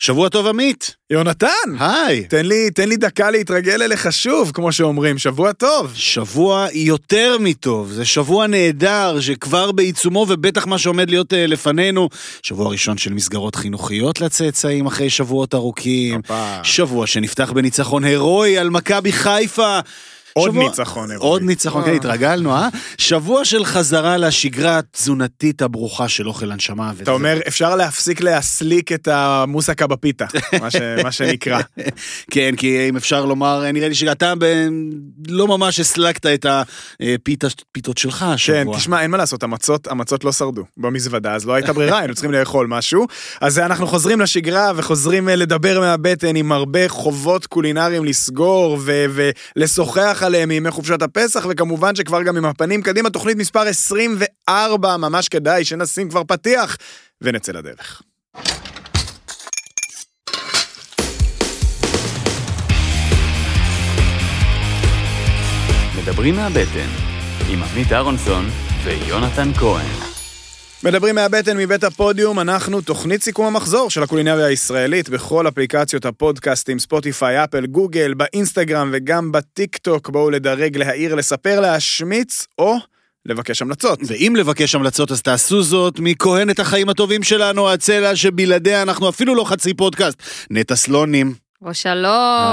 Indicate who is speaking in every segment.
Speaker 1: שבוע טוב עמית,
Speaker 2: יונתן,
Speaker 1: היי.
Speaker 2: תן לי, תן לי דקה להתרגל אליך שוב, כמו שאומרים, שבוע טוב.
Speaker 1: שבוע יותר מטוב, זה שבוע נהדר שכבר בעיצומו ובטח מה שעומד להיות אה, לפנינו. שבוע ראשון של מסגרות חינוכיות לצאצאים אחרי שבועות ארוכים.
Speaker 2: הופה.
Speaker 1: שבוע שנפתח בניצחון הירואי על מכבי חיפה.
Speaker 2: עוד
Speaker 1: שבוע-
Speaker 2: ניצחון הירואי.
Speaker 1: עוד ניצחון, כן,
Speaker 2: אה.
Speaker 1: התרגלנו, אה? שבוע של חזרה לשגרה התזונתית הברוכה של אוכל הנשמה. וזה-
Speaker 2: אתה אומר, אפשר להפסיק להסליק את המוסקה בפיתה, מה ש- מה שנקרא.
Speaker 1: כן, כי אם אפשר לומר, נראה לי שאתה ב- לא ממש הסלקת את הפיתות שלך השבוע.
Speaker 2: כן, תשמע, אין מה לעשות, המצות, המצות לא שרדו במזוודה, אז לא הייתה ברירה, היינו צריכים לאכול משהו. אז אנחנו חוזרים לשגרה וחוזרים אה, לדבר מהבטן עם הרבה חובות קולינריים לסגור ו- ולשוחח עליהם מימי חופשת הפסח, וכמובן שכבר גם עם הפנים קדימה, תוכנית מספר 24, ממש כדאי שנשים כבר פתיח ונצא לדרך.
Speaker 3: מדברים מהבטן, עם עמית אהרונסון ויונתן כהן.
Speaker 2: מדברים מהבטן מבית הפודיום, אנחנו תוכנית סיכום המחזור של הקולינריה הישראלית בכל אפליקציות הפודקאסטים, ספוטיפיי, אפל, גוגל, באינסטגרם וגם בטיק טוק. בואו לדרג, להעיר, לספר, להשמיץ או לבקש המלצות.
Speaker 1: ואם לבקש המלצות אז תעשו זאת מכהנת החיים הטובים שלנו, הצלע שבלעדיה אנחנו אפילו לא חצי פודקאסט. נטע סלונים,
Speaker 4: או שלום,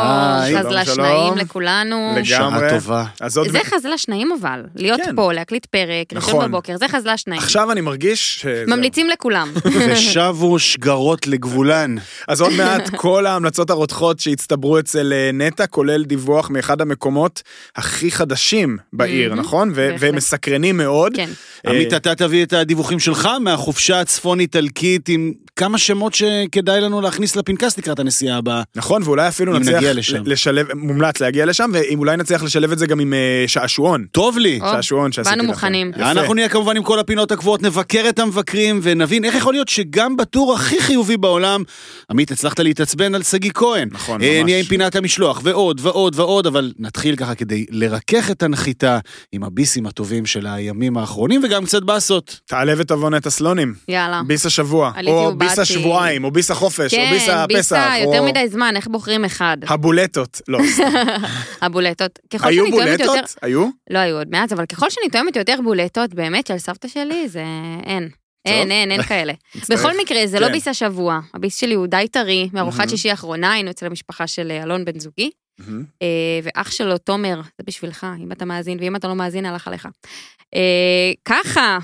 Speaker 1: היי,
Speaker 2: אה, שלום,
Speaker 4: חזלה
Speaker 2: שלום.
Speaker 4: שניים לכולנו.
Speaker 2: לגמרי.
Speaker 1: שעה טובה.
Speaker 2: אז עוד...
Speaker 4: זה חזלה שניים אבל, להיות
Speaker 2: כן.
Speaker 4: פה, להקליט פרק,
Speaker 2: נכון.
Speaker 4: לשבת בבוקר, זה חזלה שניים.
Speaker 2: עכשיו אני מרגיש... שזהו.
Speaker 4: ממליצים לכולם.
Speaker 1: ושבו שגרות לגבולן.
Speaker 2: אז עוד מעט כל ההמלצות הרותחות שהצטברו אצל אה, נטע, כולל דיווח מאחד המקומות הכי חדשים בעיר,
Speaker 4: Mhm,
Speaker 2: נכון? ו-
Speaker 4: בהחלט.
Speaker 2: ומסקרנים מאוד.
Speaker 4: כן.
Speaker 2: אה,
Speaker 1: עמית, אתה תביא את הדיווחים שלך מהחופשה הצפון-איטלקית עם כמה שמות שכדאי לנו להכניס לפנקס לקראת הנסיעה הבאה.
Speaker 2: נכון, ואולי אפילו
Speaker 1: אם
Speaker 2: נצליח
Speaker 1: נגיע לשם.
Speaker 2: לשלב, מומלץ להגיע לשם, ואם אולי נצליח לשלב את זה גם עם אה, שעשועון.
Speaker 1: טוב לי.
Speaker 4: או,
Speaker 2: שעשועון שעשיתי
Speaker 4: באנו
Speaker 2: לכם.
Speaker 4: מוכנים.
Speaker 2: יפה.
Speaker 1: אנחנו נהיה כמובן עם כל הפינות הקבועות, נבקר את המבקרים ונבין איך יכול להיות שגם בטור הכי חיובי בעולם, עמית, הצלחת להתעצבן על שגיא כהן.
Speaker 2: נכון,
Speaker 1: אה,
Speaker 2: ממש.
Speaker 1: נהיה עם פינת המשלוח, ועוד ועוד ועוד, אבל נתחיל ככה כדי לרכך את הנחיתה עם הביסים הטובים של הימים האחרונים, וגם קצת באסות.
Speaker 2: תעלה ותבוא נטע סלונים.
Speaker 4: יאללה.
Speaker 2: ביס השבוע,
Speaker 4: אה. עליתי
Speaker 2: או
Speaker 4: ובאתי.
Speaker 2: ביס השבועיים, או ביס החופש, או ביס
Speaker 4: כן,
Speaker 2: הפסח,
Speaker 4: ביסה,
Speaker 2: או
Speaker 4: יותר מדי זמן, איך בוחרים אחד?
Speaker 2: הבולטות. לא, סתם.
Speaker 4: הבולטות. ככל
Speaker 2: היו
Speaker 4: שאני תואמת יותר...
Speaker 2: בולטות? היו?
Speaker 4: לא היו עוד מעט, אבל ככל שאני תואמת יותר בולטות, באמת, של סבתא שלי, זה אין. אין, אין, אין כאלה.
Speaker 2: מצטער.
Speaker 4: בכל מקרה, זה לא
Speaker 2: כן.
Speaker 4: ביס השבוע. הביס שלי הוא די טרי, מארוחת
Speaker 2: מהמם.
Speaker 4: שישי האחרונה היינו אצל המשפחה של אה, אלון בן זוגי,
Speaker 2: מהמם.
Speaker 4: אה, ואח שלו, תומר, זה בשבילך, אם אתה מאזין, ואם אתה לא מאזין, הלך עליך. אה, ככה,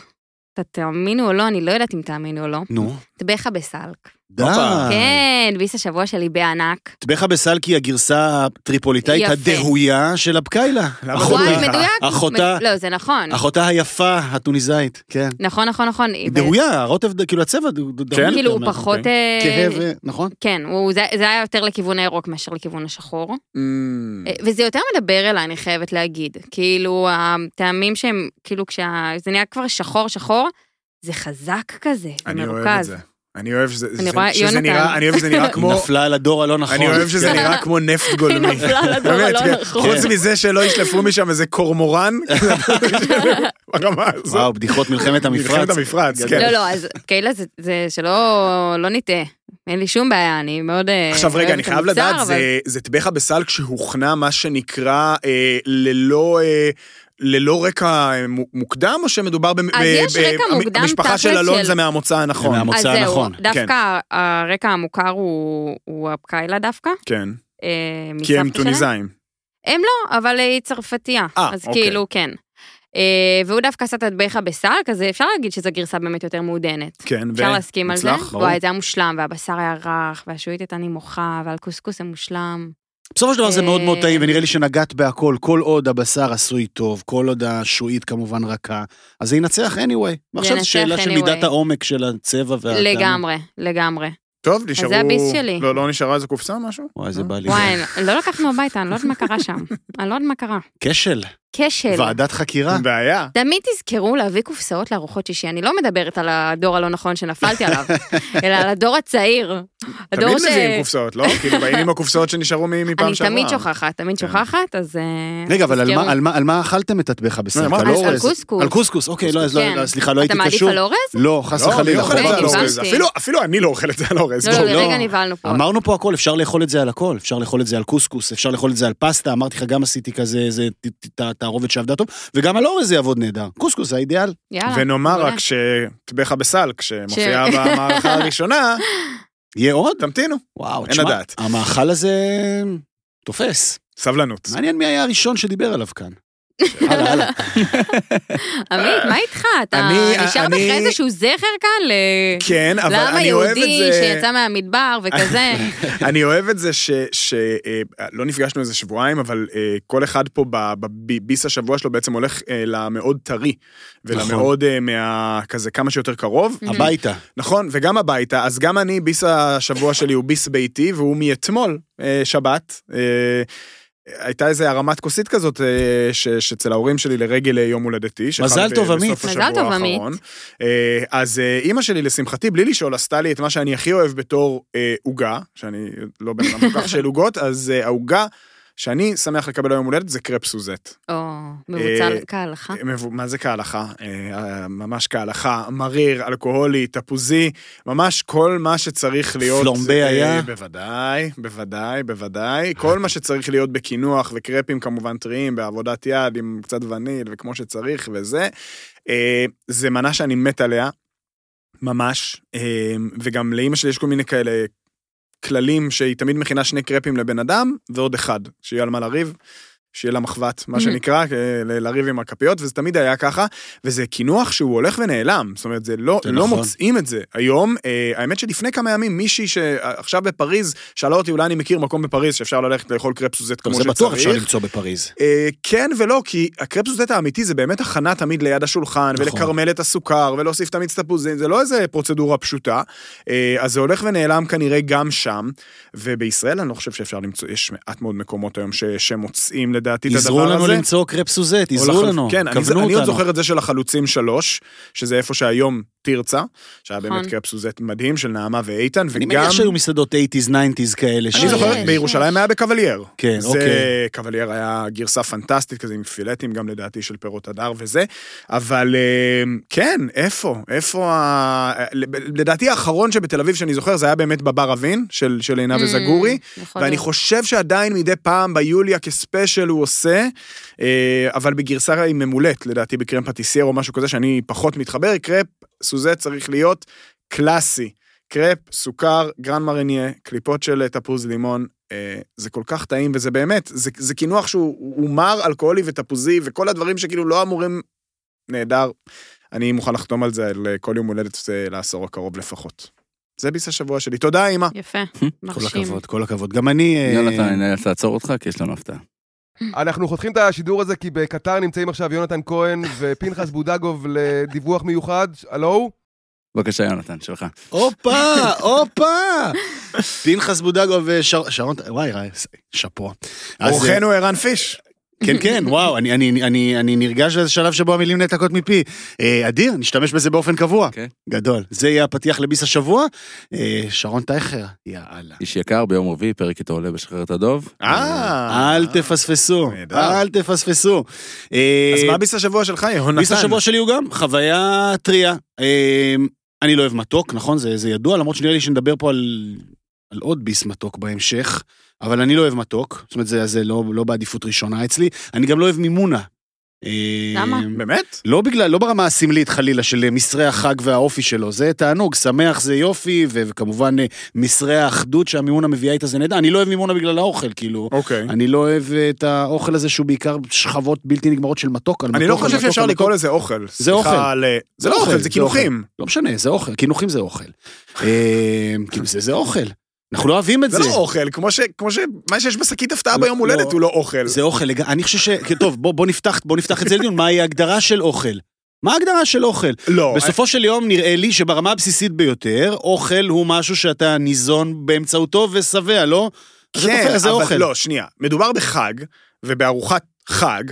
Speaker 4: אתה תאמינו או לא, אני לא יודעת אם תאמינו או לא,
Speaker 1: נו.
Speaker 4: טבחה בסלק.
Speaker 1: די.
Speaker 2: הופה.
Speaker 4: כן, ביס השבוע שלי בענק.
Speaker 1: טבחה בסלקי הגרסה הטריפוליטאית
Speaker 4: יפה.
Speaker 1: הדהויה של הבקאילה.
Speaker 2: למה
Speaker 1: אחותה-
Speaker 4: וואי, מדויק.
Speaker 1: אחותה-
Speaker 4: לא, זה נכון.
Speaker 1: אחותה היפה, הטוניסאית. כן.
Speaker 4: נכון, נכון, נכון.
Speaker 1: היא דהויה, הרוטב, כאילו הצבע דהוי.
Speaker 2: כן,
Speaker 1: יותר
Speaker 4: כאילו, הוא
Speaker 1: מה-
Speaker 4: פחות...
Speaker 1: אוקיי.
Speaker 4: אה,
Speaker 1: כהה, ו- נכון?
Speaker 4: כן, הוא- זה זה היה יותר לכיוון הירוק מאשר לכיוון השחור.
Speaker 2: מהמם.
Speaker 4: אה, וזה יותר מדבר אליי, אני חייבת להגיד. כאילו, הטעמים שהם, כאילו, כשזה נהיה כבר שחור שחור, זה חזק כזה, זה
Speaker 2: אני אוהב את
Speaker 4: מרוכז.
Speaker 2: זה. אני אוהב שזה
Speaker 4: אני רואה,
Speaker 2: שזה
Speaker 4: יונתן.
Speaker 2: נראה- אני אוהב שזה נראה
Speaker 1: כמו...
Speaker 2: כמו...
Speaker 1: נפלה על הדור הלא נכון.
Speaker 2: לא, אני אוהב שזה נראה כמו נפט גולמי.
Speaker 4: היא כאילו נפלה על הדור
Speaker 2: באמת,
Speaker 4: הלא
Speaker 2: כן.
Speaker 4: נכון.
Speaker 2: חוץ מזה שלא ישלפו משם איזה קורמורן, ברמה הזאת.
Speaker 1: וואו, בדיחות מלחמת המפרץ.
Speaker 2: מלחמת המפרץ, כן.
Speaker 4: לא, לא, אז קהילה זה- זה שלא לא נטעה. אין לי שום בעיה, אני מאוד... אה,
Speaker 2: עכשיו רגע,
Speaker 4: אוהבת
Speaker 2: אני
Speaker 4: את
Speaker 2: חייב
Speaker 4: המוצר,
Speaker 2: לדעת,
Speaker 4: אבל-
Speaker 2: זה- זה טבחה בסל כשהוכנה מה שנקרא אה, ללא... אה, ללא רקע אה, מו- מוקדם, או שמדובר במ-
Speaker 4: אז
Speaker 2: ב-
Speaker 4: יש
Speaker 2: ב-
Speaker 4: רקע
Speaker 2: המ-
Speaker 4: מוקדם
Speaker 2: המשפחה של
Speaker 4: תכלס
Speaker 2: אלון
Speaker 4: של-
Speaker 2: זה מהמוצא הנכון.
Speaker 1: זה מהמוצא.
Speaker 4: אז
Speaker 1: המוצא
Speaker 4: זהו,
Speaker 1: הנכון,
Speaker 2: כן.
Speaker 4: דווקא ה- הרקע המוכר הוא הוא הבקאילה דווקא.
Speaker 2: כן,
Speaker 4: אה,
Speaker 2: כי הם
Speaker 4: מסבתא שלהם.
Speaker 2: טוניסאים. הם
Speaker 4: לא, אבל היא צרפתייה.
Speaker 2: אה,
Speaker 4: אז
Speaker 2: אוקיי.
Speaker 4: כאילו, כן. אה, והוא דווקא עשה את הדבחה בסלק, אז אפשר להגיד שזו גרסה באמת יותר מעודנת.
Speaker 2: כן, ו-
Speaker 4: אפשר להסכים על זה?
Speaker 2: מוצלח, ברור.
Speaker 4: וואי, זה היה מושלם, והבשר היה רך, והשועית הייתה נמוכה, והקוסקוס היה מושלם.
Speaker 1: בסופו של דבר זה
Speaker 4: אה,
Speaker 1: מאוד מאוד טעים, ונראה לי שנגעת בהכל, כל עוד הבשר עשוי טוב, כל עוד השועית כמובן רכה, אז זה ינצח anyway. ועכשיו זו
Speaker 4: ינצח
Speaker 1: שאלה של
Speaker 4: anyway.
Speaker 1: מידת העומק של הצבע והטעם.
Speaker 4: לגמרי, לגמרי.
Speaker 2: טוב, נשארו...
Speaker 4: הביס שלי.
Speaker 2: לא, לא נשארה איזה קופסה, משהו?
Speaker 1: וואי, זה בא לי.
Speaker 4: וואי, לא לקחנו הביתה, אני לא יודעת מה קרה שם. אני לא יודעת מה קרה.
Speaker 1: כשל.
Speaker 4: כשל.
Speaker 1: ועדת חקירה?
Speaker 2: אין בעיה.
Speaker 4: תמיד תזכרו להביא קופסאות לארוחות שישי. אני לא מדברת על הדור הלא נכון שנפלתי עליו, אלא על הדור הצעיר.
Speaker 2: תמיד
Speaker 4: הדור ש-
Speaker 2: מביאים קופסאות, לא? כאילו באים עם הקופסאות שנשארו מ- מפעם
Speaker 4: אני
Speaker 2: שעברה.
Speaker 4: תמיד שוכחת, תמיד
Speaker 2: כן.
Speaker 4: שוכחת, אז... אה,
Speaker 1: רגע, אבל על
Speaker 4: תזכרו.
Speaker 1: מה- על מה- על מה אכלתם את הטבחה בסרטה?
Speaker 2: אמרתי-
Speaker 1: לא
Speaker 4: על- על
Speaker 1: אורז.
Speaker 4: קוסקוס.
Speaker 1: על קוסקוס, אוקיי, לא, אז לא,
Speaker 4: כן.
Speaker 1: לא, סליחה, לא הייתי
Speaker 4: אתה מעדיף
Speaker 1: קשור.
Speaker 4: על אורז?
Speaker 1: לא, חס
Speaker 2: לא,
Speaker 1: וחלילה.
Speaker 2: אני לא אוכל את זה על
Speaker 4: אוקיי,
Speaker 2: אורז.
Speaker 4: הבנתי.
Speaker 2: אפילו- אפילו אני לא אוכל את זה על אורז.
Speaker 4: לא,
Speaker 2: בואו.
Speaker 4: לא, לרגע נבהלנו פה.
Speaker 1: אמרנו פה הכל, אפשר לאכול את זה על הכל, אפשר לאכול את זה על קוסקוס, אפשר לאכול את זה על פסטה, אמרתי לך, גם עשיתי כזה, איזה ת- ת- ת- תערובת שעבדה טוב, וגם על אורז זה יעבוד נהדר. קוסקוס זה האידיאל.
Speaker 4: יאללה.
Speaker 2: ונאמר
Speaker 4: מעולה.
Speaker 2: רק שטבחה בסל, כשמופיעה
Speaker 4: אה, לא. ש-
Speaker 2: במערכה הראשונה,
Speaker 1: יהיה עוד?
Speaker 2: תמתינו.
Speaker 1: וואו,
Speaker 2: אין
Speaker 1: תשמע,
Speaker 2: לדעת.
Speaker 1: המאכל הזה תופס.
Speaker 2: סבלנות.
Speaker 1: מעניין מי היה הראשון שדיבר עליו כאן. הלאה, הלאה.
Speaker 4: עמית, מה איתך? אתה
Speaker 2: אני-
Speaker 4: נשאר
Speaker 2: אני-
Speaker 4: בך איזשהו זכר כאן ל...
Speaker 2: כן, אבל
Speaker 4: לעם
Speaker 2: אני אוהב את זה...
Speaker 4: היהודי שיצא מהמדבר וכזה.
Speaker 2: אני אוהב את זה ש... ש אה, לא נפגשנו איזה שבועיים, אבל אה, כל אחד פה בב- בביס השבוע שלו בעצם הולך אה, למאוד טרי. ולמאוד אה, מה... כזה כמה שיותר קרוב.
Speaker 1: הביתה.
Speaker 2: נכון, וגם הביתה, אז גם אני, ביס השבוע שלי הוא ביס ביתי, והוא מאתמול, אה, שבת. אה, הייתה איזה הרמת כוסית כזאת אה, ש- שאצל ההורים שלי לרגל אה, יום הולדתי. שחל
Speaker 1: מזל
Speaker 2: ב-
Speaker 1: טוב,
Speaker 2: בסוף
Speaker 1: עמית.
Speaker 2: השבוע
Speaker 4: מזל טוב, עמית.
Speaker 2: האחרון. אה, אז אה, אימא שלי, לשמחתי, בלי לשאול, עשתה לי את מה שאני הכי אוהב בתור אה, עוגה, שאני לא בן אדם כל כך של עוגות, אז אה, העוגה שאני שמח לקבל היום הולדת זה קרפ סוזט.
Speaker 4: או, מבוצע
Speaker 2: אה,
Speaker 4: כהלכה.
Speaker 2: מבו- מה זה כהלכה? אה, ממש כהלכה, מריר, אלכוהולי, תפוזי, ממש כל מה שצריך להיות.
Speaker 1: פלומבה
Speaker 2: אה,
Speaker 1: היה?
Speaker 2: בוודאי, בוודאי, בוודאי. כל מה שצריך להיות בקינוח וקרפים כמובן טריים, בעבודת יד עם קצת וניל וכמו שצריך וזה. אה, זה מנה שאני מת עליה, ממש, אה, וגם לאימא שלי יש כל מיני כאלה כללים שהיא תמיד מכינה שני קרפים לבן אדם ועוד אחד, שיהיה על מה לריב. שיהיה לה מחבת, מה
Speaker 4: מהמם.
Speaker 2: שנקרא, אה, ל- לריב עם הכפיות, וזה תמיד היה ככה, וזה קינוח שהוא הולך ונעלם, זאת אומרת, זה לא,
Speaker 1: זה
Speaker 2: לא
Speaker 1: נכון.
Speaker 2: מוצאים את זה. היום, אה, האמת שלפני כמה ימים, מישהי שעכשיו בפריז, שאלה אותי, אולי אני מכיר מקום בפריז שאפשר ללכת לאכול קרפ סוזט
Speaker 1: טוב,
Speaker 2: כמו
Speaker 1: זה
Speaker 2: שצריך.
Speaker 1: בטוח אפשר למצוא בפריז.
Speaker 2: אה, כן ולא, כי הקרפ סוזט האמיתי זה באמת הכנה תמיד ליד השולחן,
Speaker 1: נכון.
Speaker 2: ולכרמל את הסוכר, ולהוסיף את המיץ תפוזים, זה לא איזה פרוצדורה פשוטה. אה, אז זה הולך ונעלם כנראה גם שם, ובישראל אני לא חושב שאפשר למצוא, יש מעט מאוד מקומות היום ש, שמוצאים לדעתי את הדבר הזה.
Speaker 1: עזרו לנו למצוא קרפ סוזט,
Speaker 2: או
Speaker 1: עזרו
Speaker 2: לחל-
Speaker 1: לנו,
Speaker 2: כן, אני,
Speaker 1: כוונו
Speaker 2: אני עוד
Speaker 1: אותנו.
Speaker 2: זוכר את זה של החלוצים שלוש, שזה איפה שהיום תרצה, שהיה באמת
Speaker 4: נכון.
Speaker 2: קרפ סוזט מדהים של נעמה ואיתן,
Speaker 1: אני
Speaker 2: וגם...
Speaker 1: מניח שהיו מסעדות 80's, 90's כאלה.
Speaker 2: אני
Speaker 1: ש-
Speaker 2: זוכר,
Speaker 4: יש,
Speaker 2: בירושלים
Speaker 4: יש.
Speaker 2: היה בקוולייר.
Speaker 1: כן,
Speaker 2: זה,
Speaker 1: אוקיי.
Speaker 2: קוולייר היה גרסה פנטסטית כזה עם פילטים, גם לדעתי של פירות הדר וזה, אבל אה, כן, איפה? איפה ה... אה, לדעתי האחרון שבתל אביב שאני זוכר, זה היה באמת בבר אבין, של של עינב וזגורי.
Speaker 4: Mm,
Speaker 2: ואני
Speaker 4: יכול
Speaker 1: נכון.
Speaker 4: להיות.
Speaker 2: חושב שעדיין מדי פעם ביוליה כספיישל הוא עושה, אה, אבל בגרסה היא ממולאת, לדעתי בקרם פטיסייר או משהו כזה שאני פחות מתחבר, קרפ סוזה צריך להיות קלאסי. קרפ, סוכר, גרן מרניה, קליפות של אה, תפוז לימון, אה, זה כל כך טעים וזה באמת, זה, זה קינוח שהוא הוא מר, אלכוהולי ותפוזי וכל הדברים שכאילו לא אמורים, נהדר. אני מוכן לחתום על זה על אה, כל יום הולדת אה, לעשור הקרוב לפחות. זה ביס השבוע שלי. תודה, אמא.
Speaker 4: יפה,
Speaker 1: כל
Speaker 4: מרשים.
Speaker 1: הכבוד, כל הכבוד. גם אני... אה,
Speaker 5: יונתן, אני נאלץ לעצור אותך, כי יש לנו הפתעה.
Speaker 6: אנחנו חותכים את השידור הזה כי בקטר נמצאים עכשיו יונתן כהן ופנחס בודגוב לדיווח מיוחד. הלו?
Speaker 5: בבקשה, יונתן, שלך.
Speaker 1: הופה, הופה! פנחס בודגו ושרון... וואי, ראי, שאפו. אז, אה,
Speaker 2: אורחנו ערן פיש.
Speaker 1: כן, כן, וואו, אני, אני, אני, אני נרגש לאיזה שלב שבו המילים נעתקות מפי. אה, אדיר, נשתמש בזה באופן קבוע.
Speaker 2: כן.
Speaker 5: אוקיי.
Speaker 1: גדול. זה יהיה הפתיח לביס השבוע. אה, שרון טייכר, יאללה.
Speaker 5: איש יקר, ביום רביעי, פרק איתו עולה בשחרר את הדוב.
Speaker 2: אה.
Speaker 1: אל תפספסו,
Speaker 2: נהדר.
Speaker 1: אל תפספסו. אה,
Speaker 2: אז מה ביס השבוע שלך, יהונתן?
Speaker 1: ביס השבוע שלי הוא גם חוויה טריה. אה, אני לא אוהב מתוק, נכון? זה, זה ידוע, למרות שנראה לי שנדבר פה על, על עוד ביס מתוק בהמשך, אבל אני לא אוהב מתוק, זאת אומרת, זה, זה לא, לא בעדיפות ראשונה אצלי. אני גם לא אוהב מימונה. אה,
Speaker 4: למה?
Speaker 2: באמת?
Speaker 1: לא בגלל, לא ברמה הסמלית חלילה של מסרי החג והאופי שלו, זה תענוג, שמח זה יופי, ו- וכמובן אה, מסרי האחדות שהמימונה מביאה איתה זה נהדר. אני לא אוהב מימונה בגלל האוכל, כאילו.
Speaker 2: אוקיי.
Speaker 1: אני לא אוהב אה, את האוכל הזה שהוא בעיקר שכבות בלתי נגמרות של מתוק. על
Speaker 2: אני
Speaker 1: מתוק, על
Speaker 2: לא חושב
Speaker 1: מתוק,
Speaker 2: שאפשר
Speaker 1: על מתוק.
Speaker 2: לקרוא לזה אוכל. סליחה
Speaker 1: אוכל.
Speaker 2: על- זה לא אוכל, זה קינוחים.
Speaker 1: לא משנה, זה אוכל, קינוחים זה אוכל. אה, כאילו, זה זה אוכל. אנחנו לא אוהבים את
Speaker 2: זה
Speaker 1: זה.
Speaker 2: לא אוכל, כמו ש... כמו ש... מה שיש בשקית הפתעה
Speaker 1: לא,
Speaker 2: ביום הולדת
Speaker 1: לא.
Speaker 2: הוא לא אוכל.
Speaker 1: זה אוכל, לג- אני חושב ש... כן, טוב, בוא- בוא נפתח בוא נפתח את זה לדיון, מהי ההגדרה של אוכל? מה ההגדרה של אוכל?
Speaker 2: לא.
Speaker 1: בסופו של יום נראה לי שברמה הבסיסית ביותר, אוכל הוא משהו שאתה ניזון באמצעותו ושבע, לא? אז אתה
Speaker 2: כן,
Speaker 1: הופך לזה
Speaker 2: אבל
Speaker 1: אוכל.
Speaker 2: לא, שנייה. מדובר בחג, ובארוחת חג.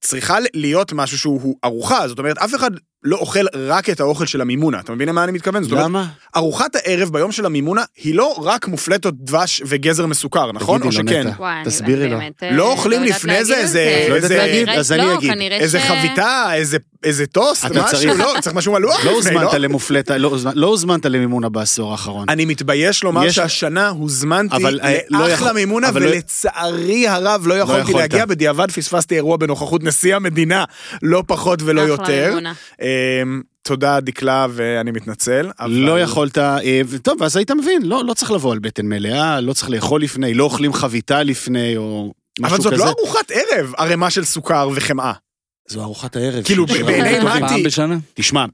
Speaker 2: צריכה להיות משהו שהוא הוא ארוחה, זאת אומרת, אף אחד לא אוכל רק את האוכל של המימונה, אתה מבין למה אני מתכוון? זאת אומרת,
Speaker 1: למה?
Speaker 2: ארוחת הערב ביום של המימונה היא לא רק מופלטות דש וגזר מסוכר, נכון?
Speaker 1: תגידי
Speaker 2: או
Speaker 1: לו,
Speaker 2: שכן.
Speaker 1: נטע.
Speaker 4: וואי, אני
Speaker 1: תסבירי לו.
Speaker 4: באמת,
Speaker 2: לא
Speaker 4: אה,
Speaker 2: אוכלים
Speaker 4: יודעת
Speaker 2: לפני זה
Speaker 4: להגיד
Speaker 2: איזה-
Speaker 4: את
Speaker 2: לא יודעת
Speaker 4: כנראה-
Speaker 2: להגיד,
Speaker 1: אז אני
Speaker 4: לא,
Speaker 1: אגיד.
Speaker 4: כנראה
Speaker 2: איזה
Speaker 4: ש-
Speaker 2: חביתה, איזה- איזה טוסט,
Speaker 1: אתה
Speaker 2: משהו,
Speaker 1: צריך-
Speaker 2: לא, צריך משהו מלוח
Speaker 1: לא
Speaker 2: לפני,
Speaker 1: הוזמנת למופלטה, לא הוזמנ- לא הוזמנת למימונה בעשור האחרון.
Speaker 2: אני מתבייש לומר
Speaker 1: יש-
Speaker 2: שהשנה הוזמנתי
Speaker 1: אבל, אה, לא
Speaker 2: לאחלה
Speaker 1: יכול-
Speaker 2: מימונה,
Speaker 1: אבל לא-
Speaker 2: ולצערי הרב לא יכולתי
Speaker 1: יכולת.
Speaker 2: להגיע, בדיעבד פספסתי אירוע בנוכחות נשיא המדינה, לא פחות ולא
Speaker 4: אחלה
Speaker 2: יותר.
Speaker 4: אמונה.
Speaker 2: אמ, תודה דקלה ואני מתנצל. אבל-
Speaker 1: לא יכולת, אה, ו- טוב, אז היית מבין, לא לא צריך לבוא על בטן מלאה, לא צריך לאכול לפני, לא אוכלים חביתה לפני, או משהו
Speaker 2: אבל
Speaker 1: כזה.
Speaker 2: זאת לא ארוחת ערב, ערימה של סוכר וחמאה.
Speaker 1: זו ארוחת הערב.
Speaker 2: כאילו,
Speaker 1: של- של
Speaker 2: בעיני
Speaker 1: ארוחת
Speaker 2: מתי?
Speaker 1: הערב.
Speaker 5: פעם בשנה?
Speaker 1: תשמע,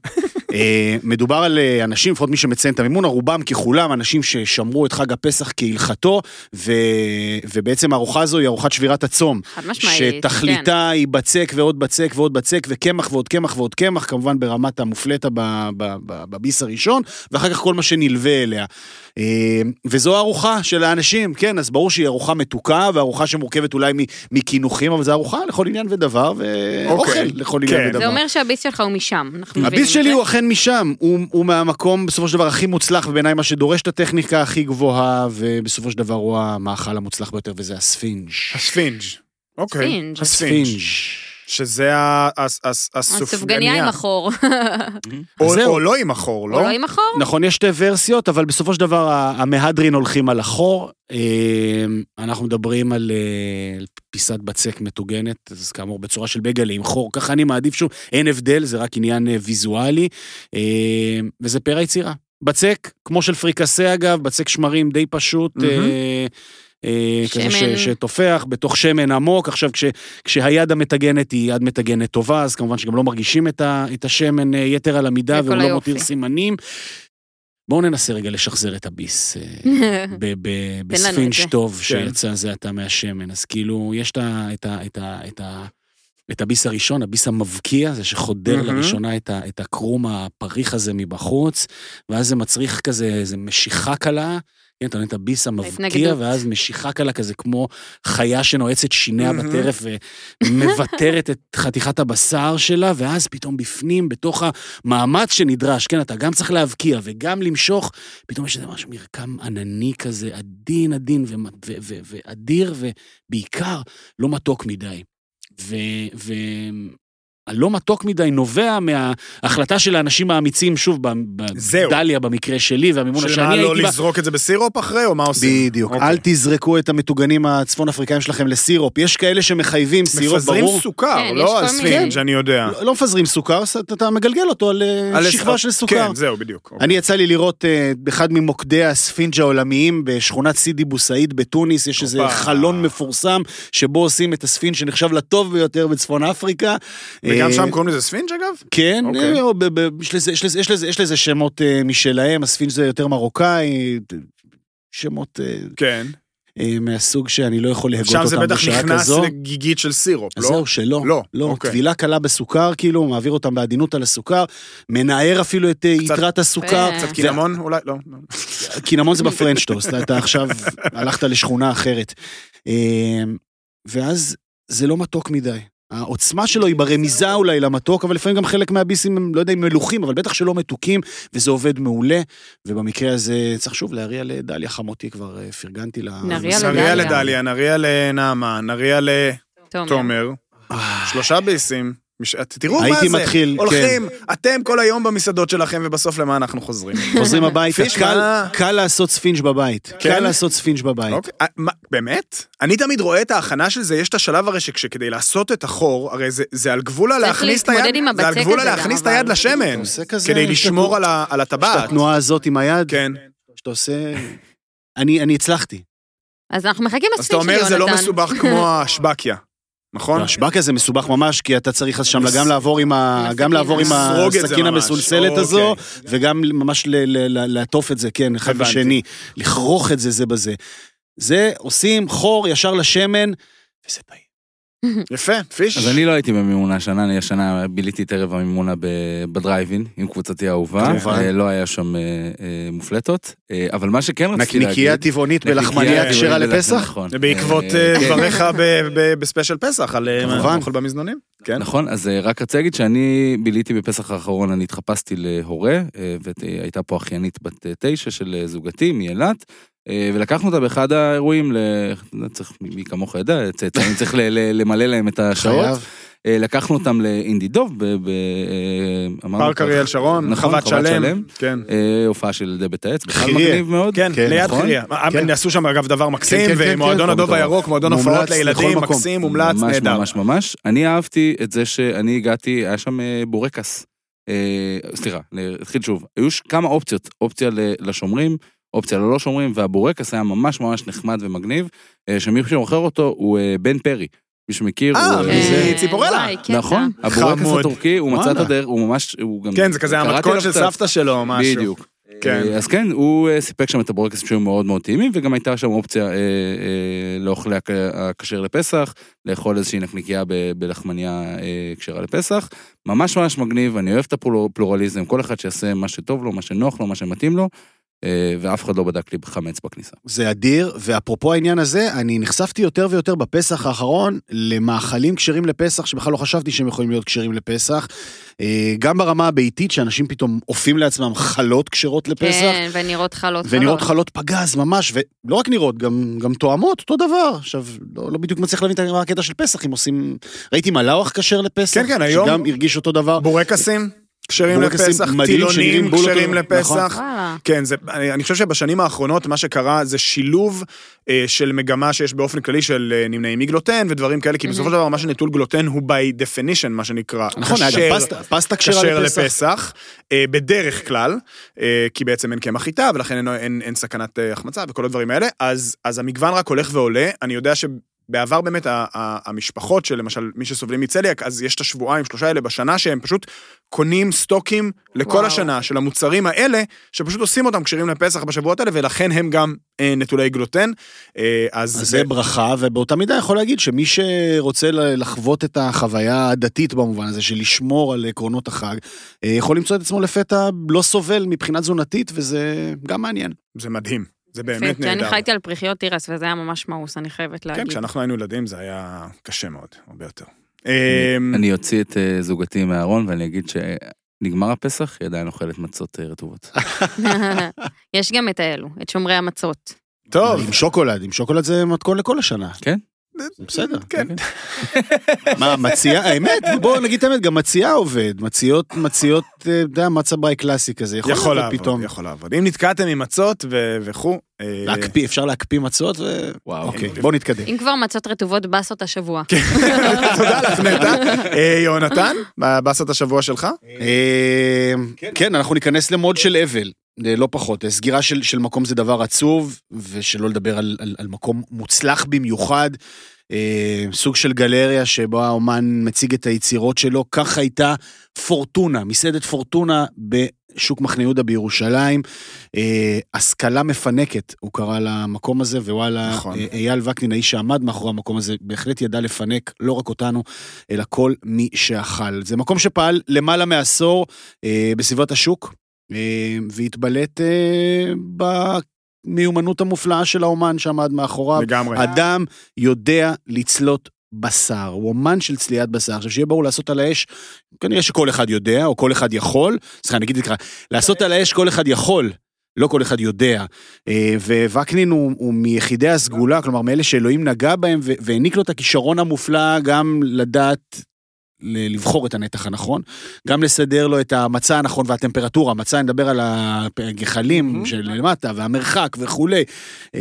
Speaker 1: אה, מדובר על אה, אנשים, לפחות מי שמציין את המימונה, רובם ככולם אנשים ששמרו את חג הפסח כהלכתו, ו- ובעצם הארוחה הזו היא ארוחת שבירת הצום.
Speaker 4: חד משמעית, כן.
Speaker 1: שתכליתה היא בצק ועוד בצק ועוד בצק וקמח ועוד קמח ועוד קמח, כמובן ברמת המופלטה ב- ב- ב- בביס הראשון, ואחר כך כל מה שנלווה אליה. אה, וזו הארוחה של האנשים, כן, אז ברור שהיא ארוחה מתוקה, וארוחה שמורכבת אולי מ- מקינוחים, אבל זו ארוחה לכל עניין ודבר, ואוכל
Speaker 2: אוקיי,
Speaker 1: לכל עניין
Speaker 2: כן.
Speaker 1: ודבר.
Speaker 4: זה אומר שהביס שלך הוא משם, אנחנו מבינים
Speaker 1: הביס
Speaker 4: את
Speaker 1: שלי
Speaker 4: זה.
Speaker 1: הוא אכן משם, הוא, הוא מהמקום בסופו של דבר הכי מוצלח, ובעיניי מה שדורש את הטכניקה הכי גבוהה, ובסופו של דבר הוא המאכל המוצלח ביותר, וזה הספינג'.
Speaker 2: הספינג'. אוקיי.
Speaker 4: ספינג'.
Speaker 2: הספינג'. שזה ה- הס- הס-
Speaker 4: הסופגניה
Speaker 2: הסופגניה.
Speaker 4: עם החור.
Speaker 2: או-
Speaker 1: זהו.
Speaker 2: או לא עם החור,
Speaker 4: או
Speaker 2: לא?
Speaker 4: לא עם החור?
Speaker 1: נכון, יש שתי ורסיות, אבל בסופו של דבר ה- המהדרין הולכים על החור. אה, אנחנו מדברים על אה, על פיסת בצק מטוגנת, אז כאמור, בצורה של בגלה עם חור. ככה אני מעדיף שוב, אין הבדל, זה רק עניין אה, ויזואלי, אה, וזה פר היצירה. בצק, כמו של פריקסה אגב, בצק שמרים די פשוט.
Speaker 2: מהמם.
Speaker 1: אה, אה, כזה
Speaker 4: שמן.
Speaker 1: ש, שתופח בתוך שמן עמוק. עכשיו, כש, כשהיד המטגנת היא יד מטגנת טובה, אז כמובן שגם לא מרגישים את, ה, את השמן אה, יתר על המידה,
Speaker 4: זה כל
Speaker 1: והוא לא
Speaker 4: היופי.
Speaker 1: מותיר סימנים. בואו ננסה רגע לשחזר את הביס אה,
Speaker 2: לא.
Speaker 1: ב- ב-
Speaker 4: לנו את
Speaker 1: בספינג'
Speaker 4: זה.
Speaker 1: טוב שיצא זה עתה מהשמן. אז כאילו, יש את ה... את ה, את ה, את ה את הביס הראשון, הביס המבקיע, זה שחודר
Speaker 2: מהמם.
Speaker 1: לראשונה את, ה, את הקרום הפריך הזה מבחוץ, ואז זה מצריך כזה איזה משיכה קלה. כן, אתה נותן את הביס המבקיע,
Speaker 4: ההתנגדות.
Speaker 1: ואז משיכה קלה כזה כמו חיה שנועצת שיניה
Speaker 2: מהמם.
Speaker 1: בטרף ומוותרת את חתיכת הבשר שלה, ואז פתאום בפנים, בתוך המאמץ שנדרש, כן, אתה גם צריך להבקיע וגם למשוך, פתאום יש איזה משהו מרקם ענני כזה, עדין עדין ומ- ו- ו- ואדיר, ובעיקר לא מתוק מדי. ו- ו- הלא מתוק מדי נובע מההחלטה של האנשים האמיצים, שוב, ב- ב-
Speaker 2: זהו.
Speaker 1: דליה במקרה שלי, והמימונה
Speaker 2: של
Speaker 1: שאני
Speaker 2: מה,
Speaker 1: הייתי בה.
Speaker 2: לא לזרוק את זה בסירופ אחרי, או מה עושים?
Speaker 1: בדיוק.
Speaker 2: אוקיי.
Speaker 1: אל תזרקו את המטוגנים הצפון אפריקאים שלכם לסירופ. יש כאלה שמחייבים סירופ,
Speaker 2: מפזרים
Speaker 1: ברור.
Speaker 2: סוכר,
Speaker 4: כן, יש
Speaker 2: לא
Speaker 4: כל
Speaker 2: על
Speaker 4: מיני.
Speaker 2: ספינג', אני יודע.
Speaker 1: לא- לא מפזרים סוכר, ס- אתה- אתה מגלגל אותו על אה,
Speaker 2: על
Speaker 1: שכבה
Speaker 2: הס-
Speaker 1: של סוכר.
Speaker 2: כן, זהו, בדיוק. אוקיי.
Speaker 1: אני יצא לי לראות אה, באחד ממוקדי הספינג' העולמיים בשכונת סידי בוסעיד בתוניס, יש איזה
Speaker 2: הופה.
Speaker 1: חלון מפורסם שבו עושים את הספינג' שנחשב לטוב ביותר בצפון אפריקה.
Speaker 2: וגם
Speaker 1: אה,
Speaker 2: שם קוראים לזה ספינג' אגב?
Speaker 1: כן,
Speaker 2: אוקיי.
Speaker 1: אה, או ב- ב- יש לזה- יש לזה- יש לזה- יש לזה שמות אה, משלהם, הספינג' זה יותר מרוקאי, שמות אה,
Speaker 2: כן.
Speaker 1: אה, מהסוג שאני לא יכול להגות
Speaker 2: שם זה
Speaker 1: אותם
Speaker 2: בטח
Speaker 1: בשעה
Speaker 2: נכנס
Speaker 1: כזו.
Speaker 2: לגיגית של סירופ,
Speaker 1: אז
Speaker 2: לא?
Speaker 1: זהו, שלא.
Speaker 2: לא,
Speaker 1: לא,
Speaker 2: אוקיי.
Speaker 1: טבילה קלה בסוכר, כאילו, הוא מעביר אותם בעדינות על הסוכר, מנער אפילו את אה,
Speaker 2: קצת-
Speaker 1: יתרת הסוכר.
Speaker 4: קצת
Speaker 1: ו-
Speaker 2: קינמון? אולי, לא. לא.
Speaker 1: קינמון זה בפרנצ'טוסט, אתה עכשיו הלכת לשכונה אחרת. אה, ואז זה לא מתוק מדי. העוצמה שלו היא ברמיזה אולי למתוק, אבל לפעמים גם חלק מהביסים הם, לא יודע אם מלוכים, אבל בטח שלא מתוקים, וזה עובד מעולה. ובמקרה הזה צריך שוב להריע לדליה חמותי, כבר אה, פרגנתי לה.
Speaker 4: נריע לדליה.
Speaker 2: נריה לדליה, נריה לנעמה, נריה
Speaker 4: תומר.
Speaker 2: לתומר,
Speaker 1: אה,
Speaker 2: שלושה ביסים. מש- תראו מה זה.
Speaker 1: הייתי מתחיל, כן.
Speaker 2: הולכים, אתם כל היום במסעדות שלכם, ובסוף למה אנחנו חוזרים.
Speaker 1: חוזרים הביתה,
Speaker 2: פיש,
Speaker 1: קל-
Speaker 2: מה?
Speaker 1: קל לעשות ספינג' בבית.
Speaker 2: כן?
Speaker 1: קל לעשות ספינג' בבית.
Speaker 2: אוקיי, אה, מה, באמת? אני תמיד רואה את ההכנה של זה, יש את השלב הרי שכדי לעשות את החור, הרי זה- זה על גבול הלהכניס את היד,
Speaker 4: להתמודד עם
Speaker 2: זה על
Speaker 4: הבצק
Speaker 2: גבול
Speaker 4: הזה גם,
Speaker 2: הלהכניס את
Speaker 4: אבל-
Speaker 2: היד לשמן,
Speaker 1: עושה כזה,
Speaker 2: כדי
Speaker 1: יש את
Speaker 2: לשמור
Speaker 1: התנועה-
Speaker 2: על ה- על
Speaker 1: יש את
Speaker 2: הטבעת.
Speaker 1: התנועה הזאת עם היד,
Speaker 2: כן.
Speaker 1: שאתה עושה... אני אני הצלחתי.
Speaker 4: אז אנחנו מחכים
Speaker 2: אז אתה
Speaker 4: לספינג' של יונתן.
Speaker 2: אומר זה לא מסובך כמו השבקיה, נכון?
Speaker 1: השבק הזה מסובך ממש, כי אתה צריך אז שם גם לעבור עם ה-
Speaker 4: הסכין.
Speaker 1: גם לעבור עם
Speaker 2: לסרוג את זה
Speaker 1: הסכין
Speaker 2: ממש.
Speaker 1: המסולסלת
Speaker 2: אוקיי.
Speaker 1: הזו, וגם ממש ל- ל- ל- לעטוף את זה, כן, אחד
Speaker 2: הבנתי.
Speaker 1: בשני. לכרוך את זה זה בזה. זה עושים חור ישר לשמן, וזה טעים.
Speaker 2: יפה, פיש.
Speaker 5: אז אני לא הייתי במימונה השנה, אני השנה ביליתי את ערב המימונה ב- בדרייבין עם קבוצתי האהובה.
Speaker 1: כמובן.
Speaker 5: אה, לא היה שם אה, אה, מופלטות, אה, אבל מה שכן רציתי להגיד...
Speaker 1: נקניקייה טבעונית
Speaker 5: נקניקייה
Speaker 1: בלחמניה
Speaker 5: טבעונית
Speaker 1: כשרה
Speaker 5: בלחמניה,
Speaker 1: לפסח?
Speaker 5: נכון.
Speaker 2: זה בעקבות
Speaker 5: אה,
Speaker 2: אה,
Speaker 5: כן.
Speaker 2: דבריך ב- ב- בספיישל פסח על אה,
Speaker 1: כמובן.
Speaker 2: אוכל במזנונים. כן.
Speaker 5: נכון, אז אה, רק רציתי להגיד שאני ביליתי בפסח האחרון, אני התחפשתי להורה, אה, והייתה פה אחיינית בת אה, תשע של אה, זוגתי מאילת, אה, ולקחנו אותה באחד האירועים, ל... לא צריך, מי כמוך יודע, אה, צאצאים צריך ל- ל- למלא להם את השעות.
Speaker 1: חייב.
Speaker 5: אה, לקחנו אותם לאינדידוב, ב... ב... אה, אמרנו
Speaker 2: פארק
Speaker 5: כבר-
Speaker 2: אריאל שרון,
Speaker 5: נכון,
Speaker 2: חוות שלם. כן.
Speaker 5: אה, הופעה של ילדי בית העץ, בכלל
Speaker 1: חיריה.
Speaker 5: מגניב מאוד.
Speaker 2: כן,
Speaker 1: כן,
Speaker 2: ליד
Speaker 5: נכון?
Speaker 2: חירייה.
Speaker 1: כן.
Speaker 2: עשו שם אגב דבר מקסים,
Speaker 1: כן, כן,
Speaker 2: ומועדון
Speaker 1: כן,
Speaker 2: הדוב
Speaker 1: כן.
Speaker 2: הירוק, מועדון
Speaker 1: מומלץ
Speaker 2: הופעות
Speaker 1: לכל
Speaker 2: לילדים,
Speaker 1: מקום.
Speaker 2: מקסים, מומלץ,
Speaker 5: ממש,
Speaker 2: נהדר.
Speaker 5: ממש ממש. אני אהבתי את זה שאני הגעתי, היה שם אה, בורקס. אה, סליחה, נתחיל שוב. היו ש- כמה אופציות, אופציה ל- לשומרים, אופציה ללא שומרים, והבורקס היה ממש ממש נחמד ומגניב, אה, שמי שמוכר אותו הוא אה, בן פרי. מי שמכיר,
Speaker 2: אה,
Speaker 5: הוא...
Speaker 2: מי
Speaker 5: אה,
Speaker 2: זה?
Speaker 4: אה,
Speaker 2: ציפורלה.
Speaker 4: וואי, אה, קטע.
Speaker 5: נכון, הבורקס
Speaker 2: חמוד.
Speaker 5: הטורקי, הוא מצא את
Speaker 1: וואלה.
Speaker 5: הדרך, הוא ממש, הוא גם...
Speaker 2: כן, זה כזה
Speaker 5: קראתי
Speaker 2: המתכון
Speaker 5: עליו
Speaker 2: של
Speaker 5: קצת.
Speaker 2: סבתא שלו או משהו.
Speaker 5: בדיוק.
Speaker 2: כן.
Speaker 5: אה, אז כן, הוא אה, סיפק שם את הבורקסים שהיו מאוד מאוד טעימים, וגם הייתה שם אופציה אה, אה, לאוכלי הכ- הכשר לפסח, לאכול איזושהי נקניקייה ב- בלחמניה אה, כשרה לפסח. ממש ממש מגניב, אני אוהב את הפלורליזם, כל אחד שיעשה מה שטוב לו, מה שנוח לו, מה שמתאים לו, אה, ואף אחד לא בדק לי חמץ בכניסה.
Speaker 1: זה אדיר, ואפרופו העניין הזה, אני נחשפתי יותר ויותר בפסח האחרון למאכלים כשרים לפסח, שבכלל לא חשבתי שהם יכולים להיות כשרים לפסח. אה, גם ברמה הביתית, שאנשים פתאום אופים לעצמם חלות כשרות לפסח.
Speaker 4: כן, ונראות חלות חלות.
Speaker 1: ונראות חלות פגז ממש, ולא רק נראות, גם, גם תואמות, אותו דבר. עכשיו, לא, לא בדיוק מצליח להבין את הקטע של פסח, אם עושים... ראיתי מלאוח כשר לפסח,
Speaker 2: כן, כן, היום-
Speaker 1: שגם הרגיש אותו דבר.
Speaker 2: בורקסים, כשרים
Speaker 1: בורקסים
Speaker 2: לפסח,
Speaker 1: מדהים
Speaker 2: טילונים
Speaker 1: שנראים בולוטים,
Speaker 2: כשרים לפסח.
Speaker 1: נכון.
Speaker 4: וואלה.
Speaker 2: כן, זה, אני, אני חושב שבשנים האחרונות מה שקרה זה שילוב אה, של מגמה שיש באופן כללי של אה, נמנעים מגלוטן ודברים כאלה, כי בסופו של דבר מה שנטול גלוטן הוא by definition, מה שנקרא.
Speaker 1: נכון, היה
Speaker 2: כשר-
Speaker 1: גם פסטה, פסטה
Speaker 2: כשר
Speaker 1: כשרה לפסח.
Speaker 2: לפסח, אה, בדרך כלל, אה, כי בעצם אין קמח חיטה, ולכן אין, אין, אין סכנת אה, החמצה וכל הדברים האלה, אז, אז המגוון רק הולך ועולה. אני יודע שבעבר באמת ה- ה- המשפחות של למשל מי שסובלים מצליאק, אז יש את השבועיים, שלושה האלה בשנה, שהם פשוט קונים סטוקים לכל
Speaker 4: וואו.
Speaker 2: השנה של המוצרים האלה, שפשוט עושים אותם כשרים לפסח בשבועות האלה, ולכן הם גם אה, נטולי גלוטן. אה, אז,
Speaker 1: אז זה ברכה, ובאותה מידה יכול להגיד שמי שרוצה ל- לחוות את החוויה הדתית במובן הזה, של לשמור על עקרונות החג, אה, יכול למצוא את עצמו לפתע לא סובל מבחינה תזונתית, וזה גם מעניין.
Speaker 2: זה מדהים, זה באמת
Speaker 4: באמת
Speaker 2: נהדר.
Speaker 4: אני חייתי על פריחיות תירס, וזה היה ממש מאוס, אני חייבת להגיד.
Speaker 2: כן, כשאנחנו היינו ילדים זה היה קשה מאוד, הרבה יותר. אמ,
Speaker 5: אני אוציא את אה, זוגתי מהארון ואני אגיד שנגמר הפסח, היא עדיין אוכלת מצות אה, רטובות.
Speaker 4: יש גם את האלו, את שומרי המצות.
Speaker 2: טוב,
Speaker 1: עם שוקולד, עם שוקולד זה מתכון לכל השנה.
Speaker 5: כן? אוקיי.
Speaker 1: זה בסדר.
Speaker 2: כן.
Speaker 1: מה, מציעה, האמת, בואו נגיד את האמת, גם מציעה עובד. מציעות, מציעות, אה, אתה יודע, מצה ביי קלאסי כזה.
Speaker 2: יכול
Speaker 1: יכול לעבוד
Speaker 2: לעבוד,
Speaker 1: פתאום.
Speaker 2: יכול לעבוד. אם נתקעתם עם מצות ו- וכו', אה,
Speaker 1: להקפיא, אפשר להקפיא מצות, ו...
Speaker 5: וואו.
Speaker 1: אוקיי, בואו נתקדם.
Speaker 4: אם כבר מצות רטובות, באסות השבוע.
Speaker 2: תודה לך נטע. אה, יונתן, מה- באסת השבוע שלך?
Speaker 1: אה, כן, אנחנו ניכנס למוד של אבל, אה, לא פחות. אה, סגירה של, של מקום זה דבר עצוב, ושלא לדבר על, על, על מקום מוצלח במיוחד. אה, סוג של גלריה שבה האומן מציג את היצירות שלו. כך הייתה פורטונה, מסעדת פורטונה בשוק מחנה יהודה בירושלים. אה, השכלה מפנקת, הוא קרא למקום הזה, ווואלה,
Speaker 2: נכון.
Speaker 1: נכון. אייל וקנין, האיש שעמד מאחורי המקום הזה, בהחלט ידע לפנק לא רק אותנו, אלא כל מי שאכל. זה מקום שפעל למעלה מעשור אה, בסביבת השוק, אה, והתבלט אה, במיומנות המופלאה של האומן שעמד מאחוריו.
Speaker 2: לגמרי.
Speaker 1: אדם יודע לצלות בשר, הוא אומן של צליית בשר. עכשיו, שיהיה ברור, לעשות על האש, כנראה שכל אחד יודע, או כל אחד יכול, סליחה, אני אגיד את זה ככה, לעשות על האש כל אחד יכול. לא כל אחד יודע, אה, ווקנין הוא, הוא מיחידי הסגולה, כלומר מאלה שאלוהים נגע בהם ו- והעניק לו את הכישרון המופלא גם לדעת ל- לבחור את הנתח הנכון, גם לסדר לו את המצע הנכון והטמפרטורה, המצע, נדבר על הגחלים שלמטה והמרחק וכולי, אה,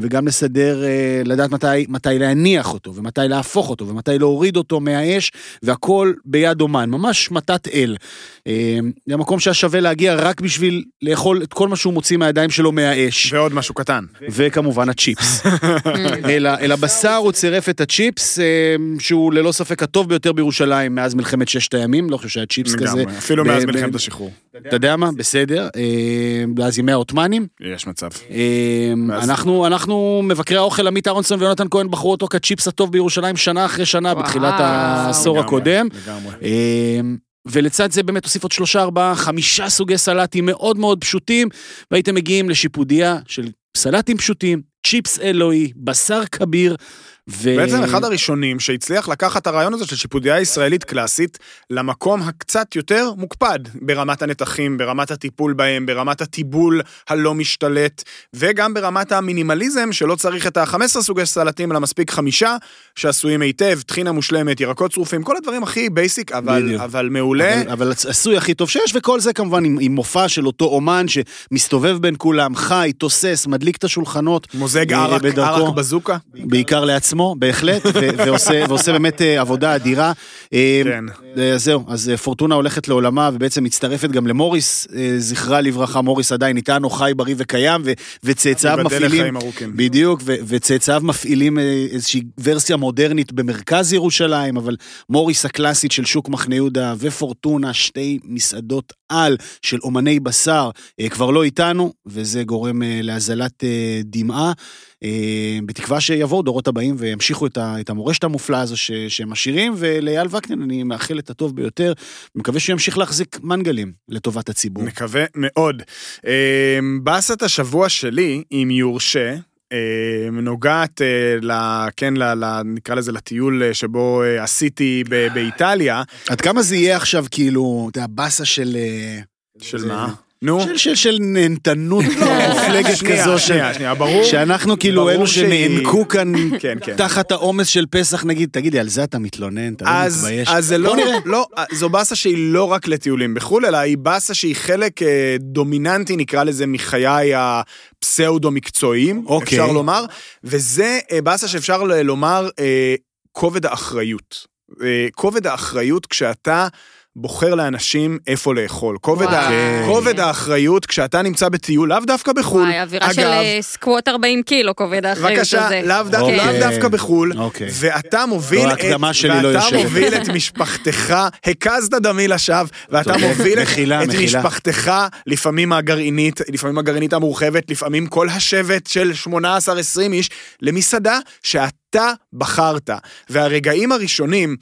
Speaker 1: וגם לסדר, אה, לדעת מתי, מתי להניח אותו, ומתי להפוך אותו, ומתי להוריד אותו מהאש, והכל ביד אומן, ממש מתת אל. אה, זה המקום שהיה שווה להגיע רק בשביל לאכול את כל מה שהוא מוציא מהידיים שלו מהאש.
Speaker 2: ועוד משהו קטן.
Speaker 1: וכמובן הצ'יפס. אל, ה- אל הבשר הוא צירף את הצ'יפס, אה, שהוא ללא ספק הטוב ביותר בירושלים מאז מלחמת ששת הימים, לא חושב שהיה צ'יפס כזה.
Speaker 2: לגמרי, אפילו
Speaker 1: ב-
Speaker 2: מאז
Speaker 1: ב-
Speaker 2: מלחמת השחרור.
Speaker 1: אתה יודע מה? בסדר. אה, מאז ימי העות'מאנים.
Speaker 2: יש מצב.
Speaker 1: אה,
Speaker 2: ואז-
Speaker 1: אנחנו, אנחנו, מבקרי האוכל עמית אהרונסון ויונתן כהן בחרו אותו כצ'יפס הטוב בירושלים שנה אחרי שנה
Speaker 4: וואו.
Speaker 1: בתחילת העשור
Speaker 2: לגמרי,
Speaker 1: הקודם.
Speaker 2: לגמרי.
Speaker 1: אה, ולצד זה באמת הוסיף עוד שלושה, ארבעה, חמישה סוגי סלטים מאוד מאוד פשוטים, והייתם מגיעים לשיפודיה של סלטים פשוטים, צ'יפס אלוהי, בשר כביר, ו...
Speaker 2: בעצם אחד הראשונים שהצליח לקחת את הרעיון הזה של שיפודיה ישראלית קלאסית למקום הקצת יותר מוקפד ברמת הנתחים, ברמת הטיפול בהם, ברמת הטיבול הלא משתלט, וגם ברמת המינימליזם שלא צריך את ה-15 סוגי סלטים, אלא מספיק חמישה שעשויים היטב, טחינה מושלמת, ירקות צרופים, כל הדברים הכי בייסיק, אבל,
Speaker 1: בדיוק.
Speaker 2: אבל מעולה.
Speaker 1: אבל, אבל הצ- עשוי הכי טוב שיש, וכל זה כמובן עם, עם מופע של אותו אומן שמסתובב בין כולם, חי, תוסס, מדליק את השולחנות,
Speaker 2: מוזג
Speaker 1: אה,
Speaker 2: ערק,
Speaker 1: בדרכו.
Speaker 2: ערק בזוקה.
Speaker 1: בעיקר לעצמו, בהחלט, ו- ועושה, ועושה באמת אה, עבודה אדירה. אה,
Speaker 2: כן.
Speaker 1: אה, זהו, אז אה, פורטונה הולכת לעולמה ובעצם מצטרפת גם למוריס, אה, זכרה לברכה, מוריס עדיין איתנו, חי, בריא וקיים, ו- וצאצאיו
Speaker 2: ייבדל
Speaker 1: מפעילים...
Speaker 2: לחיים ארוכים.
Speaker 1: בדיוק, ו- וצאצאיו מפעילים אה, איזושהי ורסיה מודרנית במרכז ירושלים, אבל מוריס הקלאסית של שוק מחנה יהודה ופורטונה, שתי מסעדות על של אומני בשר, אה, כבר לא איתנו, וזה גורם אה, להזלת אה, דמעה. אה, בתקווה שיבואו דורות הבאים וימשיכו את, ה, את המורשת המופלאה הזו ש, שהם משאירים, ולאייל וקנין אני מאחל את הטוב ביותר, מקווה שהוא ימשיך להחזיק מנגלים לטובת הציבור.
Speaker 2: מקווה מאוד. אה, באסת השבוע שלי, אם יורשה, אה, נוגעת, אה, ל- כן, ל- ל- נקרא לזה לטיול אה, שבו אה, עשיתי ב- באיטליה,
Speaker 1: עד כמה זה יהיה עכשיו כאילו, אתה יודע, באסה של... אה,
Speaker 2: של
Speaker 1: זה-
Speaker 2: מה? נו,
Speaker 1: של, של, של נהנתנות מופלגת
Speaker 2: לא, שנייה,
Speaker 1: כזו,
Speaker 2: שנייה,
Speaker 1: של-
Speaker 2: שנייה, ברור.
Speaker 1: שאנחנו כאילו
Speaker 2: ברור
Speaker 1: אלו
Speaker 2: שהיא-
Speaker 1: שנאנקו כאן
Speaker 2: כן, כן.
Speaker 1: תחת העומס של פסח, נגיד, תגידי, על זה אתה מתלונן, אתה לא
Speaker 2: אז,
Speaker 1: מתבייש.
Speaker 2: אז זה
Speaker 1: בוא
Speaker 2: לא,
Speaker 1: נראה.
Speaker 2: לא, זו באסה שהיא לא רק לטיולים בחו"ל, אלא היא באסה שהיא חלק אה, דומיננטי, נקרא לזה, מחיי הפסאודו-מקצועיים,
Speaker 1: אוקיי.
Speaker 2: אפשר לומר, וזה אה, באסה שאפשר ל- לומר אה, כובד האחריות. אה, כובד האחריות כשאתה... בוחר לאנשים איפה לאכול. כובד, ה...
Speaker 4: וואי.
Speaker 2: כובד האחריות כשאתה נמצא בטיול, לאו דווקא בחו"ל.
Speaker 4: וואי, אווירה של אה, סקווט 40 קילו כובד האחריות הזה. כן.
Speaker 2: בבקשה, לאו דו-
Speaker 1: אוקיי.
Speaker 2: לאו דווקא בחו"ל,
Speaker 1: אוקיי.
Speaker 2: ואתה מוביל
Speaker 1: לא,
Speaker 2: את...
Speaker 1: ההקדמה שלי לא
Speaker 2: ואתה
Speaker 1: יושבת.
Speaker 2: מוביל את משפחתך, הקזת דמי לשווא, ואתה
Speaker 1: צודק.
Speaker 2: מוביל את-
Speaker 1: מחילה,
Speaker 2: את
Speaker 1: מחילה.
Speaker 2: משפחתך, לפעמים הגרעינית, לפעמים הגרעינית המורחבת, לפעמים כל השבט של 18-20 איש, למסעדה שאתה בחרת. והרגעים הראשונים...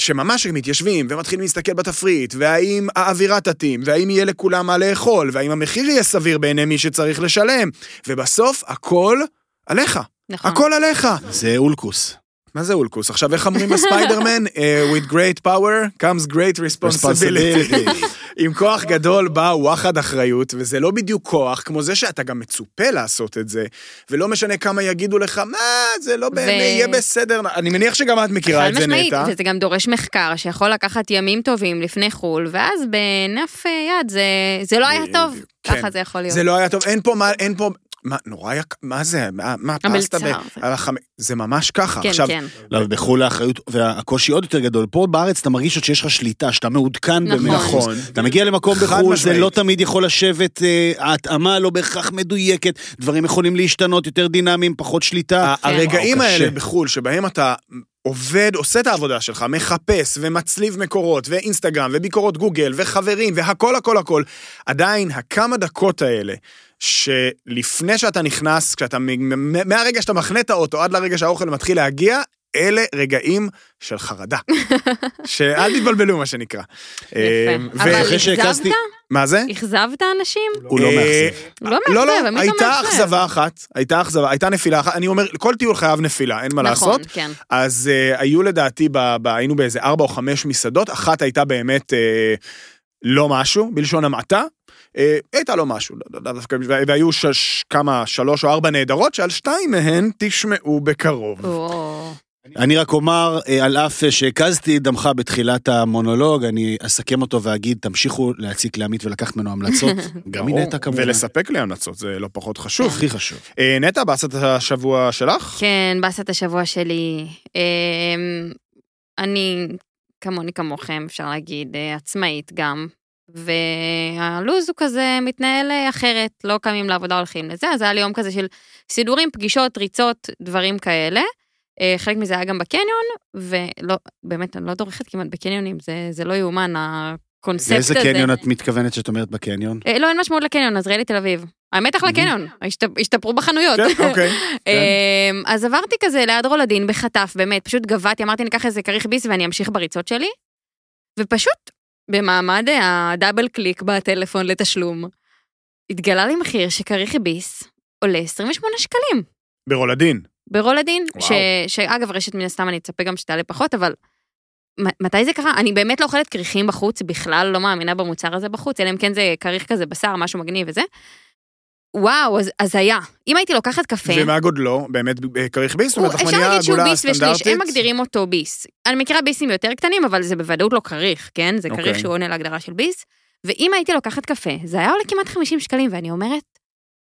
Speaker 2: שממש הם מתיישבים ומתחילים להסתכל בתפריט, והאם האווירה תתאים, והאם יהיה לכולם מה לאכול, והאם המחיר יהיה סביר בעיני מי שצריך לשלם, ובסוף הכל עליך.
Speaker 4: נכון.
Speaker 2: הכל עליך.
Speaker 1: זה אולקוס.
Speaker 2: מה זה אולקוס? עכשיו, איך אומרים בספיידרמן? אה, With great power comes great responsibility.
Speaker 1: Responsibility.
Speaker 2: עם כוח גדול בא וואחד אחריות, וזה לא בדיוק כוח, כמו זה שאתה גם מצופה לעשות את זה, ולא משנה כמה יגידו לך, מה, זה לא באמת, יהיה בסדר. אני מניח שגם את מכירה
Speaker 4: חד
Speaker 2: את זה,
Speaker 4: משמעית,
Speaker 2: נטע.
Speaker 4: וזה גם דורש מחקר שיכול לקחת ימים טובים לפני חו"ל, ואז בענף אה, יד זה, זה לא היה טוב,
Speaker 2: בדיוק, כן.
Speaker 4: ככה זה יכול להיות.
Speaker 2: זה לא היה טוב, אין פה מה, אין פה... מה, נורא יקר, מה זה, מה, מה, פסטה ב...
Speaker 4: המלצר.
Speaker 2: על החמ- זה ממש ככה.
Speaker 4: כן,
Speaker 2: עכשיו,
Speaker 4: כן.
Speaker 1: לא, ובחו"ל האחריות והקושי עוד יותר גדול. פה בארץ אתה מרגיש עוד שיש לך שליטה, שאתה מעודכן
Speaker 4: נכון.
Speaker 1: במאה אחוז.
Speaker 2: נכון.
Speaker 1: אתה מגיע למקום
Speaker 2: חד
Speaker 1: בחו"ל, זה
Speaker 2: משמעית.
Speaker 1: לא תמיד יכול לשבת, אה, ההתאמה לא בהכרח מדויקת, דברים יכולים להשתנות, יותר דינמיים, פחות
Speaker 4: כן.
Speaker 1: שליטה.
Speaker 2: ה- הרגעים
Speaker 1: וואו, קשה.
Speaker 2: האלה בחו"ל, שבהם אתה עובד, עושה את העבודה שלך, מחפש ומצליב מקורות, ואינסטגרם, וביקורות גוגל, וחברים, והכל הכל הכל, עדיין הכמה דקות האלה, שלפני שאתה נכנס, כשאתה, מ- מ- מהרגע שאתה מחנה את האוטו עד לרגע שהאוכל מתחיל להגיע, אלה רגעים של חרדה. שאל תתבלבלו, מה שנקרא. אמ,
Speaker 4: יפה.
Speaker 2: ו-
Speaker 4: אבל
Speaker 1: אחרי
Speaker 4: אכזבת?
Speaker 1: שהקזתי-
Speaker 2: מה זה?
Speaker 4: אכזבת אנשים?
Speaker 1: הוא לא
Speaker 2: אה,
Speaker 1: מאכזב.
Speaker 4: לא מאכזב,
Speaker 2: לא, לא,
Speaker 4: עמית
Speaker 2: הייתה
Speaker 4: המאכזב.
Speaker 2: אכזבה אחת, הייתה אכזבה, הייתה נפילה אחת, אני אומר, כל טיול חייב נפילה, אין מה לעשות.
Speaker 4: נכון, כן.
Speaker 2: אז uh, היו לדעתי, ב, ב, היינו באיזה ארבע או חמש מסעדות, אחת הייתה באמת uh, לא משהו, בלשון המעטה. אה, הייתה לא משהו, לא- לא- לא דווקא, וה- והיו שש, כמה, שלוש או ארבע נהדרות, שעל שתיים מהן תשמעו בקרוב.
Speaker 4: או,
Speaker 1: אני רק אומר, אה, על אף אה, שהקזתי את דמך בתחילת המונולוג, אני אסכם אותו ואגיד, תמשיכו להציק לעמית ולקחת ממנו המלצות. גם
Speaker 2: ברור.
Speaker 1: מנטע כמובן.
Speaker 2: ולספק לי המלצות, זה לא פחות חשוב.
Speaker 1: הכי חשוב.
Speaker 2: אה, נטע, בעשת השבוע שלך?
Speaker 4: כן, באסת השבוע שלי. אמ, אני, כמוני כמוכם, אפשר להגיד, אה, עצמאית גם. והלו"ז הוא כזה מתנהל אה, אחרת, לא קמים לעבודה, הולכים לזה, אז היה לי יום כזה של סידורים, פגישות, ריצות, דברים כאלה. אה, חלק מזה היה גם בקניון, ולא, באמת, אני לא דורכת כמעט בקניונים, זה, זה לא יאומן, הקונספט הזה.
Speaker 1: לאיזה קניון את מתכוונת שאת אומרת בקניון?
Speaker 4: אה, לא, אין משמעות לקניון, אז ראי לי תל אביב. האמת אחלה קניון, השת- השתפרו בחנויות.
Speaker 2: כן, אוקיי.
Speaker 4: אמ, אז עברתי כזה ליד רולדין בחטף, באמת, פשוט גבהתי, אמרתי, ניקח איזה כריך ביס ואני אמשיך בריצות שלי. ופשוט, במעמד הדאבל קליק בטלפון לתשלום, התגלה לי מחיר שכריך ביס עולה 28 שקלים
Speaker 2: ברולדין.
Speaker 4: ברולדין,
Speaker 2: וואו.
Speaker 4: ש, שאגב, רשת מן הסתם, אני אצפה גם שתעלה פחות, אבל... מ- מתי זה קרה? אני באמת לא אוכלת כריכים בחוץ, בכלל לא מאמינה במוצר הזה בחוץ, אלא אם כן זה כריך כזה בשר, משהו מגניב וזה. וואו, אז, אז היה. אם הייתי לוקחת קפה...
Speaker 2: ומה גודלו? באמת אה, כריך ביס? זאת
Speaker 4: כן. הוא-
Speaker 2: אומרת,
Speaker 4: אפשר
Speaker 2: לחמניה
Speaker 4: להגיד שהוא
Speaker 2: עגולה
Speaker 4: ביס ושליש,
Speaker 2: סטנדרטית?
Speaker 4: הם מגדירים אותו ביס. אני מכירה ביסים יותר קטנים, אבל זה בוודאות לא כריך, כן? זה כריך
Speaker 2: אוקיי.
Speaker 4: שהוא עונה להגדרה של ביס. ואם הייתי לוקחת קפה, זה היה עולה כמעט 50 שקלים, ואני אומרת,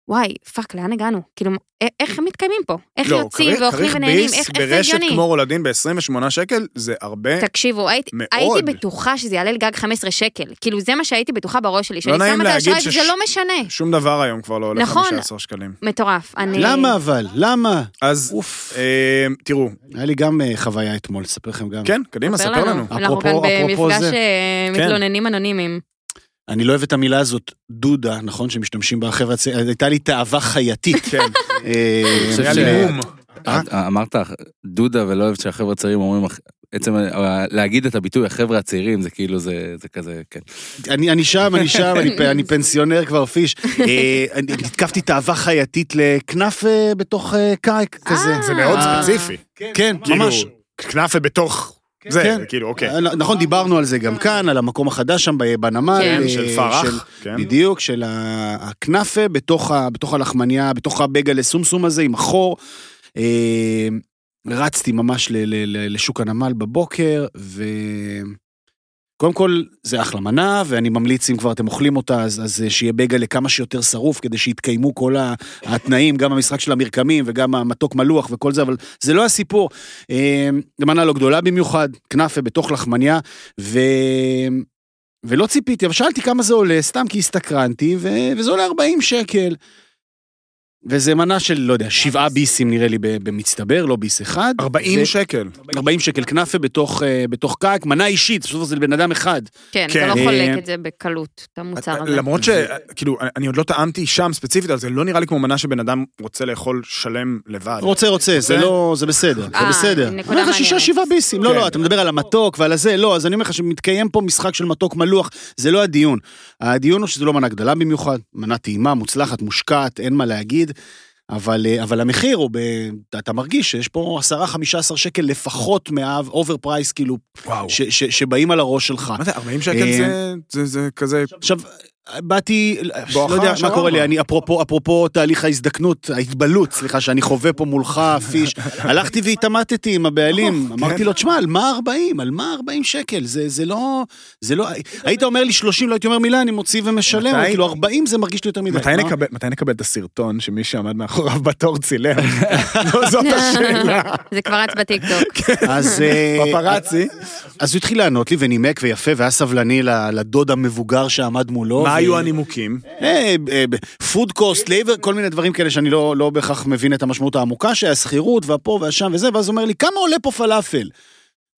Speaker 4: וואי, פאק, לאן הגענו? כאילו, א- איך הם מתקיימים פה? איך
Speaker 2: לא,
Speaker 4: יוצאים
Speaker 2: כריך-
Speaker 4: ואוכלים
Speaker 2: כריך
Speaker 4: ונהנים?
Speaker 2: ביס
Speaker 4: איך איך זה
Speaker 2: ברשת
Speaker 4: הגיוני?
Speaker 2: כמו רולדין ב-28 שקל זה הרבה.
Speaker 4: תקשיבו, הייתי,
Speaker 2: מאוד.
Speaker 4: הייתי בטוחה שזה יעלה לגג 15 שקל. כאילו, זה מה שהייתי בטוחה בראש שלי. שאני
Speaker 2: לא נעים
Speaker 4: שמה את
Speaker 2: להגיד
Speaker 4: האשראי, וזה
Speaker 2: שש-
Speaker 4: לא משנה.
Speaker 2: שום דבר היום כבר לא עולה
Speaker 4: נכון.
Speaker 2: 15 שקלים.
Speaker 4: מטורף. אני...
Speaker 1: למה אבל? למה?
Speaker 2: אז
Speaker 1: אוף.
Speaker 2: אה, תראו,
Speaker 1: היה לי גם אה, חוויה אתמול, אספר לכם גם.
Speaker 2: כן, קדימה, ספר לנו.
Speaker 4: אנחנו
Speaker 1: אפרופו-
Speaker 4: כאן
Speaker 1: אפרופו
Speaker 4: במפגש
Speaker 1: זה.
Speaker 4: אה,
Speaker 2: כן.
Speaker 4: מתלוננים אנונימיים.
Speaker 1: אני לא אוהב את המילה הזאת, דודה, נכון, שמשתמשים בה חבר'ה, הצעירים, הייתה לי תאווה חייתית.
Speaker 2: כן,
Speaker 1: אה,
Speaker 5: חושב
Speaker 2: היה
Speaker 5: ש-
Speaker 2: לי נאום.
Speaker 5: אה, אמרת דודה ולא אוהב שהחבר'ה הצעירים אומרים, אח- עצם ה- להגיד את הביטוי החבר'ה הצעירים זה כאילו זה זה כזה, כן.
Speaker 1: אני, אני שם, אני שם, אני, פ- אני פנסיונר כבר פיש. אה, אני התקפתי תאווה חייתית לכנף אה, בתוך אה, קייק כזה.
Speaker 4: אה.
Speaker 2: זה מאוד
Speaker 1: אה,
Speaker 2: ספציפי.
Speaker 1: כן,
Speaker 2: כאילו,
Speaker 1: ממש.
Speaker 2: כנאפה בתוך זה,
Speaker 1: כן.
Speaker 2: כאילו, אוקיי.
Speaker 1: אה, נכון, דיברנו על זה גם כאן, על המקום החדש שם ב- בנמל.
Speaker 4: כן.
Speaker 1: אה,
Speaker 2: של פרח. כן.
Speaker 1: בדיוק, של ה- הכנאפה בתוך, ה, בתוך הלחמניה, בתוך הבגלה סומסום הזה עם החור. אה, רצתי ממש ל, ל, ל, לשוק הנמל בבוקר, ו... קודם כל, זה אחלה מנה, ואני ממליץ, אם כבר אתם אוכלים אותה, אז, אז אה, שיהיה בגלה כמה שיותר שרוף, כדי שיתקיימו כל ה- התנאים, גם המשחק של המרקמים, וגם המתוק מלוח וכל זה, אבל זה לא הסיפור. אה, זו מנה לא גדולה במיוחד, כנאפה בתוך לחמניה, ו... ולא ציפיתי, אבל שאלתי כמה זה עולה, סתם כי הסתקרנתי, ו... וזה עולה 40 שקל. וזה מנה של, לא יודע, שבעה ביסים נראה לי ב- במצטבר, לא ביס אחד.
Speaker 2: 40
Speaker 1: ו-
Speaker 2: שקל.
Speaker 1: 40 שקל כנאפה בתוך, אה, בתוך קאק, מנה אישית, בסופו של דבר זה לבן אדם אחד.
Speaker 4: כן,
Speaker 2: כן.
Speaker 4: אתה לא
Speaker 1: אה,
Speaker 4: חולק את זה בקלות, את המוצר הזה.
Speaker 2: אה, למרות שכאילו, אני עוד לא טעמתי שם ספציפית, אבל זה לא נראה לי כמו מנה שבן אדם רוצה לאכול שלם לבד.
Speaker 1: רוצה, רוצה, זה
Speaker 2: כן.
Speaker 1: לא, זה בסדר, זה
Speaker 4: אה,
Speaker 1: בסדר. אני
Speaker 4: נקודה
Speaker 1: אומר לך שישה,
Speaker 4: מעניינת.
Speaker 1: שבעה ביסים. לא,
Speaker 2: כן.
Speaker 1: לא, אתה מדבר על המתוק ועל הזה, לא, אז אני אומר לך שמתקיים פה משחק של מתוק מלוח, זה לא הדיון. הדיון הוא שזו לא מנה גדולה במיוחד, מנה טעימה, מוצלחת, מושקעת, אין מה להגיד, אבל, אה, אבל המחיר הוא, ב... אתה- אתה מרגיש שיש פה 10-15 שקל לפחות מהאובר פרייס, כאילו,
Speaker 2: וואו.
Speaker 1: ש, אה, ש, שבאים על הראש שלך.
Speaker 2: מה זה, 40 שקל זה- זה- זה כזה...
Speaker 1: עכשיו, באתי,
Speaker 2: בואכה
Speaker 1: לא יודע מה
Speaker 2: השרמה.
Speaker 1: קורה לי, אני אפרופו, אפרופו תהליך ההזדקנות, ההתבלות, סליחה, שאני חווה פה מולך, פיש, הלכתי והתעמתתי עם
Speaker 2: אוקיי.
Speaker 1: הבעלים, אמרתי לו, תשמע, על מה 40? על מה 40 שקל? זה, זה לא, זה לא, היית אומר לי 30, לא הייתי אומר מילה, אני מוציא ומשלם,
Speaker 2: מתי-
Speaker 1: כאילו 40 זה מרגיש לי יותר מדי.
Speaker 2: מתי
Speaker 1: מה?
Speaker 2: נקבל, מתי נקבל את הסרטון שמי שעמד מאחוריו בתור צילם? לא זו- זאת השאלה.
Speaker 4: זה כבר רץ בטיקטוק.
Speaker 1: אז... אה,
Speaker 2: פפרצי.
Speaker 1: אז הוא התחיל לענות לי ונימק ויפה והיה סבלני ל- לדוד המבוגר שעמד מולו.
Speaker 2: מה
Speaker 1: ו-
Speaker 2: היו הנימוקים?
Speaker 1: אה, פוד קוסט, לייבר, כל מיני דברים כאלה שאני לא, לא בהכרח מבין את המשמעות העמוקה, שהשכירות והפה והשם וזה, ואז הוא אומר לי, כמה עולה פה פלאפל?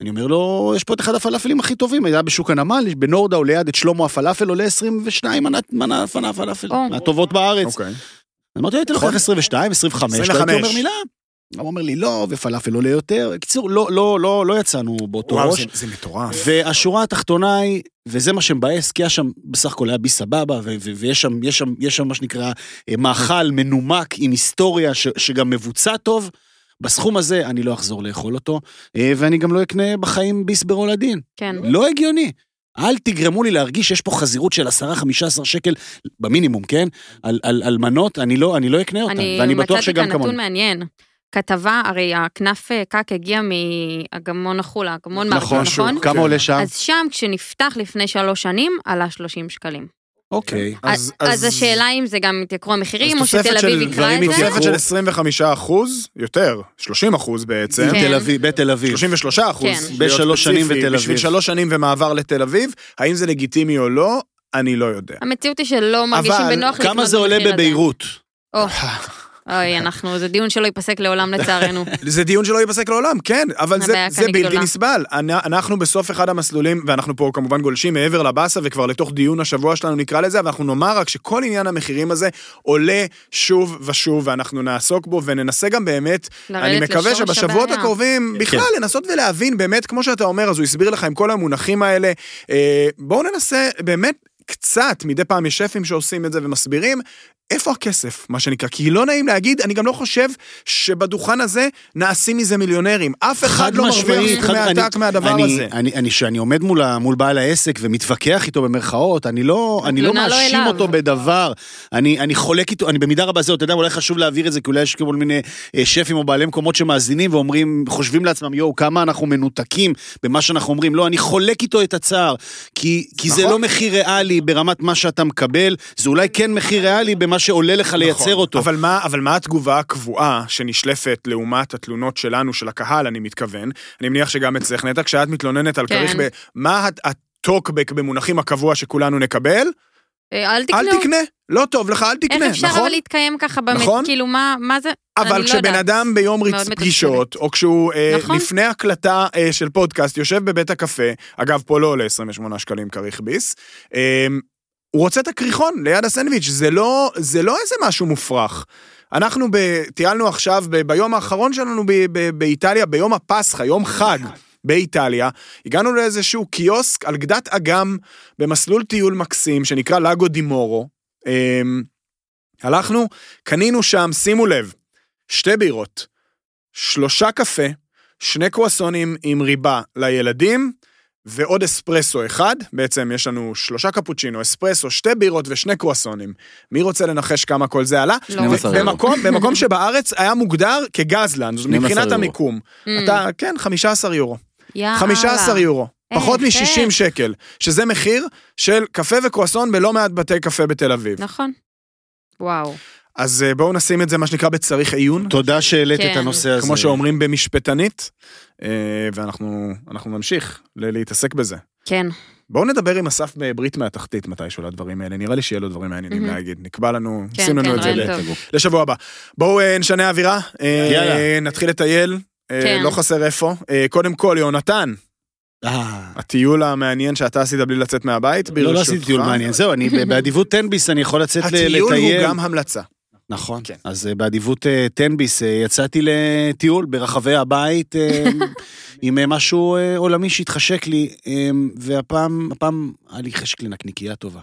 Speaker 1: אני אומר לו, יש פה את אחד הפלאפלים הכי טובים, היה בשוק הנמל, בנורדאו ליד את שלמה הפלאפל, עולה 22 מנת מנה מנה פלאפל,
Speaker 4: או.
Speaker 1: מהטובות בארץ.
Speaker 2: אוקיי.
Speaker 1: אמרתי לו, הייתי לוקח 22, 25, לא הייתי
Speaker 2: 25.
Speaker 1: אומר מילה. הוא אומר לי, לא, ופלאפל עולה יותר. בקיצור, לא, לא, לא, לא יצאנו באותו
Speaker 2: וואו,
Speaker 1: ראש.
Speaker 2: זה- זה מטורף.
Speaker 1: והשורה התחתונה היא, וזה מה שמבאס, כי היה שם, בסך הכל היה בי סבבה, ו- ו- ויש שם, יש שם, יש שם מה שנקרא אה, מאכל מנומק עם היסטוריה ש- שגם מבוצע טוב. בסכום הזה אני לא אחזור לאכול אותו, אה, ואני גם לא אקנה בחיים ביס ברולדין.
Speaker 4: כן.
Speaker 1: לא הגיוני. אל תגרמו לי להרגיש שיש פה חזירות של 10-15 שקל, במינימום, כן? על, על, על מנות, אני לא, אני לא אקנה אותן, ואני בטוח שגם
Speaker 4: מצאתי כאן נתון
Speaker 1: כמוני.
Speaker 4: מעניין. כתבה, הרי הכנף אה, קק הגיע מאגמון החולה, אגמון מרקו, נכון?
Speaker 1: כמה עולה שם?
Speaker 4: אז שם, כשנפתח לפני שלוש שנים, עלה 30 שקלים.
Speaker 1: אוקיי.
Speaker 5: כן.
Speaker 4: אז, אז, השאלה אם זה גם יתייקרו המחירים, או
Speaker 2: אז תוספת
Speaker 4: שתל
Speaker 2: של
Speaker 4: אביב יקרא
Speaker 2: דברים
Speaker 4: את זה.
Speaker 1: יתייקרו.
Speaker 2: תוספת של 25 אחוז, יותר, 30 אחוז בעצם.
Speaker 4: כן.
Speaker 1: בתל אביב, בתל אביב.
Speaker 2: 33 אחוז.
Speaker 4: כן.
Speaker 1: בשלוש שנים ותל
Speaker 2: בשביל
Speaker 1: אביב.
Speaker 2: שלוש שנים ומעבר לתל אביב, האם זה לגיטימי או לא? אני לא יודע.
Speaker 4: המציאות היא שלא מרגישים
Speaker 2: אבל
Speaker 4: בנוח לקנות
Speaker 1: כמה זה עולה
Speaker 4: במחיר הזה.
Speaker 1: בביירות?
Speaker 4: או, אוי, אנחנו, זה דיון שלא ייפסק לעולם לצערנו.
Speaker 2: זה דיון שלא ייפסק לעולם, כן, אבל
Speaker 4: הבעיה
Speaker 2: זה,
Speaker 4: כאן
Speaker 2: זה
Speaker 4: היא
Speaker 2: בלתי
Speaker 4: גדולה.
Speaker 2: נסבל. אנ- אנחנו בסוף אחד המסלולים, ואנחנו פה כמובן גולשים מעבר לבאסה, וכבר לתוך דיון השבוע שלנו נקרא לזה, אבל אנחנו נאמר רק שכל עניין המחירים הזה עולה שוב ושוב, ואנחנו נעסוק בו, וננסה גם באמת,
Speaker 4: לרדת
Speaker 2: אני מקווה
Speaker 4: לשורש
Speaker 2: שבשבועות
Speaker 4: הבעיה.
Speaker 2: הקרובים, בכלל לנסות ולהבין, באמת, כמו שאתה אומר, אז הוא הסביר לך עם כל המונחים האלה, אה, בואו ננסה באמת קצת, מדי פעם יש שפים שעושים את זה ומסבירים, איפה הכסף, מה שנקרא? כי לא נעים להגיד, אני גם לא חושב שבדוכן הזה נעשים מזה מיליונרים. אף אחד לא מרוויח
Speaker 1: חד-
Speaker 2: סכומי
Speaker 1: אני-
Speaker 2: עתק מהדבר
Speaker 1: אני-
Speaker 2: הזה.
Speaker 1: אני, אני, שאני עומד מול, ה- מול בעל העסק ומתווכח איתו במרכאות, אני לא, אני לא
Speaker 4: התלונה לא
Speaker 1: מאשים
Speaker 4: אליו.
Speaker 1: אותו בדבר. אני, אני חולק איתו, אני במידה רבה זה, אתה יודע, אולי חשוב להבהיר את זה, כי אולי יש כל מיני אה, שפים או בעלי מקומות שמאזינים ואומרים, חושבים לעצמם, יואו, כמה אנחנו מנותקים במה שאנחנו אומרים. לא, אני חולק איתו את הצער, כי, כי זה
Speaker 2: נכון.
Speaker 1: לא מחיר ריאלי ברמת מה שאתה מקבל, זה אולי כן מחיר ריאלי במה שעולה לך לייצר אותו.
Speaker 2: נכון. אבל מה, אבל מה התגובה הקבועה שנשלפת לעומת התלונות שלנו, של הקהל, אני מתכוון? אני מניח שגם אצלך, נטע, כשאת מתלוננת על
Speaker 4: כן.
Speaker 2: כריך, ב- מה הט- הטוקבק במונחים הקבוע שכולנו נקבל?
Speaker 4: אה, אל
Speaker 2: אל
Speaker 4: תקנו.
Speaker 2: תקנה. לא טוב לך, אל תקנה,
Speaker 4: איך אפשר
Speaker 2: נכון?
Speaker 4: אבל להתקיים ככה באמת?
Speaker 2: נכון.
Speaker 4: כאילו, מה מה זה? אני
Speaker 2: אבל
Speaker 4: לא
Speaker 2: כשבן
Speaker 4: יודעת.
Speaker 2: אדם ביום
Speaker 4: מאוד
Speaker 2: ריצ-
Speaker 4: מתסכלת.
Speaker 2: פגישות, או כשהוא אה,
Speaker 4: נכון.
Speaker 2: לפני הקלטה אה, של פודקאסט יושב בבית הקפה, אגב, פה לא עולה 28 שקלים כריך ביס, אה, הוא רוצה את הקריחון ליד הסנדוויץ', זה לא, זה לא איזה משהו מופרך. אנחנו ב, טיילנו עכשיו, ב, ביום האחרון שלנו ב, ב, באיטליה, ביום הפסחא, יום חג. באיטליה, הגענו לאיזשהו קיוסק על גדת אגם במסלול טיול מקסים שנקרא לאגו דימורו. אמ, הלכנו, קנינו שם, שימו לב, שתי בירות, שלושה קפה, שני קרואסונים עם ריבה לילדים, ועוד אספרסו אחד, בעצם יש לנו שלושה קפוצ'ינו, אספרסו, שתי בירות ושני קרואסונים. מי רוצה לנחש כמה כל זה עלה?
Speaker 4: לא.
Speaker 5: 12 אירו.
Speaker 2: במקום, במקום שבארץ היה מוגדר כגזלן, זאת
Speaker 5: 12
Speaker 2: מבחינת
Speaker 5: יורו.
Speaker 2: המיקום.
Speaker 4: Mm.
Speaker 2: אתה, כן, 15 יורו.
Speaker 4: יאללה.
Speaker 2: 15 יורו.
Speaker 4: אה,
Speaker 2: פחות
Speaker 4: יפה.
Speaker 2: מ-60 שקל, שזה מחיר של קפה וקרואסון בלא מעט בתי קפה בתל אביב.
Speaker 4: נכון. וואו.
Speaker 2: אז אה, בואו נשים את זה, מה שנקרא, בצריך עיון.
Speaker 1: תודה שהעלית את
Speaker 4: כן.
Speaker 1: הנושא הזה.
Speaker 2: כמו שאומרים במשפטנית, אה, ואנחנו אנחנו נמשיך ל- להתעסק בזה.
Speaker 4: כן.
Speaker 2: בואו נדבר עם אסף אה, ברית מהתחתית מתישהו על הדברים האלה, נראה לי שיהיה לו דברים מעניינים
Speaker 4: מהמם.
Speaker 2: להגיד, נקבע לנו,
Speaker 4: כן,
Speaker 2: שים לנו
Speaker 4: כן,
Speaker 2: את זה
Speaker 4: רעיון
Speaker 2: ל-
Speaker 4: טוב.
Speaker 2: לשבוע הבא. בואו אה, נשנה אווירה, אה,
Speaker 1: יאללה.
Speaker 2: נתחיל לטייל, אה,
Speaker 4: כן.
Speaker 2: לא חסר איפה. אה, קודם כל, יונתן,
Speaker 1: אה.
Speaker 2: הטיול המעניין שאתה עשית בלי לצאת מהבית,
Speaker 1: לא,
Speaker 2: ברשותך.
Speaker 1: לא עשיתי טיול מעניין, זהו, אני ב- באדיבות תנביס אני יכול לצאת ל- לטייל.
Speaker 2: הטיול הוא גם המלצה.
Speaker 1: נכון,
Speaker 2: כן.
Speaker 1: אז אה, באדיבות אה, תנביס אה, יצאתי לטיול ברחבי הבית אה, עם אה, משהו אה, עולמי שהתחשק לי, אה, והפעם, הפעם היה לי חשק לנקניקייה טובה. היה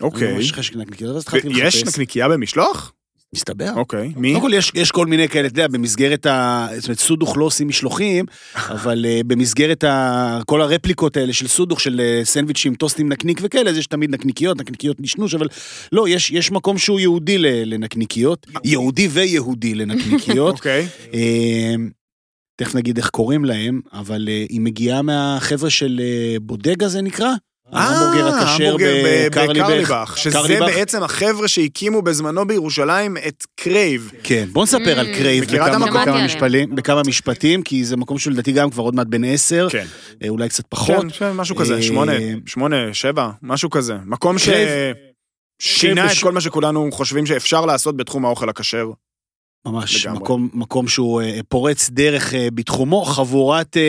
Speaker 1: לי
Speaker 2: אוקיי.
Speaker 1: ממש חשק לנקניקייה טובה, אז התחלתי לחפש.
Speaker 2: יש נקניקייה במשלוח?
Speaker 1: מסתבר.
Speaker 2: אוקיי. מי?
Speaker 1: קודם כל יש, יש כל מיני כאלה, אתה יודע, במסגרת ה... זאת אומרת, סודוך לא עושים משלוחים, אבל uh, במסגרת ה... כל הרפליקות האלה של סודוך, של uh, סנדוויצ'ים, טוסטים, נקניק וכאלה, אז יש תמיד נקניקיות, נקניקיות נשנוש, אבל לא, יש, יש מקום שהוא יהודי ל- לנקניקיות, יהודי ויהודי לנקניקיות.
Speaker 2: אוקיי.
Speaker 1: אה, תכף נגיד איך קוראים להם, אבל אה, היא מגיעה מהחבר'ה של אה, בודגה זה נקרא? ההמבורגר הכשר
Speaker 2: ההמבורגר אה, ב-
Speaker 1: בקרליבך.
Speaker 2: שזה
Speaker 1: קרליבך.
Speaker 2: בעצם החבר'ה שהקימו בזמנו בירושלים את קרייב.
Speaker 1: כן, בוא נספר על
Speaker 4: Mm.
Speaker 1: קרייב
Speaker 2: מכירה את
Speaker 1: בכמה,
Speaker 2: המקום?
Speaker 1: בכמה,
Speaker 4: שמעתי
Speaker 1: משפלים, בכמה משפטים, כי זה מקום שלדעתי גם כבר עוד מעט בן עשר,
Speaker 2: כן.
Speaker 1: אה, אולי קצת פחות.
Speaker 2: כן, כן, משהו כזה,
Speaker 1: אה,
Speaker 2: שמונה, שמונה, שבע, משהו כזה. מקום ש...
Speaker 1: קרייב.
Speaker 2: שינה
Speaker 1: קרייב
Speaker 2: את
Speaker 1: בש-
Speaker 2: כל מה שכולנו חושבים שאפשר לעשות בתחום האוכל הכשר.
Speaker 1: ממש,
Speaker 2: לגמרי.
Speaker 1: מקום, מקום שהוא אה, פורץ דרך אה, בתחומו, חבורת אה,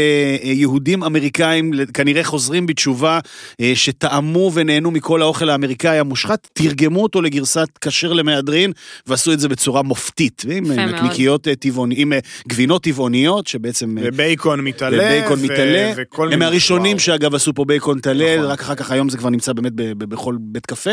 Speaker 1: אה, יהודים אמריקאים ל- כנראה חוזרים בתשובה, אה, שטעמו ונהנו מכל האוכל האמריקאי המושחת, תרגמו אותו לגרסת כשר למהדרין, ועשו את זה בצורה מופתית, עם
Speaker 4: יפה
Speaker 1: אה,
Speaker 4: מאוד.
Speaker 1: נקניקיות אה, טבעוניות, עם אה, גבינות טבעוניות, שבעצם... אה,
Speaker 2: ובייקון מתעלה.
Speaker 1: ובייקון
Speaker 2: ו-
Speaker 1: מתעלה.
Speaker 2: וכל
Speaker 1: הם
Speaker 2: מיני-
Speaker 1: מהראשונים
Speaker 2: וואו.
Speaker 1: שאגב עשו פה בייקון
Speaker 2: נכון.
Speaker 1: טלה, רק אחר כך היום זה כבר נמצא באמת ב- ב- בכל בית קפה.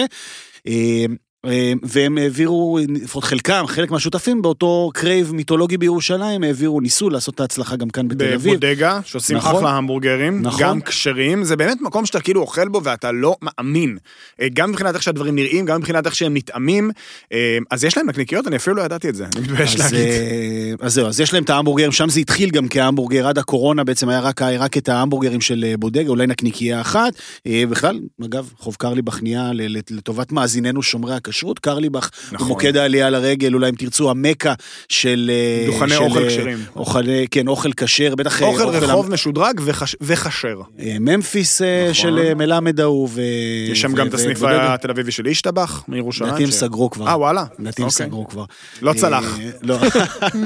Speaker 1: אה, אה, והם העבירו, לפחות חלקם, חלק מהשותפים באותו קרייב מיתולוגי בירושלים, העבירו, ניסו לעשות את ההצלחה גם כאן בתל אביב.
Speaker 2: בבודגה, שעושים
Speaker 1: נכון.
Speaker 2: אחלה המבורגרים,
Speaker 1: נכון.
Speaker 2: גם כשרים, זה באמת מקום שאתה כאילו אוכל בו ואתה לא מאמין. אה, גם מבחינת איך שהדברים נראים, גם מבחינת איך שהם נטעמים. אה, אז יש להם נקניקיות, אני אפילו לא ידעתי את זה, אני מתבייש
Speaker 1: אז,
Speaker 2: להגיד.
Speaker 1: אה, אז זהו, אז יש להם את ההמבורגרים, שם זה התחיל גם כהמבורגר, עד הקורונה בעצם היה רק, רק את ההמבורגרים של אה, בודגה, אולי נקניקייה אחת. אה, בכלל, אגב, חוב קרליבך נהיה ל- לטובת מאזיננו שומרי הכשרות. כשרות, קרליבך,
Speaker 2: נכון.
Speaker 1: הוא מוקד העלייה לרגל, אולי אם תרצו, המקה של... אה,
Speaker 2: דוכני
Speaker 1: של,
Speaker 2: אוכל
Speaker 1: אה,
Speaker 2: כשרים.
Speaker 1: אוכלי- כן, אוכל כשר, בטח... אה,
Speaker 2: אוכל רחוב
Speaker 1: המ-
Speaker 2: משודרג וחש- וכשר.
Speaker 1: אה, ממפיס אה, של אה, מלמד ההוא, ו...
Speaker 2: יש שם
Speaker 1: ו-
Speaker 2: גם
Speaker 1: ו-
Speaker 2: את הסניף
Speaker 1: ובודדו.
Speaker 2: התל אביבי של אישטבח, מירושלים.
Speaker 1: לדעתי הם
Speaker 2: ש-
Speaker 1: סגרו כבר.
Speaker 2: אה, וואלה.
Speaker 1: לדעתי הם
Speaker 2: אוקיי.
Speaker 1: סגרו כבר.
Speaker 2: לא צלח.
Speaker 1: אה, לא.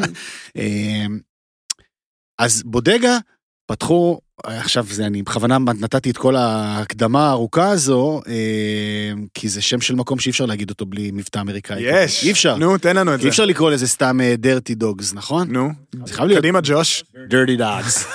Speaker 1: אה, אז בודגה, פתחו, אה, עכשיו זה, אני בכוונה נתתי את כל ההקדמה הארוכה הזו, אה, כי זה שם של מקום שאי אפשר להגיד אותו בלי מבטא אמריקאי.
Speaker 2: יש.
Speaker 1: אה, אי אפשר.
Speaker 2: נו, תן לנו את
Speaker 1: אי
Speaker 2: זה.
Speaker 1: אפשר לקרוא לזה סתם דרטי דוגס, נכון?
Speaker 2: נו,
Speaker 1: זה חייב להיות
Speaker 2: קדימה ג'וש.
Speaker 1: דרטי דוגס.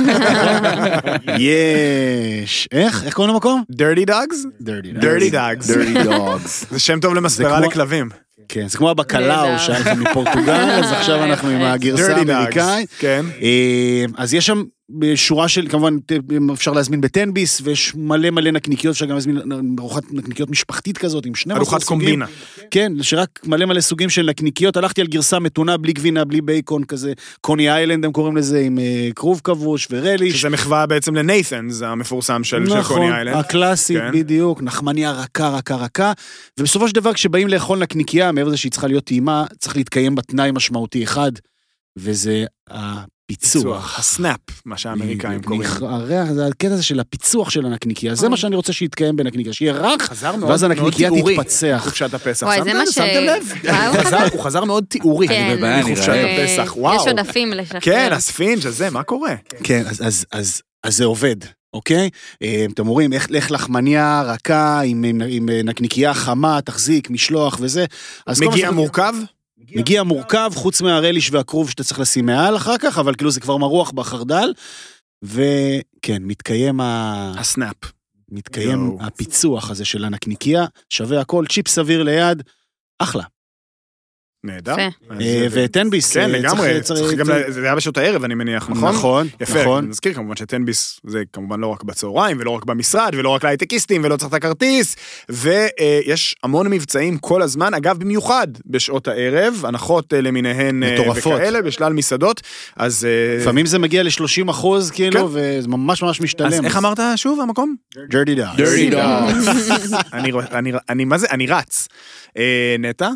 Speaker 1: יש. איך? איך קוראים למקום?
Speaker 2: Dirty Dogs?
Speaker 1: דרטי
Speaker 2: Dirty Dogs.
Speaker 5: Dirty Dogs.
Speaker 2: זה שם טוב למספרה
Speaker 1: כמו-
Speaker 2: לכלבים.
Speaker 1: כן, זה כמו הבקלאו
Speaker 4: נהדר.
Speaker 1: שהיה לכם מפורטוגל, אז עכשיו אנחנו עם הגרסה
Speaker 2: Dirty
Speaker 1: האמריקאית.
Speaker 2: Dogs. כן.
Speaker 1: אה, אז יש שם אה, שורה של, כמובן, ת- אפשר להזמין בטנביס, ויש מלא מלא נקניקיות, אפשר גם להזמין אה, ארוחת נקניקיות משפחתית כזאת, עם 12 סוגים.
Speaker 2: ארוחת קומבינה.
Speaker 1: כן, שרק מלא מלא סוגים של נקניקיות. הלכתי על גרסה מתונה, בלי גבינה, בלי בייקון כזה. קוני איילנד הם קוראים לזה, עם אה, כרוב כבוש ורליש.
Speaker 2: שזה מחווה בעצם לניית'נס המפורסם של של
Speaker 1: נכון,
Speaker 2: קוני איילנד.
Speaker 1: הקלאסית,
Speaker 2: כן.
Speaker 1: בדיוק, נחמניה רכה, רכה, רכה. ובסופו של דבר, כשבאים לאכול נקניקייה, מעבר לזה שהיא צריכה להיות טעימה, צריך להתקיים בתנאי משמעותי אחד, וזה הפיצוח.
Speaker 2: פיצוח, הסנאפ, מה שהאמריקאים
Speaker 1: בדיוק,
Speaker 2: קוראים. אה.
Speaker 1: נכ- הריח, זה הקטע הזה של הפיצוח של הנקניקייה, זה מה שאני רוצה שיתקיים בנקניקייה, שיהיה רך,
Speaker 7: חזר מאוד
Speaker 1: ואז הנקניקייה
Speaker 7: ציבורי.
Speaker 1: תתפצח.
Speaker 2: חופשת הפסח.
Speaker 4: וואי, זה
Speaker 2: שמתם-
Speaker 4: מה ש-
Speaker 2: שמתם לב?
Speaker 4: וואי, הוא
Speaker 7: הוא חזר-
Speaker 4: חזר.
Speaker 7: הוא חזר מאוד תיאורי.
Speaker 4: כן.
Speaker 5: בבעיה, אני
Speaker 2: חופשת
Speaker 5: רעב.
Speaker 4: אה,
Speaker 2: הפסח, וואו.
Speaker 4: יש עודפים לשחרר.
Speaker 2: כן, הספינג' הזה, מה קורה?
Speaker 1: כן, אז, אז, אז, אז זה עובד, אוקיי? אה, אתם אומרים, איך, איך לחמניה רכה עם, עם, עם אה, נקניקייה חמה, תחזיק, משלוח וזה. אז כל מה
Speaker 2: מגיע
Speaker 1: שאתה-
Speaker 2: מורכב?
Speaker 1: מגיע מורכב, חוץ מהרליש והכרוב שאתה צריך לשים מעל אחר כך, אבל כאילו זה כבר מרוח בחרדל. וכן, מתקיים, ה...
Speaker 2: הסנאפ.
Speaker 1: מתקיים
Speaker 2: יואו.
Speaker 1: הפיצוח הזה של הנקניקייה, שווה הכל, צ'יפ סביר ליד, אחלה.
Speaker 2: נהדר.
Speaker 4: יפה.
Speaker 2: אז-
Speaker 1: אה, וטנביס,
Speaker 2: כן,
Speaker 1: אה,
Speaker 2: לגמרי.
Speaker 1: צריך- צריך-
Speaker 2: צריך גם
Speaker 1: צריך-
Speaker 2: ל- זה היה בשעות הערב, אני מניח, נכון?
Speaker 1: נכון,
Speaker 2: יפה,
Speaker 1: נכון.
Speaker 2: אני מזכיר כמובן שטנביס זה כמובן לא רק בצהריים, ולא רק במשרד, ולא רק להייטקיסטים, ולא צריך את הכרטיס, ויש המון מבצעים כל הזמן, אגב, במיוחד בשעות הערב, הנחות אה, למיניהן אה,
Speaker 1: מטורפות.
Speaker 2: וכאלה, בשלל מסעדות, אז... אה,
Speaker 1: לפעמים זה מגיע ל-30 אחוז, כאילו, וזה ממש ממש משתלם.
Speaker 2: כן. אז איך אמרת שוב המקום?
Speaker 1: Dirty Dog.
Speaker 5: Dirty Dogs.
Speaker 2: אני, אני, אני, מה זה? אני רץ. אה, נטע?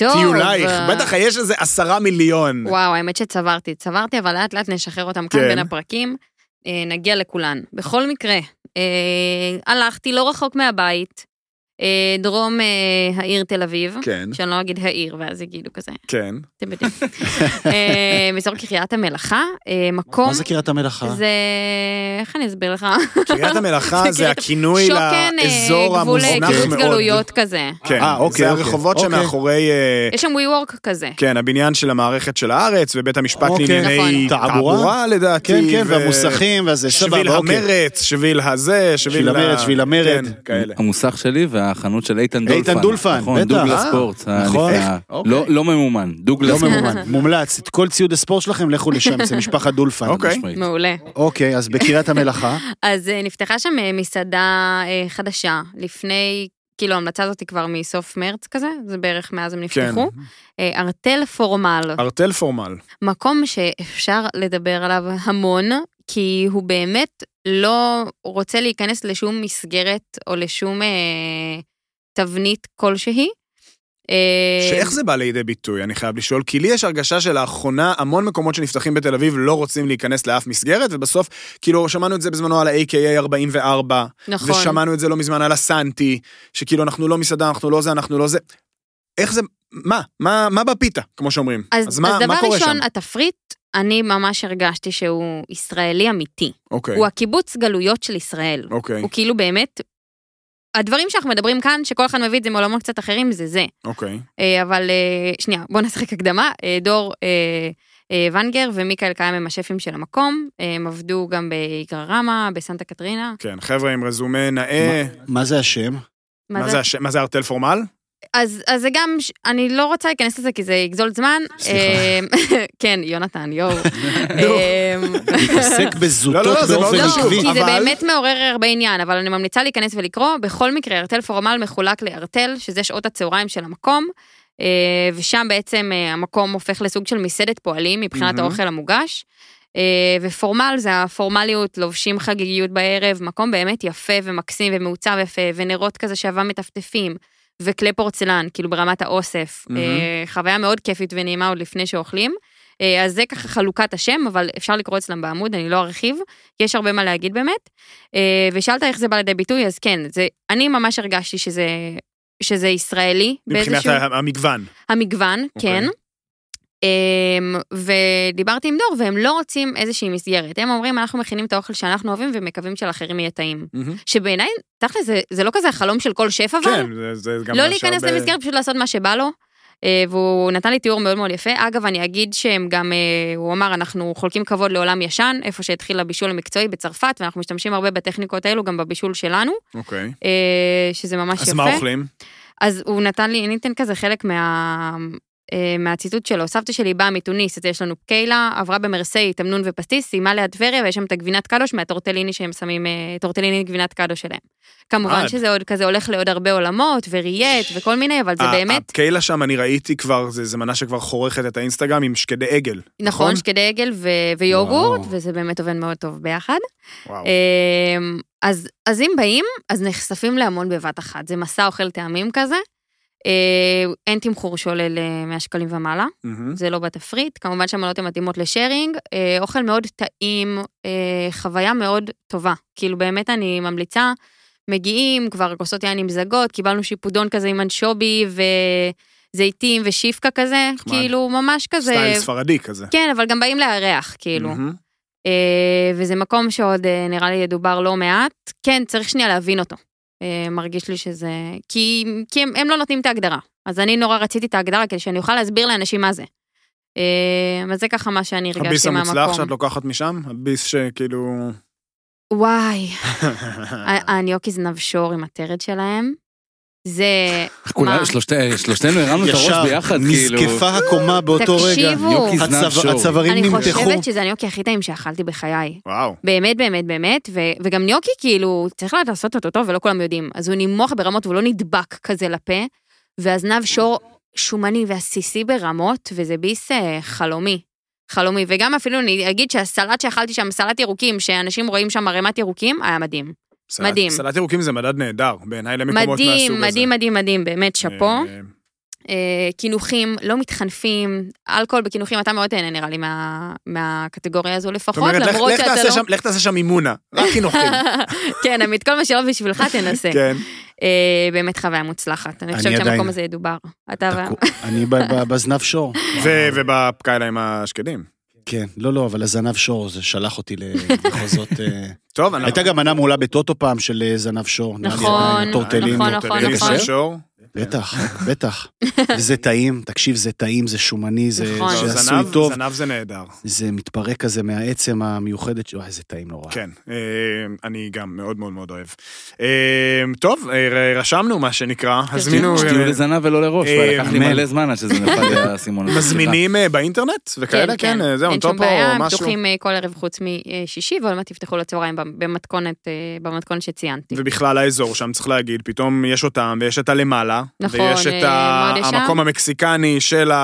Speaker 4: טוב.
Speaker 2: טיולייך, בטח יש איזה עשרה מיליון.
Speaker 4: וואו, האמת שצברתי. צברתי, אבל לאט לאט נשחרר אותם כאן
Speaker 2: כן.
Speaker 4: בין הפרקים. אה, נגיע לכולן. בכל מקרה, אה, הלכתי לא רחוק מהבית, אה, דרום אה, העיר תל אביב.
Speaker 2: כן,
Speaker 4: שאני לא אגיד העיר, ואז יגידו כזה,
Speaker 2: כן.
Speaker 4: אתם יודעים. אה, באזור קריית המלאכה, אה, מקום,
Speaker 1: מה זה קריית המלאכה?
Speaker 4: זה, איך אני אסביר לך?
Speaker 2: קריית המלאכה
Speaker 4: זה
Speaker 2: זה
Speaker 4: קריית-
Speaker 2: הכינוי
Speaker 4: שוקן, אה,
Speaker 2: לאזור
Speaker 4: גבול אה,
Speaker 2: המוזנח
Speaker 4: קיבוץ
Speaker 2: מאוד.
Speaker 4: גלויות כזה.
Speaker 2: כן,
Speaker 1: אה, אוקיי,
Speaker 2: זה
Speaker 1: אוקיי,
Speaker 2: הרחובות
Speaker 1: אוקיי.
Speaker 2: שמאחורי, אה,
Speaker 4: יש שם ווי וורק כזה.
Speaker 2: כן, הבניין של המערכת של הארץ, ובית המשפט
Speaker 1: אוקיי.
Speaker 2: לענייני
Speaker 1: נכון.
Speaker 2: תעבורה
Speaker 1: תעבורה,
Speaker 2: לדעתי.
Speaker 1: כן, כן,
Speaker 2: ו-
Speaker 1: והמוסכים, ואז זה
Speaker 2: שביל
Speaker 1: סבבה, אוקיי.
Speaker 2: המרץ, שביל הזה, שביל
Speaker 1: שביל המרץ,
Speaker 2: ה-
Speaker 1: שביל המרד.
Speaker 2: כן, כאלה.
Speaker 5: המוסך שלי והחנות של איתן דולפן.
Speaker 1: איתן דולפן,
Speaker 5: נכון,
Speaker 1: בטח.
Speaker 5: דוגלס
Speaker 1: אה,
Speaker 5: ספורט.
Speaker 1: נכון.
Speaker 5: הנפלאה. לא לא ממומן,
Speaker 1: לא
Speaker 5: דוגלס ספורט.
Speaker 1: ממומן, מומלץ. את כל ציוד הספורט שלכם, לכו לשם, זה משפחת דולפן.
Speaker 2: אוקיי.
Speaker 5: משמעית.
Speaker 4: מעולה.
Speaker 1: אוקיי, אז בקריית המלאכה.
Speaker 4: אז אה, נפתחה שם אה, מסעדה אה, חדשה לפני, כאילו ההמלצה הזאת היא כבר מסוף מרץ כזה, זה בערך מאז הם
Speaker 2: כן.
Speaker 4: נפתחו. אה, ארטל פורמל,
Speaker 2: ארטל פורמל.
Speaker 4: מקום שאפשר לדבר עליו המון, כי הוא באמת לא רוצה להיכנס לשום מסגרת או לשום אה, תבנית כלשהי. אה,
Speaker 2: שאיך זה בא לידי ביטוי, אני חייב לשאול, כי לי יש הרגשה שלאחרונה המון מקומות שנפתחים בתל אביב לא רוצים להיכנס לאף מסגרת, ובסוף, כאילו, שמענו את זה בזמנו על ה-AKA 44,
Speaker 4: נכון.
Speaker 2: ושמענו את זה לא מזמן על הסנטי, שכאילו אנחנו לא מסעדה, אנחנו לא זה, אנחנו לא זה. איך זה, מה? מה, מה בפיתה, כמו שאומרים?
Speaker 4: אז, אז,
Speaker 2: מה,
Speaker 4: אז דבר
Speaker 2: מה קורה
Speaker 4: ראשון,
Speaker 2: שם?
Speaker 4: התפריט, אני ממש הרגשתי שהוא ישראלי אמיתי.
Speaker 2: אוקיי,
Speaker 4: הוא הקיבוץ גלויות של ישראל.
Speaker 2: אוקיי,
Speaker 4: הוא כאילו באמת, הדברים שאנחנו מדברים כאן, שכל אחד מביא את זה מעולמות קצת אחרים, זה זה.
Speaker 2: אוקיי.
Speaker 4: אה, אבל אה, שנייה, בואו נשחק הקדמה. אה, דור אה, אה, ונגר ומיכאל קיים הם השפים של המקום, אה, הם עבדו גם באיגררמה, בסנטה קטרינה.
Speaker 2: כן, חבר'ה עם רזומה נאה.
Speaker 1: מה זה השם?
Speaker 4: מה
Speaker 2: מה זה הש- מה זה ארטל פורמל?
Speaker 4: אז, אז זה גם, ש- אני לא רוצה להיכנס לזה כי זה יגזול זמן. סליחה. כן, יונתן, יואו. אה,
Speaker 1: להתעסק בזוטות
Speaker 2: לא, לא, זה מאוד
Speaker 1: באופן
Speaker 2: חשוב.
Speaker 1: עקבי.
Speaker 4: כי זה
Speaker 2: אבל-
Speaker 4: באמת מעורר הרבה עניין, אבל אני ממליצה להיכנס ולקרוא. בכל מקרה, ארטל פורמל מחולק לארטל, שזה שעות הצהריים של המקום, אה, ושם בעצם אה, המקום הופך לסוג של מסעדת פועלים מבחינת
Speaker 2: מהמם.
Speaker 4: האוכל המוגש. אה, ופורמל זה הפורמליות, לובשים חגיגיות בערב, מקום באמת יפה ומקסים ומעוצב יפה, ונרות כזה שעבה מטפטפים, וכלי פורצלן, כאילו ברמת האוסף.
Speaker 2: מהמם.
Speaker 4: אה, חוויה מאוד כיפית ונעימה עוד לפני שאוכלים. אה, אז זה ככה חלוקת השם, אבל אפשר לקרוא אצלם בעמוד, אני לא ארחיב, כי יש הרבה מה להגיד באמת. אה, ושאלת איך זה בא לידי ביטוי, אז כן, זה, אני ממש הרגשתי שזה, שזה ישראלי.
Speaker 2: מבחינת
Speaker 4: באיזשהו-
Speaker 2: ה- המגוון.
Speaker 4: המגוון, okay.
Speaker 2: אוקיי.
Speaker 4: כן. Um, ודיברתי עם דור, והם לא רוצים איזושהי מסגרת. הם אומרים, אנחנו מכינים את האוכל שאנחנו אוהבים ומקווים שלאחרים יהיה טעים. שבעיניי, תכל'ס, זה, זה לא כזה החלום של כל שף, אבל...
Speaker 2: כן, זה- זה גם...
Speaker 4: לא
Speaker 2: מה
Speaker 4: להיכנס
Speaker 2: שהרבה-
Speaker 4: למסגרת, פשוט לעשות מה שבא לו. אה, והוא נתן לי תיאור מאוד מאוד יפה. אגב, אני אגיד שהם גם, אה, הוא אמר, אנחנו חולקים כבוד לעולם ישן, איפה שהתחיל הבישול המקצועי בצרפת, ואנחנו משתמשים הרבה בטכניקות האלו גם בבישול שלנו,
Speaker 2: אוקיי.
Speaker 4: אה, שזה ממש יפה.
Speaker 2: אז מה אוכלים?
Speaker 4: אז הוא נתן לי, אני אתן כזה חלק מה... אה, מהציטוט שלו, סבתא שלי באה מתוניס, אז יש לנו קיילה, עברה במרסיי, תמנון ופסטיס, סיימה ליד טבריה, ויש שם את הגבינת קדוש מהטורטליני שהם שמים, אה, טורטליני גבינת קדוש שלהם.
Speaker 2: עד.
Speaker 4: כמובן שזה עוד כזה הולך לעוד הרבה עולמות, וריאט וכל מיני, אבל זה
Speaker 2: ה-
Speaker 4: באמת,
Speaker 2: הקיילה שם אני ראיתי כבר, זה זה מנה שכבר חורכת את האינסטגרם עם שקדי עגל.
Speaker 4: נכון, שקדי עגל ו- ויוגורט,
Speaker 1: וואו.
Speaker 4: וזה באמת עובד מאוד טוב ביחד.
Speaker 2: וואו.
Speaker 4: אמ, אז, אז אם באים, אז נחשפים להמון בבת אחת. זה מסע אוכל טעמים כזה. אה, אין תמחור שעולה ל-100 שקלים ומעלה,
Speaker 2: מהמם.
Speaker 4: זה לא בתפריט. כמובן שהמנות הן מתאימות לשיירינג. אה, אוכל מאוד טעים, אה, חוויה מאוד טובה. כאילו, באמת אני ממליצה. מגיעים, כבר כוסות יין עם זגות, קיבלנו שיפודון כזה עם אנשובי וזיתים ושיפקה כזה,
Speaker 2: נחמד.
Speaker 4: כאילו, ממש כזה...
Speaker 2: סטייל ספרדי כזה.
Speaker 4: כן, אבל גם באים לארח, כאילו.
Speaker 2: מהמם.
Speaker 4: אה, וזה מקום שעוד אה, נראה לי ידובר לא מעט. כן, צריך שנייה להבין אותו. אה, מרגיש לי שזה... כי, כי הם, הם לא נותנים את ההגדרה. אז אני נורא רציתי את ההגדרה כדי שאני אוכל להסביר לאנשים מה זה. אה, אז זה ככה מה שאני
Speaker 2: הביס
Speaker 4: הרגשתי מהמקום.
Speaker 2: המוצלח שאת לא- לוקחת משם? הביס שכאילו...
Speaker 4: וואי, ה- הניוקיז נבשור עם הטרד שלהם. זה...
Speaker 5: כולם,
Speaker 4: מה?
Speaker 5: שלושת- שלושתנו הרמנו את
Speaker 1: ישר
Speaker 5: הראש ביחד, כאילו.
Speaker 1: נזקפה הקומה באותו רגע.
Speaker 4: תקשיבו.
Speaker 5: יוקיז
Speaker 1: הצו-
Speaker 5: נבשור.
Speaker 1: הצווארים
Speaker 4: אני
Speaker 1: נמתחו.
Speaker 4: חושבת שזה הניוקי הכי טעים שאכלתי בחיי.
Speaker 2: וואו.
Speaker 4: באמת, באמת, באמת, ו- וגם ניוקי, כאילו, צריך לדעת לעשות אותו טוב, ולא כולם יודעים. אז הוא נימוך ברמות, והוא לא נדבק כזה לפה, והזנב שור שומני ועסיסי ברמות, וזה ביס אה, חלומי. חלומי. וגם אפילו אני אגיד שהסלט שאכלתי שם, סלט ירוקים, שאנשים רואים שם ערימת ירוקים, היה מדהים.
Speaker 2: סלט-
Speaker 4: מדהים.
Speaker 2: סלט ירוקים זה מדד נהדר, בעיניי למקומות מהסוג הזה.
Speaker 4: מדהים, מדהים, מדהים, מדהים, באמת, שאפו.
Speaker 2: אה,
Speaker 4: אה, קינוחים, לא מתחנפים, אלכוהול בקינוחים, אתה מאוד תהנה נראה לי מה- מהקטגוריה הזו
Speaker 2: זאת
Speaker 4: לפחות,
Speaker 2: אומרת, לך-
Speaker 4: למרות
Speaker 2: לך
Speaker 4: שאתה
Speaker 2: תעשה
Speaker 4: לא...
Speaker 2: שם- לך תעשה שם אימונה, רק חינוכים.
Speaker 4: כן, עמית, כל מה שלא בשבילך תנסה.
Speaker 2: כן.
Speaker 4: אה, באמת חוויה מוצלחת. אני
Speaker 1: אני
Speaker 4: חושבת שהמקום
Speaker 1: עדיין-
Speaker 4: הזה ידובר. אתה וה...
Speaker 1: אני ב- ב- בזנב שור.
Speaker 2: ו- ובקיילה עם השקדים.
Speaker 1: כן, לא, לא, אבל הזנב שור, זה שלח אותי למחוזות... אה,
Speaker 2: טוב,
Speaker 5: לא.
Speaker 2: אני...
Speaker 1: הייתה גם מנה מעולה בטוטו פעם של אה, זנב שור. נראה לי,
Speaker 4: נכון,
Speaker 1: עם טורטלים.
Speaker 4: נכון, נכון,
Speaker 1: נכון.
Speaker 2: שור.
Speaker 1: בטח, בטח. וזה טעים, תקשיב, זה טעים, זה שומני, זה
Speaker 4: נכון.
Speaker 1: זה
Speaker 2: לא,
Speaker 1: עשוי
Speaker 2: זנב,
Speaker 1: טוב.
Speaker 2: זנב זה נהדר.
Speaker 1: זה מתפרק כזה מהעצם המיוחדת, ש- וואי, זה טעים נורא.
Speaker 2: כן, אה, אני גם מאוד מאוד מאוד אוהב. אה, טוב, אה, ר- רשמנו מה שנקרא,
Speaker 4: כן.
Speaker 2: הזמינו...
Speaker 5: שתהיו לזנב ולא לראש,
Speaker 2: אה,
Speaker 5: לקח לי
Speaker 1: אמן.
Speaker 5: מלא זמן עד שזה נפל לי האסימון. הזה,
Speaker 2: מזמינים אה, באינטרנט וכאלה, כן, אה, זהו,
Speaker 4: אין שום
Speaker 2: טופו,
Speaker 4: בעיה, הם
Speaker 2: משהו.
Speaker 4: פתוחים אה, כל ערב חוץ משישי, ועוד מעט תפתחו לצהריים במתכונת, אה, במתכון שציינתי.
Speaker 2: ובכלל האזור שם, צריך להגיד, פתאום יש אותם, ויש את הלמעלה.
Speaker 4: נכון,
Speaker 2: ויש את
Speaker 4: אה,
Speaker 2: ה-
Speaker 4: מאוד ישר.
Speaker 2: המקום המקסיקני של ה...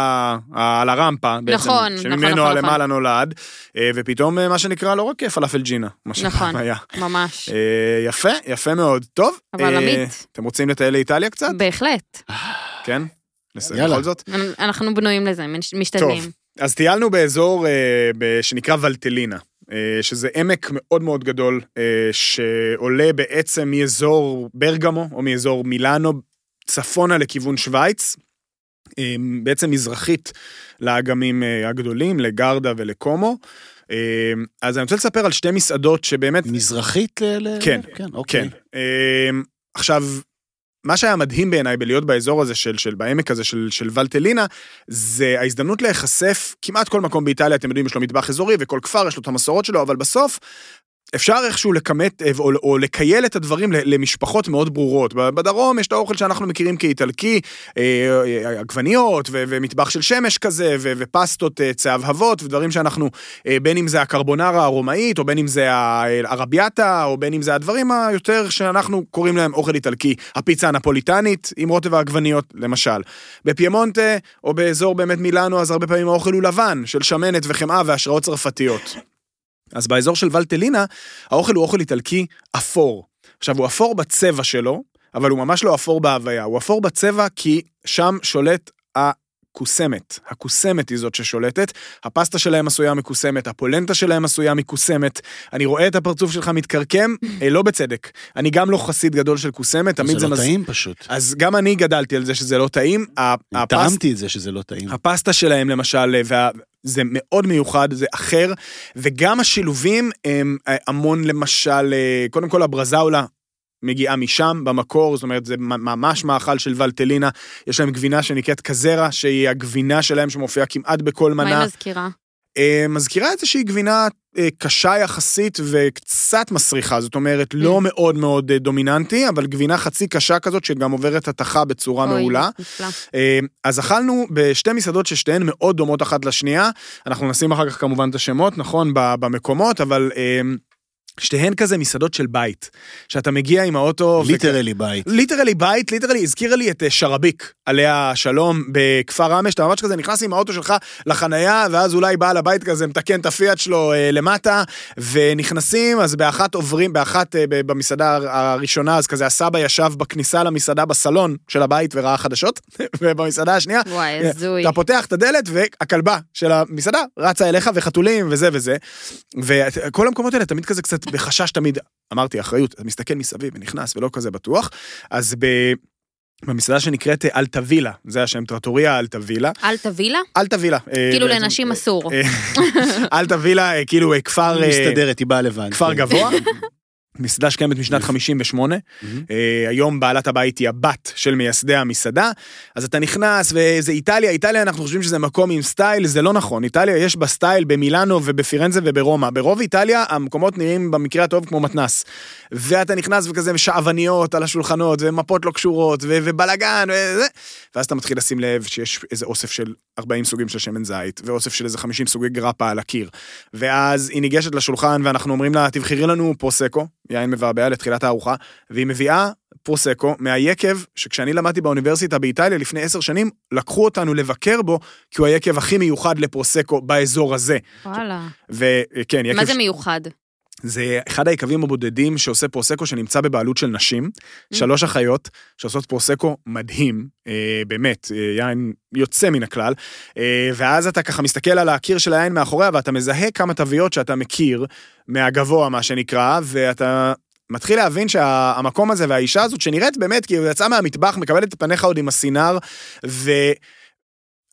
Speaker 2: ה- על הרמפה, בעצם.
Speaker 4: נכון, נכון, נכון,
Speaker 2: שממנו
Speaker 4: נכון.
Speaker 2: הלמעלה נולד. אה, ופתאום, אה, מה שנקרא, לא רק פלאפל ג'ינה, מה שפעם
Speaker 4: נכון.
Speaker 2: היה.
Speaker 4: ממש.
Speaker 2: אה, יפה, יפה מאוד. טוב.
Speaker 4: אבל
Speaker 2: אה,
Speaker 4: עמית. Mm.
Speaker 2: אתם רוצים לטייל לאיטליה קצת?
Speaker 4: בהחלט.
Speaker 2: כן? נסיים
Speaker 1: יאללה.
Speaker 2: בכל זאת.
Speaker 4: אנ- אנחנו בנויים לזה, מש- משתדלים.
Speaker 2: אז טיילנו באזור אה, ב- שנקרא ולטלינה, אה, שזה עמק מאוד מאוד גדול, אה, שעולה בעצם מאזור ברגמו או מאזור מילאנו, צפונה לכיוון שווייץ. אה, בעצם מזרחית לאגמים אה, הגדולים, לגרדה ולקומו. אה, אז אני רוצה לספר על שתי מסעדות שבאמת
Speaker 1: מזרחית ל... ל-
Speaker 2: כן,
Speaker 1: כן,
Speaker 2: כן.
Speaker 1: אוקיי.
Speaker 2: אמ, עכשיו, מה שהיה מדהים בעיניי בלהיות באזור הזה של, של בעמק הזה של, של ולטלינה, זה ההזדמנות להיחשף, כמעט כל מקום באיטליה, אתם יודעים, יש לו מטבח אזורי וכל כפר יש לו את המסורות שלו, אבל בסוף... אפשר איכשהו לכמת אה, או, או לקייל את הדברים ל- למשפחות מאוד ברורות. ב- בדרום יש את האוכל שאנחנו מכירים כאיטלקי, אה, אה, עגבניות ו- ומטבח של שמש כזה, ו- ופסטות אה, צהבהבות, ודברים שאנחנו אה, בין אם זה הקרבונרה הרומאית, או בין אם זה אה, הרביאטה, או בין אם זה הדברים היותר שאנחנו קוראים להם אוכל איטלקי. הפיצה הנפוליטנית עם רוטב העגבניות, למשל. בפיימונטה, או באזור באמת מילאנו, אז הרבה פעמים האוכל הוא לבן, של שמנת וחמאה והשראות צרפתיות. אז באזור של ולטלינה, האוכל הוא אוכל איטלקי אפור. עכשיו, הוא אפור בצבע שלו, אבל הוא ממש לא אפור בהוויה, הוא אפור בצבע כי שם שולט הקוסמת. הקוסמת היא זאת ששולטת, הפסטה שלהם עשויה מקוסמת, הפולנטה שלהם עשויה מקוסמת. אני רואה את הפרצוף שלך מתקרקם, אה, לא בצדק. אני גם לא חסיד גדול של קוסמת, תמיד
Speaker 1: זה
Speaker 2: זה
Speaker 1: לא
Speaker 2: מז...
Speaker 1: טעים פשוט.
Speaker 2: אז גם אני גדלתי על זה שזה לא טעים. ה- הפסט-
Speaker 1: טעמתי את זה שזה לא טעים.
Speaker 2: הפסטה שלהם למשל, וה... זה מאוד מיוחד, זה אחר, וגם השילובים הם אה, המון למשל, אה, קודם כל הברזאולה מגיעה משם במקור, זאת אומרת זה מ- ממש מאכל של ולטלינה, יש להם גבינה שנקראת קזרה, שהיא הגבינה שלהם שמופיעה כמעט בכל
Speaker 4: מה
Speaker 2: מנה.
Speaker 4: היא מזכירה?
Speaker 2: אה, מזכירה איזושהי גבינה אה, קשה יחסית וקצת מסריחה, זאת אומרת, לא מאוד מאוד אה, דומיננטי, אבל גבינה חצי קשה כזאת שגם עוברת התכה בצורה
Speaker 4: אוי,
Speaker 2: מעולה.
Speaker 4: נפלא.
Speaker 2: אה, אז אכלנו בשתי מסעדות ששתיהן מאוד דומות אחת לשנייה, אנחנו נשים אחר כך כמובן את השמות, נכון, ב- במקומות, אבל אה, שתיהן כזה מסעדות של בית, שאתה מגיע עם האוטו... וכ-
Speaker 1: ליטרלי בית.
Speaker 2: ליטרלי בית, ליטרלי הזכירה לי את אה, שרביק, עליה השלום, בכפר רמש, אתה ממש כזה נכנס עם האוטו שלך לחנייה, ואז אולי בעל הבית כזה מתקן את הפיאט שלו אה, למטה, ונכנסים, אז באחת עוברים, באחת אה, ב- במסעדה הר- הראשונה, אז כזה הסבא ישב בכניסה למסעדה בסלון של הבית וראה חדשות, ובמסעדה השנייה,
Speaker 4: וואי, הזוי.
Speaker 2: אה, אתה פותח את הדלת והכלבה של המסעדה רצה אליך וחתולים וזה וזה. וכל המקומות האלה תמיד כזה קצת בחשש תמיד, אמרתי אחריות, אתה מסתכל מסביב ונכנס ולא כזה בטוח. אז ב... במסעדה שנקראת אה, אלטווילה, זה השם טרטוריה אלטווילה.
Speaker 4: אל תביא לה?
Speaker 2: אלטווילה. אה,
Speaker 4: כאילו
Speaker 2: בעצם,
Speaker 4: לנשים
Speaker 2: אה,
Speaker 4: אסור.
Speaker 2: אה, אלטווילה, אה, כאילו אה, כפר... אה,
Speaker 1: היא מסתדרת, היא באה לבד.
Speaker 2: כפר
Speaker 1: כן.
Speaker 2: גבוה. מסעדה שקיימת משנת 58, אה, היום בעלת הבית היא הבת של מייסדי המסעדה, אז אתה נכנס וזה איטליה, איטליה אנחנו חושבים שזה מקום עם סטייל, זה לא נכון, איטליה יש בה סטייל במילאנו ובפירנזה וברומא, ברוב איטליה המקומות נראים במקרה הטוב כמו מתנס, ואתה נכנס וכזה שעווניות על השולחנות ומפות לא קשורות ו- ובלאגן וזה, ואז אתה מתחיל לשים לב שיש איזה אוסף של 40 סוגים של שמן זית, ואוסף של איזה 50 סוגי גרפה על הקיר. ואז היא ניגשת לשולחן ואנחנו אומרים לה, תבחרי לנו פרוסקו, יין מבעבע לתחילת הארוחה, והיא מביאה פרוסקו מהיקב, שכשאני למדתי באוניברסיטה באיטליה לפני עשר שנים, לקחו אותנו לבקר בו, כי הוא היקב הכי מיוחד לפרוסקו באזור הזה.
Speaker 4: וואלה.
Speaker 2: וכן, יקב...
Speaker 4: מה זה
Speaker 2: ש-
Speaker 4: מיוחד?
Speaker 2: זה אחד היקבים הבודדים שעושה פרוסקו שנמצא בבעלות של נשים,
Speaker 4: Mm.
Speaker 2: שלוש אחיות שעושות פרוסקו מדהים, אה, באמת, אה, יין יוצא מן הכלל, אה, ואז אתה ככה מסתכל על הקיר של היין מאחוריה ואתה מזהה כמה תוויות שאתה מכיר מהגבוה, מה שנקרא, ואתה... מתחיל להבין שהמקום הזה והאישה הזאת שנראית באמת כאילו יצאה מהמטבח מקבלת את פניך עוד עם הסינר ו...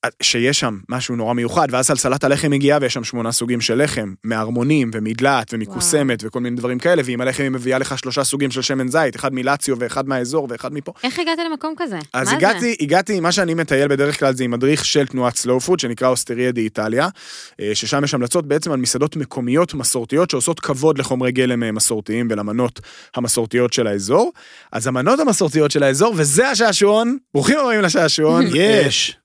Speaker 2: אה, שיש שם משהו נורא מיוחד, ואז סלסלת הלחם הגיעה ויש שם שמונה סוגים של לחם, מערמונים ומדלעת ומקוסמת וכל מיני דברים כאלה, ועם הלחם היא מביאה לך שלושה סוגים של שמן זית, אחד מלציו ואחד מהאזור ואחד מפה.
Speaker 4: איך הגעת למקום כזה?
Speaker 2: אז
Speaker 4: מה זה?
Speaker 2: הגעתי, הגעתי, מה שאני מטייל בדרך כלל זה עם מדריך של תנועת סלואו פוד, שנקרא אוסטריה דה איטליה, אה, ששם יש המלצות בעצם על מסעדות מקומיות מסורתיות שעושות כבוד לחומרי גלם אה, מסורתיים ולמנות המסורתיות של האזור. אז המנות המסורתיות של האזור, וזה השעשועון, ברוכים הבאים לשעשועון. אה,
Speaker 1: יש.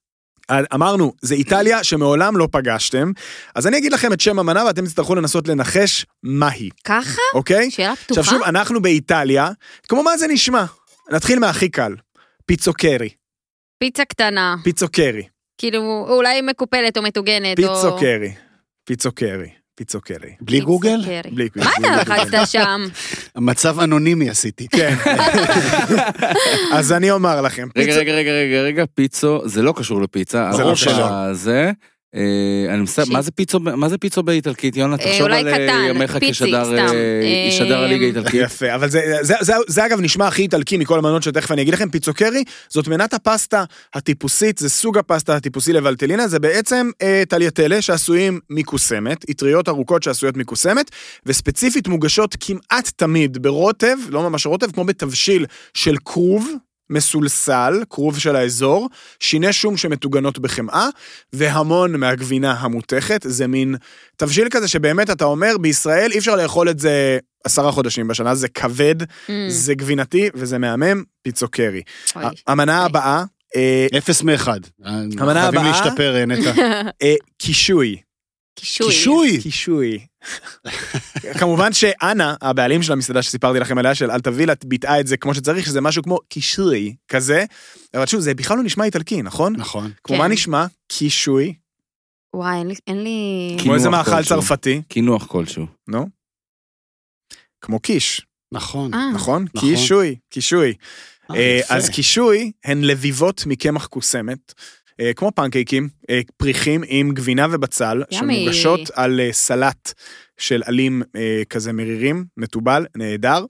Speaker 2: אמרנו, זה איטליה שמעולם לא פגשתם, אז אני אגיד לכם את שם המנה ואתם תצטרכו לנסות לנחש מהי,
Speaker 4: ככה?
Speaker 2: אוקיי?
Speaker 4: שאלה פתוחה?
Speaker 2: עכשיו שוב, אנחנו באיטליה, כמו מה זה נשמע? נתחיל מהכי קל, פיצוקרי,
Speaker 4: פיצה קטנה,
Speaker 2: פיצוקרי,
Speaker 4: כאילו, אולי מקופלת או מטוגנת, או...
Speaker 2: פיצוקרי, פיצוקרי, פיצוקרי.
Speaker 1: בלי גוגל?
Speaker 4: פיצוקרי.
Speaker 2: בלי
Speaker 4: מה אתה לחצת שם?
Speaker 1: מצב אנונימי עשיתי.
Speaker 2: כן. אז אני אומר לכם,
Speaker 5: רגע,
Speaker 2: פיצו-
Speaker 5: רגע, רגע, רגע, רגע, פיצו, זה לא קשור לפיצה.
Speaker 2: זה לא
Speaker 5: הרוב
Speaker 1: קשור.
Speaker 5: הזה, אה, אני מסתכל,
Speaker 4: שיט.
Speaker 5: מה זה פיצו, מה זה פיצו באיטלקית, יונה? תחשוב
Speaker 4: אולי
Speaker 5: על אה,
Speaker 4: קטן,
Speaker 5: ימיך
Speaker 4: פיצי,
Speaker 5: כשדר, אה,
Speaker 4: סתם.
Speaker 5: ישדר הליגה
Speaker 4: אה,
Speaker 5: האיטלקית.
Speaker 2: יפה, אבל זה, זה, זה, זה אגב נשמע הכי איטלקי מכל המנות שתכף אני אגיד לכם, פיצוקרי זאת מנת הפסטה הטיפוסית, זה סוג הפסטה הטיפוסי לבלטלינה, זה בעצם אה, טלייטלה שעשויים מקוסמת, אטריות ארוכות שעשויות מקוסמת, וספציפית מוגשות כמעט תמיד ברוטב, לא ממש רוטב, כמו בתבשיל של כרוב. מסולסל, כרוב של האזור, שיני שום שמטוגנות בחמאה, והמון מהגבינה המותכת, זה מין תבשיל כזה שבאמת אתה אומר, בישראל אי אפשר לאכול את זה עשרה חודשים בשנה, זה כבד,
Speaker 4: אמ,
Speaker 2: זה גבינתי וזה מהמם, פיצו קרי.
Speaker 4: אוי.
Speaker 2: המנה
Speaker 4: אוי.
Speaker 2: הבאה, אה,
Speaker 1: אפס מאחד. המנה
Speaker 2: הבאה-
Speaker 1: חייבים להשתפר, אה, נטע.
Speaker 2: אה, קישוי.
Speaker 4: קישוי.
Speaker 1: קישוי.
Speaker 2: קישוי. כמובן שאנה, הבעלים של המסעדה שסיפרתי לכם עליה, של אלטווילה, ביטאה את זה כמו שצריך, שזה משהו כמו קישוי כזה. אבל שוב, זה בכלל לא נשמע איטלקי, נכון?
Speaker 1: נכון.
Speaker 2: כמו
Speaker 4: כן.
Speaker 2: מה נשמע? קישוי.
Speaker 4: וואי, אין לי- אין לי...
Speaker 2: כמו איזה
Speaker 5: קינוח
Speaker 2: מאכל
Speaker 5: כלשהו.
Speaker 2: צרפתי,
Speaker 5: קינוח כלשהו.
Speaker 2: נו? כמו קיש,
Speaker 1: נכון.
Speaker 4: אה,
Speaker 2: נכון?
Speaker 1: נכון.
Speaker 2: קישוי, קישוי. אה,
Speaker 1: יפה.
Speaker 2: אז קישוי הן לביבות מקמח קוסמת. אה, כמו פנקייקים, אה, פריחים עם גבינה ובצל,
Speaker 4: ימי.
Speaker 2: שמוגשות על אה, סלט של עלים אה, כזה מרירים, מתובל, נהדר.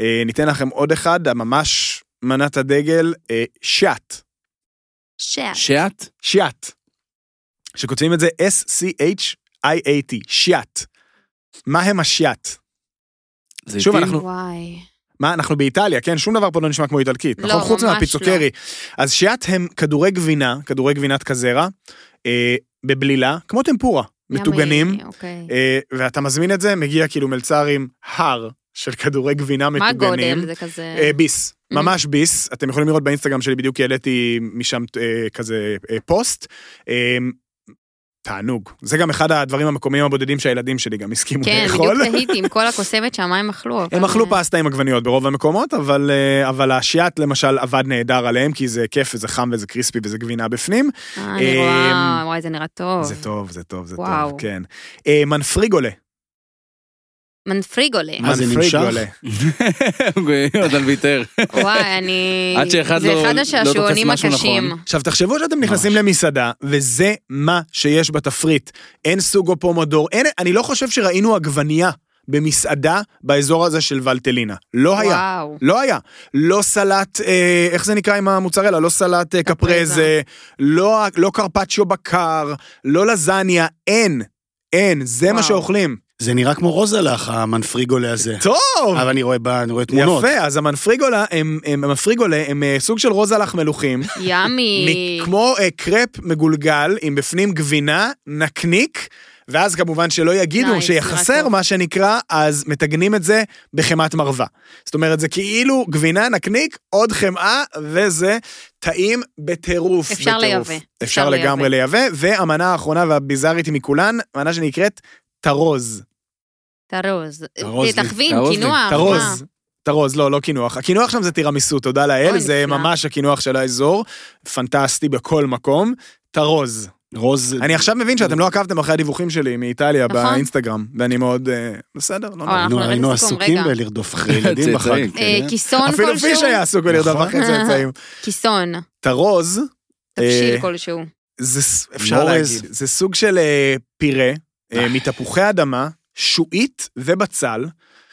Speaker 2: אה, ניתן לכם עוד אחד, הממש מנת הדגל, אה, שעט.
Speaker 4: שעה.
Speaker 5: שאת?
Speaker 2: שיאט. שכותבים את זה S-C-H-I-A-T, שיאט. מה הם השיאט?
Speaker 5: זה
Speaker 2: שוב,
Speaker 5: איתי?
Speaker 2: אנחנו-
Speaker 4: וואי.
Speaker 2: מה, אנחנו באיטליה, כן? שום דבר פה לא נשמע כמו איטלקית,
Speaker 4: לא,
Speaker 2: נכון? חוץ
Speaker 4: ממש
Speaker 2: מהפיצוקרי. אז שיאט הם כדורי גבינה, כדורי גבינת קזרה, אה, בבלילה, כמו טמפורה, מטוגנים,
Speaker 4: ימי, אוקיי.
Speaker 2: אה, ואתה מזמין את זה, מגיע כאילו מלצר עם הר של כדורי גבינה
Speaker 4: מה
Speaker 2: מטוגנים.
Speaker 4: הגודל? זה כזה...
Speaker 2: אה, ביס,
Speaker 4: Mm.
Speaker 2: ממש ביס. אתם יכולים לראות באינסטגרם שלי, בדיוק העליתי משם אה, כזה אה, פוסט. אה, תענוג. זה גם אחד הדברים המקומיים הבודדים שהילדים שלי גם הסכימו
Speaker 4: כן, בדיוק
Speaker 2: לאכול.
Speaker 4: תהיתי עם כל הקוסמת שם, מה הם אכלו? אוקיי. אבל-
Speaker 2: אה, הם אכלו פסטה עם עגבניות ברוב המקומות, אבל, אה, אבל השיאט למשל עבד נהדר עליהם, כי זה כיף וזה חם וזה קריספי וזה גבינה בפנים.
Speaker 4: אה, אני רואה,
Speaker 2: אמ,
Speaker 4: וואי, זה נראה טוב.
Speaker 2: זה טוב, זה טוב, זה
Speaker 4: וואו.
Speaker 2: טוב, כן. אה, מנפריגולה.
Speaker 4: מנפריגולה.
Speaker 1: מה זה, נמשך?
Speaker 2: מנפריגולה.
Speaker 5: עוד על ויתר.
Speaker 4: וואי, אני...
Speaker 5: עד שאחד
Speaker 4: זה
Speaker 5: לא-
Speaker 4: אחד
Speaker 5: לא
Speaker 4: השעשועונים
Speaker 5: תופס משהו
Speaker 4: הקשים.
Speaker 5: נכון.
Speaker 2: עכשיו תחשבו שאתם נכנסים למסעדה, וזה מה שיש בתפריט. אין סוג או פומודור, אין, אני לא חושב שראינו עגבנייה במסעדה באזור הזה של ולטלינה. לא היה.
Speaker 4: וואו.
Speaker 2: לא היה. לא סלט, אה, איך זה נקרא עם המוצרלה? לא סלט אה, קפרזה,
Speaker 4: קפרזה.
Speaker 2: לא, לא קרפצ'יו בקר, לא לזניה, אין. אין, זה מה
Speaker 4: וואו.
Speaker 2: שאוכלים.
Speaker 1: זה נראה כמו רוזלח, המנפריגולה הזה.
Speaker 2: טוב!
Speaker 1: אבל אני רואה בה- אני רואה תמונות.
Speaker 2: יפה, אז המנפריגולה הם, הם, המנפריגולה הם אה, סוג של רוזלח מלוכים.
Speaker 4: ימי.
Speaker 2: מ- כמו אה, קרפ מגולגל עם בפנים גבינה, נקניק, ואז כמובן שלא יגידו
Speaker 4: נייס, נראה
Speaker 2: שיחסר
Speaker 4: טוב.
Speaker 2: מה שנקרא, אז מטגנים את זה בחמת מרווה. זאת אומרת, זה כאילו גבינה, נקניק, עוד חמאה, וזה טעים בטירוף.
Speaker 4: אפשר
Speaker 2: בטירוף.
Speaker 4: לייבא.
Speaker 2: אפשר
Speaker 4: אפשר
Speaker 2: לגמרי לייבא, והמנה האחרונה והביזארית מכולן, מנה שנקראת תרוז.
Speaker 4: תרוז.
Speaker 1: תרוז לי,
Speaker 4: תכווין,
Speaker 5: תרוז לי.
Speaker 4: קינוח. מה?
Speaker 2: תרוז. תרוז, לא, לא קינוח. הקינוח שם זה טירמיסו, תודה לאל,
Speaker 4: אוי,
Speaker 2: זה
Speaker 4: נפלא.
Speaker 2: ממש הקינוח של האזור, פנטסטי בכל מקום. תרוז.
Speaker 1: רוז...
Speaker 2: אני עכשיו מבין שאתם לא עקבתם אחרי הדיווחים שלי מאיטליה
Speaker 4: נכון.
Speaker 2: באינסטגרם, ואני מאוד... אה, בסדר, לא נורא.
Speaker 4: אנחנו
Speaker 1: היינו-
Speaker 4: נרד
Speaker 1: היינו
Speaker 4: לסיכום,
Speaker 1: עסוקים
Speaker 4: רגע.
Speaker 1: בלרדוף אחרי ילדים בחג.
Speaker 5: צאצאים,
Speaker 4: אה,
Speaker 1: כן.
Speaker 4: כיסון
Speaker 2: אפילו פיש היה
Speaker 4: כלשהו?
Speaker 2: עסוק בלרדוף
Speaker 1: נכון.
Speaker 2: אחרי צאצאים.
Speaker 4: כיסון.
Speaker 2: תרוז, אה,
Speaker 4: תבשיל כלשהו.
Speaker 2: זה ס-
Speaker 4: לא
Speaker 2: אפשר
Speaker 1: מורז.
Speaker 2: להגיד, זה סוג של אה, פירה אה, מתפוחי אדמה, שועית ובצל,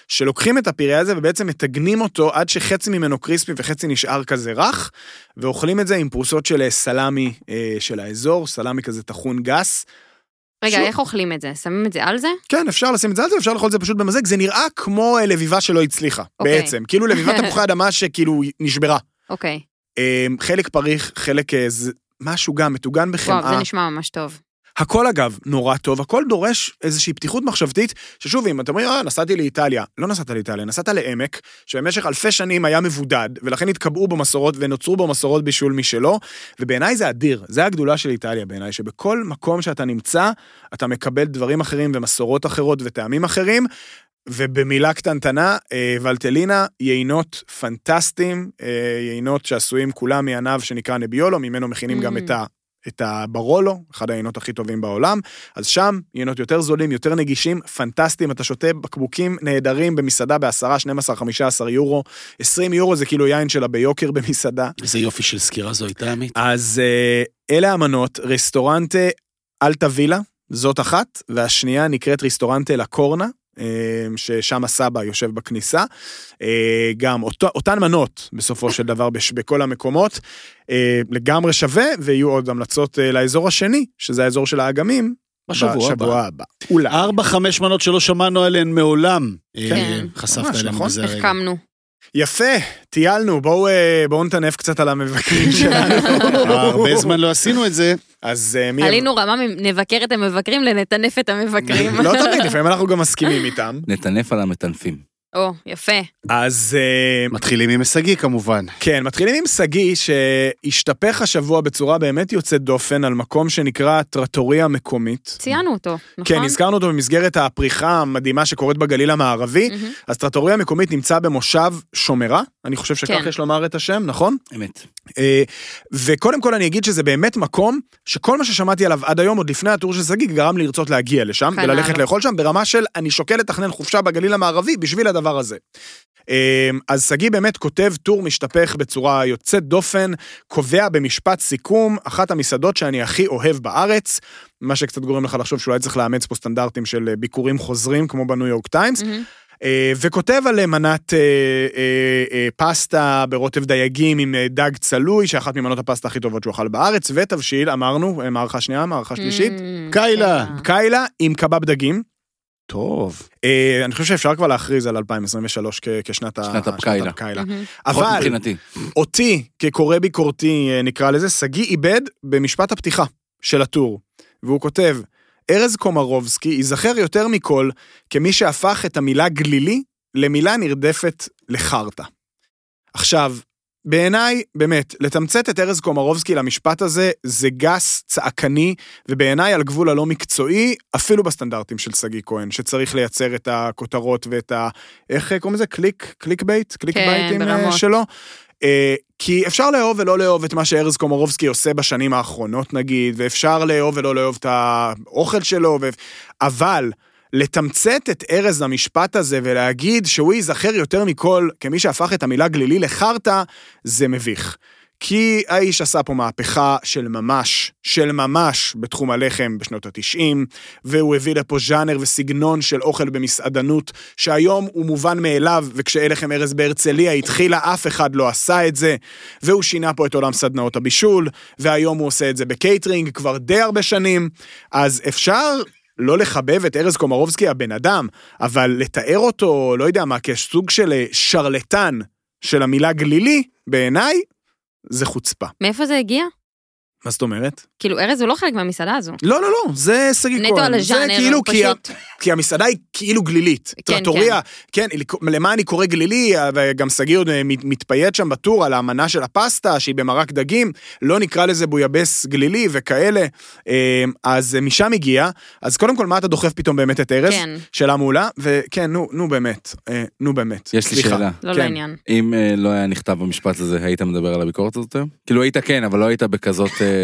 Speaker 2: שלוקחים את הפירה הזה ובעצם מטגנים אותו עד שחצי ממנו קריספי וחצי נשאר כזה רך, ואוכלים את זה עם פרוסות של אה, סלמי אה, של האזור, סלמי כזה טחון גס.
Speaker 4: רגע,
Speaker 2: שוב.
Speaker 4: איך אוכלים את זה? שמים את זה על זה?
Speaker 2: כן, אפשר לשים את זה על זה, אפשר לאכול את זה פשוט במזג, זה נראה כמו אה, לביבה שלא הצליחה,
Speaker 4: אוקיי.
Speaker 2: בעצם. כאילו לביבת תפוחי אדמה שכאילו נשברה.
Speaker 4: אוקיי.
Speaker 2: אה, חלק פריך, חלק אה, זה- משהו גם מטוגן
Speaker 4: וואו, זה
Speaker 2: בחמאה.
Speaker 4: נשמע ממש טוב.
Speaker 2: הכל אגב, נורא טוב, הכל דורש איזושהי פתיחות מחשבתית, ששוב, אם אתם אומרים, אה, נסעתי לאיטליה, לא נסעת לאיטליה, נסעת לעמק, שבמשך אלפי שנים היה מבודד, ולכן התקבעו בו מסורות ונוצרו בו מסורות בישול משלו, ובעיניי זה אדיר, זה הגדולה של איטליה בעיניי, שבכל מקום שאתה נמצא, אתה מקבל דברים אחרים ומסורות אחרות וטעמים אחרים. ובמילה קטנטנה, אה, ולטלינה, יינות פנטסטיים, אה, יינות שעשויים כולם מענב שנקרא נביולו, ממנו מכינים גם
Speaker 4: Mm.
Speaker 2: את ה... את הברולו, אחד היינות הכי טובים בעולם, אז שם יינות יותר זולים, יותר נגישים, פנטסטיים, אתה שותה בקבוקים נהדרים במסעדה ב-10, 12, 15 יורו, 20 יורו זה כאילו יין שלה ביוקר במסעדה.
Speaker 1: איזה יופי של סקירה זו הייתה, עמית.
Speaker 2: אז אה, אלה המנות, רסטורנטה אלטה וילה, זאת אחת, והשנייה נקראת רסטורנטה לה קורנה, אה, ששם הסבא יושב בכניסה. אה, גם אותו, אותן מנות, בסופו של דבר, בש, בכל המקומות, אה, לגמרי שווה, ויהיו עוד המלצות אה, לאזור השני, שזה האזור של האגמים,
Speaker 1: בשבוע הבא.
Speaker 2: הבא. אולי.
Speaker 1: ארבע, חמש מנות שלא שמענו עליהן מעולם. אה,
Speaker 4: כן.
Speaker 1: חשפת
Speaker 2: ממש,
Speaker 1: עליהן
Speaker 2: נכון.
Speaker 1: בזה הרגע.
Speaker 4: החכמנו.
Speaker 2: יפה, טיילנו, בואו אה, בואו נטנף קצת על המבקרים שלנו.
Speaker 1: הרבה זמן לא עשינו את זה.
Speaker 2: אז אה, מי...
Speaker 4: עלינו רמה מנבקר את המבקרים לנטנף את המבקרים.
Speaker 2: לא תמיד, לפעמים אנחנו גם מסכימים איתם.
Speaker 5: נטנף על המטנפים.
Speaker 4: או, יפה.
Speaker 2: אז אה,
Speaker 1: מתחילים עם הישגי כמובן.
Speaker 2: כן, מתחילים עם שגיא, שהשתפך השבוע בצורה באמת יוצאת דופן על מקום שנקרא טרטוריה מקומית.
Speaker 4: ציינו אותו, נכון?
Speaker 2: כן, הזכרנו אותו במסגרת הפריחה המדהימה שקורית בגליל המערבי.
Speaker 4: מהמם.
Speaker 2: אז טרטוריה מקומית נמצא במושב שומרה, אני חושב שכך
Speaker 4: כן.
Speaker 2: יש לומר את השם, נכון?
Speaker 5: אמת.
Speaker 2: אה, וקודם כל אני אגיד שזה באמת מקום שכל מה ששמעתי עליו עד היום, עוד לפני הטור של שגיא, גרם לי לרצות להגיע לשם
Speaker 4: כנ"ל.
Speaker 2: וללכת לאכול שם, ברמה של אני שוקל לתכנן חופשה בגליל המערבי בשביל הדבר הזה. אמ, אז שגיא באמת כותב טור משתפך בצורה יוצאת דופן, קובע במשפט סיכום, אחת המסעדות שאני הכי אוהב בארץ, מה שקצת גורם לך לחשוב שאולי צריך לאמץ פה סטנדרטים של אה, ביקורים חוזרים, כמו בניו יורק טיימס,
Speaker 4: מהמם.
Speaker 2: אה, וכותב על אה, מנת אה, אה, אה, פסטה ברוטב דייגים עם אה, דג צלוי, שאחת ממנות הפסטה הכי טובות שהוא אכל בארץ, ותבשיל, אמרנו, אה, מערכה שנייה,
Speaker 4: Mm,
Speaker 2: מערכה שלישית,
Speaker 4: מהמם.
Speaker 1: קיילה.
Speaker 4: כן.
Speaker 2: קיילה עם קבב דגים.
Speaker 1: טוב.
Speaker 2: אה, אני חושב שאפשר כבר להכריז על 2023 כ- כשנת ה-
Speaker 5: שנת הפקיילה.
Speaker 4: מהמם.
Speaker 5: לפחות
Speaker 2: אבל
Speaker 5: מבחינתי.
Speaker 2: אותי, כקורא ביקורתי, אה, נקרא לזה, שגיא איבד במשפט הפתיחה של הטור, והוא כותב, ארז קומרובסקי ייזכר יותר מכל כמי שהפך את המילה גלילי למילה נרדפת לחרטא. עכשיו, בעיניי, באמת, לתמצת את ארז קומרובסקי למשפט הזה, זה גס, צעקני, ובעיניי על גבול הלא מקצועי, אפילו בסטנדרטים של שגיא כהן, שצריך לייצר את הכותרות ואת ה... איך אה, קוראים לזה? קליק? קליק בייט? קליק
Speaker 4: כן,
Speaker 2: בייטים אה,
Speaker 4: ברמות.
Speaker 2: שלו? אה, כי אפשר לאהוב ולא לאהוב את מה שארז קומרובסקי עושה בשנים האחרונות, נגיד, ואפשר לאהוב ולא לאהוב את האוכל שלו, ו... אבל לתמצת את ארז המשפט הזה ולהגיד שהוא ייזכר יותר מכל כמי שהפך את המילה גלילי לחרטא, זה מביך. כי האיש עשה פה מהפכה של ממש, של ממש, בתחום הלחם בשנות ה-90, והוא הביא לפה ז'אנר וסגנון של אוכל במסעדנות, שהיום הוא מובן מאליו, וכשהלחם ארז בהרצליה התחילה, אף אחד לא עשה את זה, והוא שינה פה את עולם סדנאות הבישול, והיום הוא עושה את זה בקייטרינג כבר די הרבה שנים, אז אפשר... לא לחבב את ארז קומרובסקי הבן אדם, אבל לתאר אותו, לא יודע מה, כסוג של אה, שרלטן של המילה גלילי, בעיניי, זה חוצפה.
Speaker 4: מאיפה זה הגיע?
Speaker 2: מה זאת אומרת?
Speaker 4: כאילו, ארז הוא לא חלק מהמסעדה הזו.
Speaker 2: לא, לא, לא, זה שגיא כהן.
Speaker 4: נטו על
Speaker 2: זה
Speaker 4: הז'אנר,
Speaker 2: כאילו
Speaker 4: הוא
Speaker 2: כי, ה-
Speaker 4: פשוט...
Speaker 2: כי המסעדה היא כאילו גלילית.
Speaker 4: כן.
Speaker 2: טרטוריה, כן, היא לק- למה אני קורא גלילי, וגם שגיא עוד אה, מת- מתפייט שם בטור על האמנה של הפסטה, שהיא במרק דגים, לא נקרא לזה בויבס גלילי וכאלה. אה, אז אה, משם הגיע. אז קודם כל, מה אתה דוחף פתאום באמת את ארז?
Speaker 4: כן.
Speaker 2: שאלה מעולה, וכן, נו, נו באמת, אה, נו באמת.
Speaker 5: יש לי
Speaker 2: סליחה.
Speaker 5: שאלה.
Speaker 4: לא
Speaker 2: כן.
Speaker 4: לעניין.
Speaker 5: אם אה, לא היה נכתב במשפט הזה, היית מדבר על הביקורת הזאת היום? כאילו היית כן, אבל לא היית בכזאת... אה,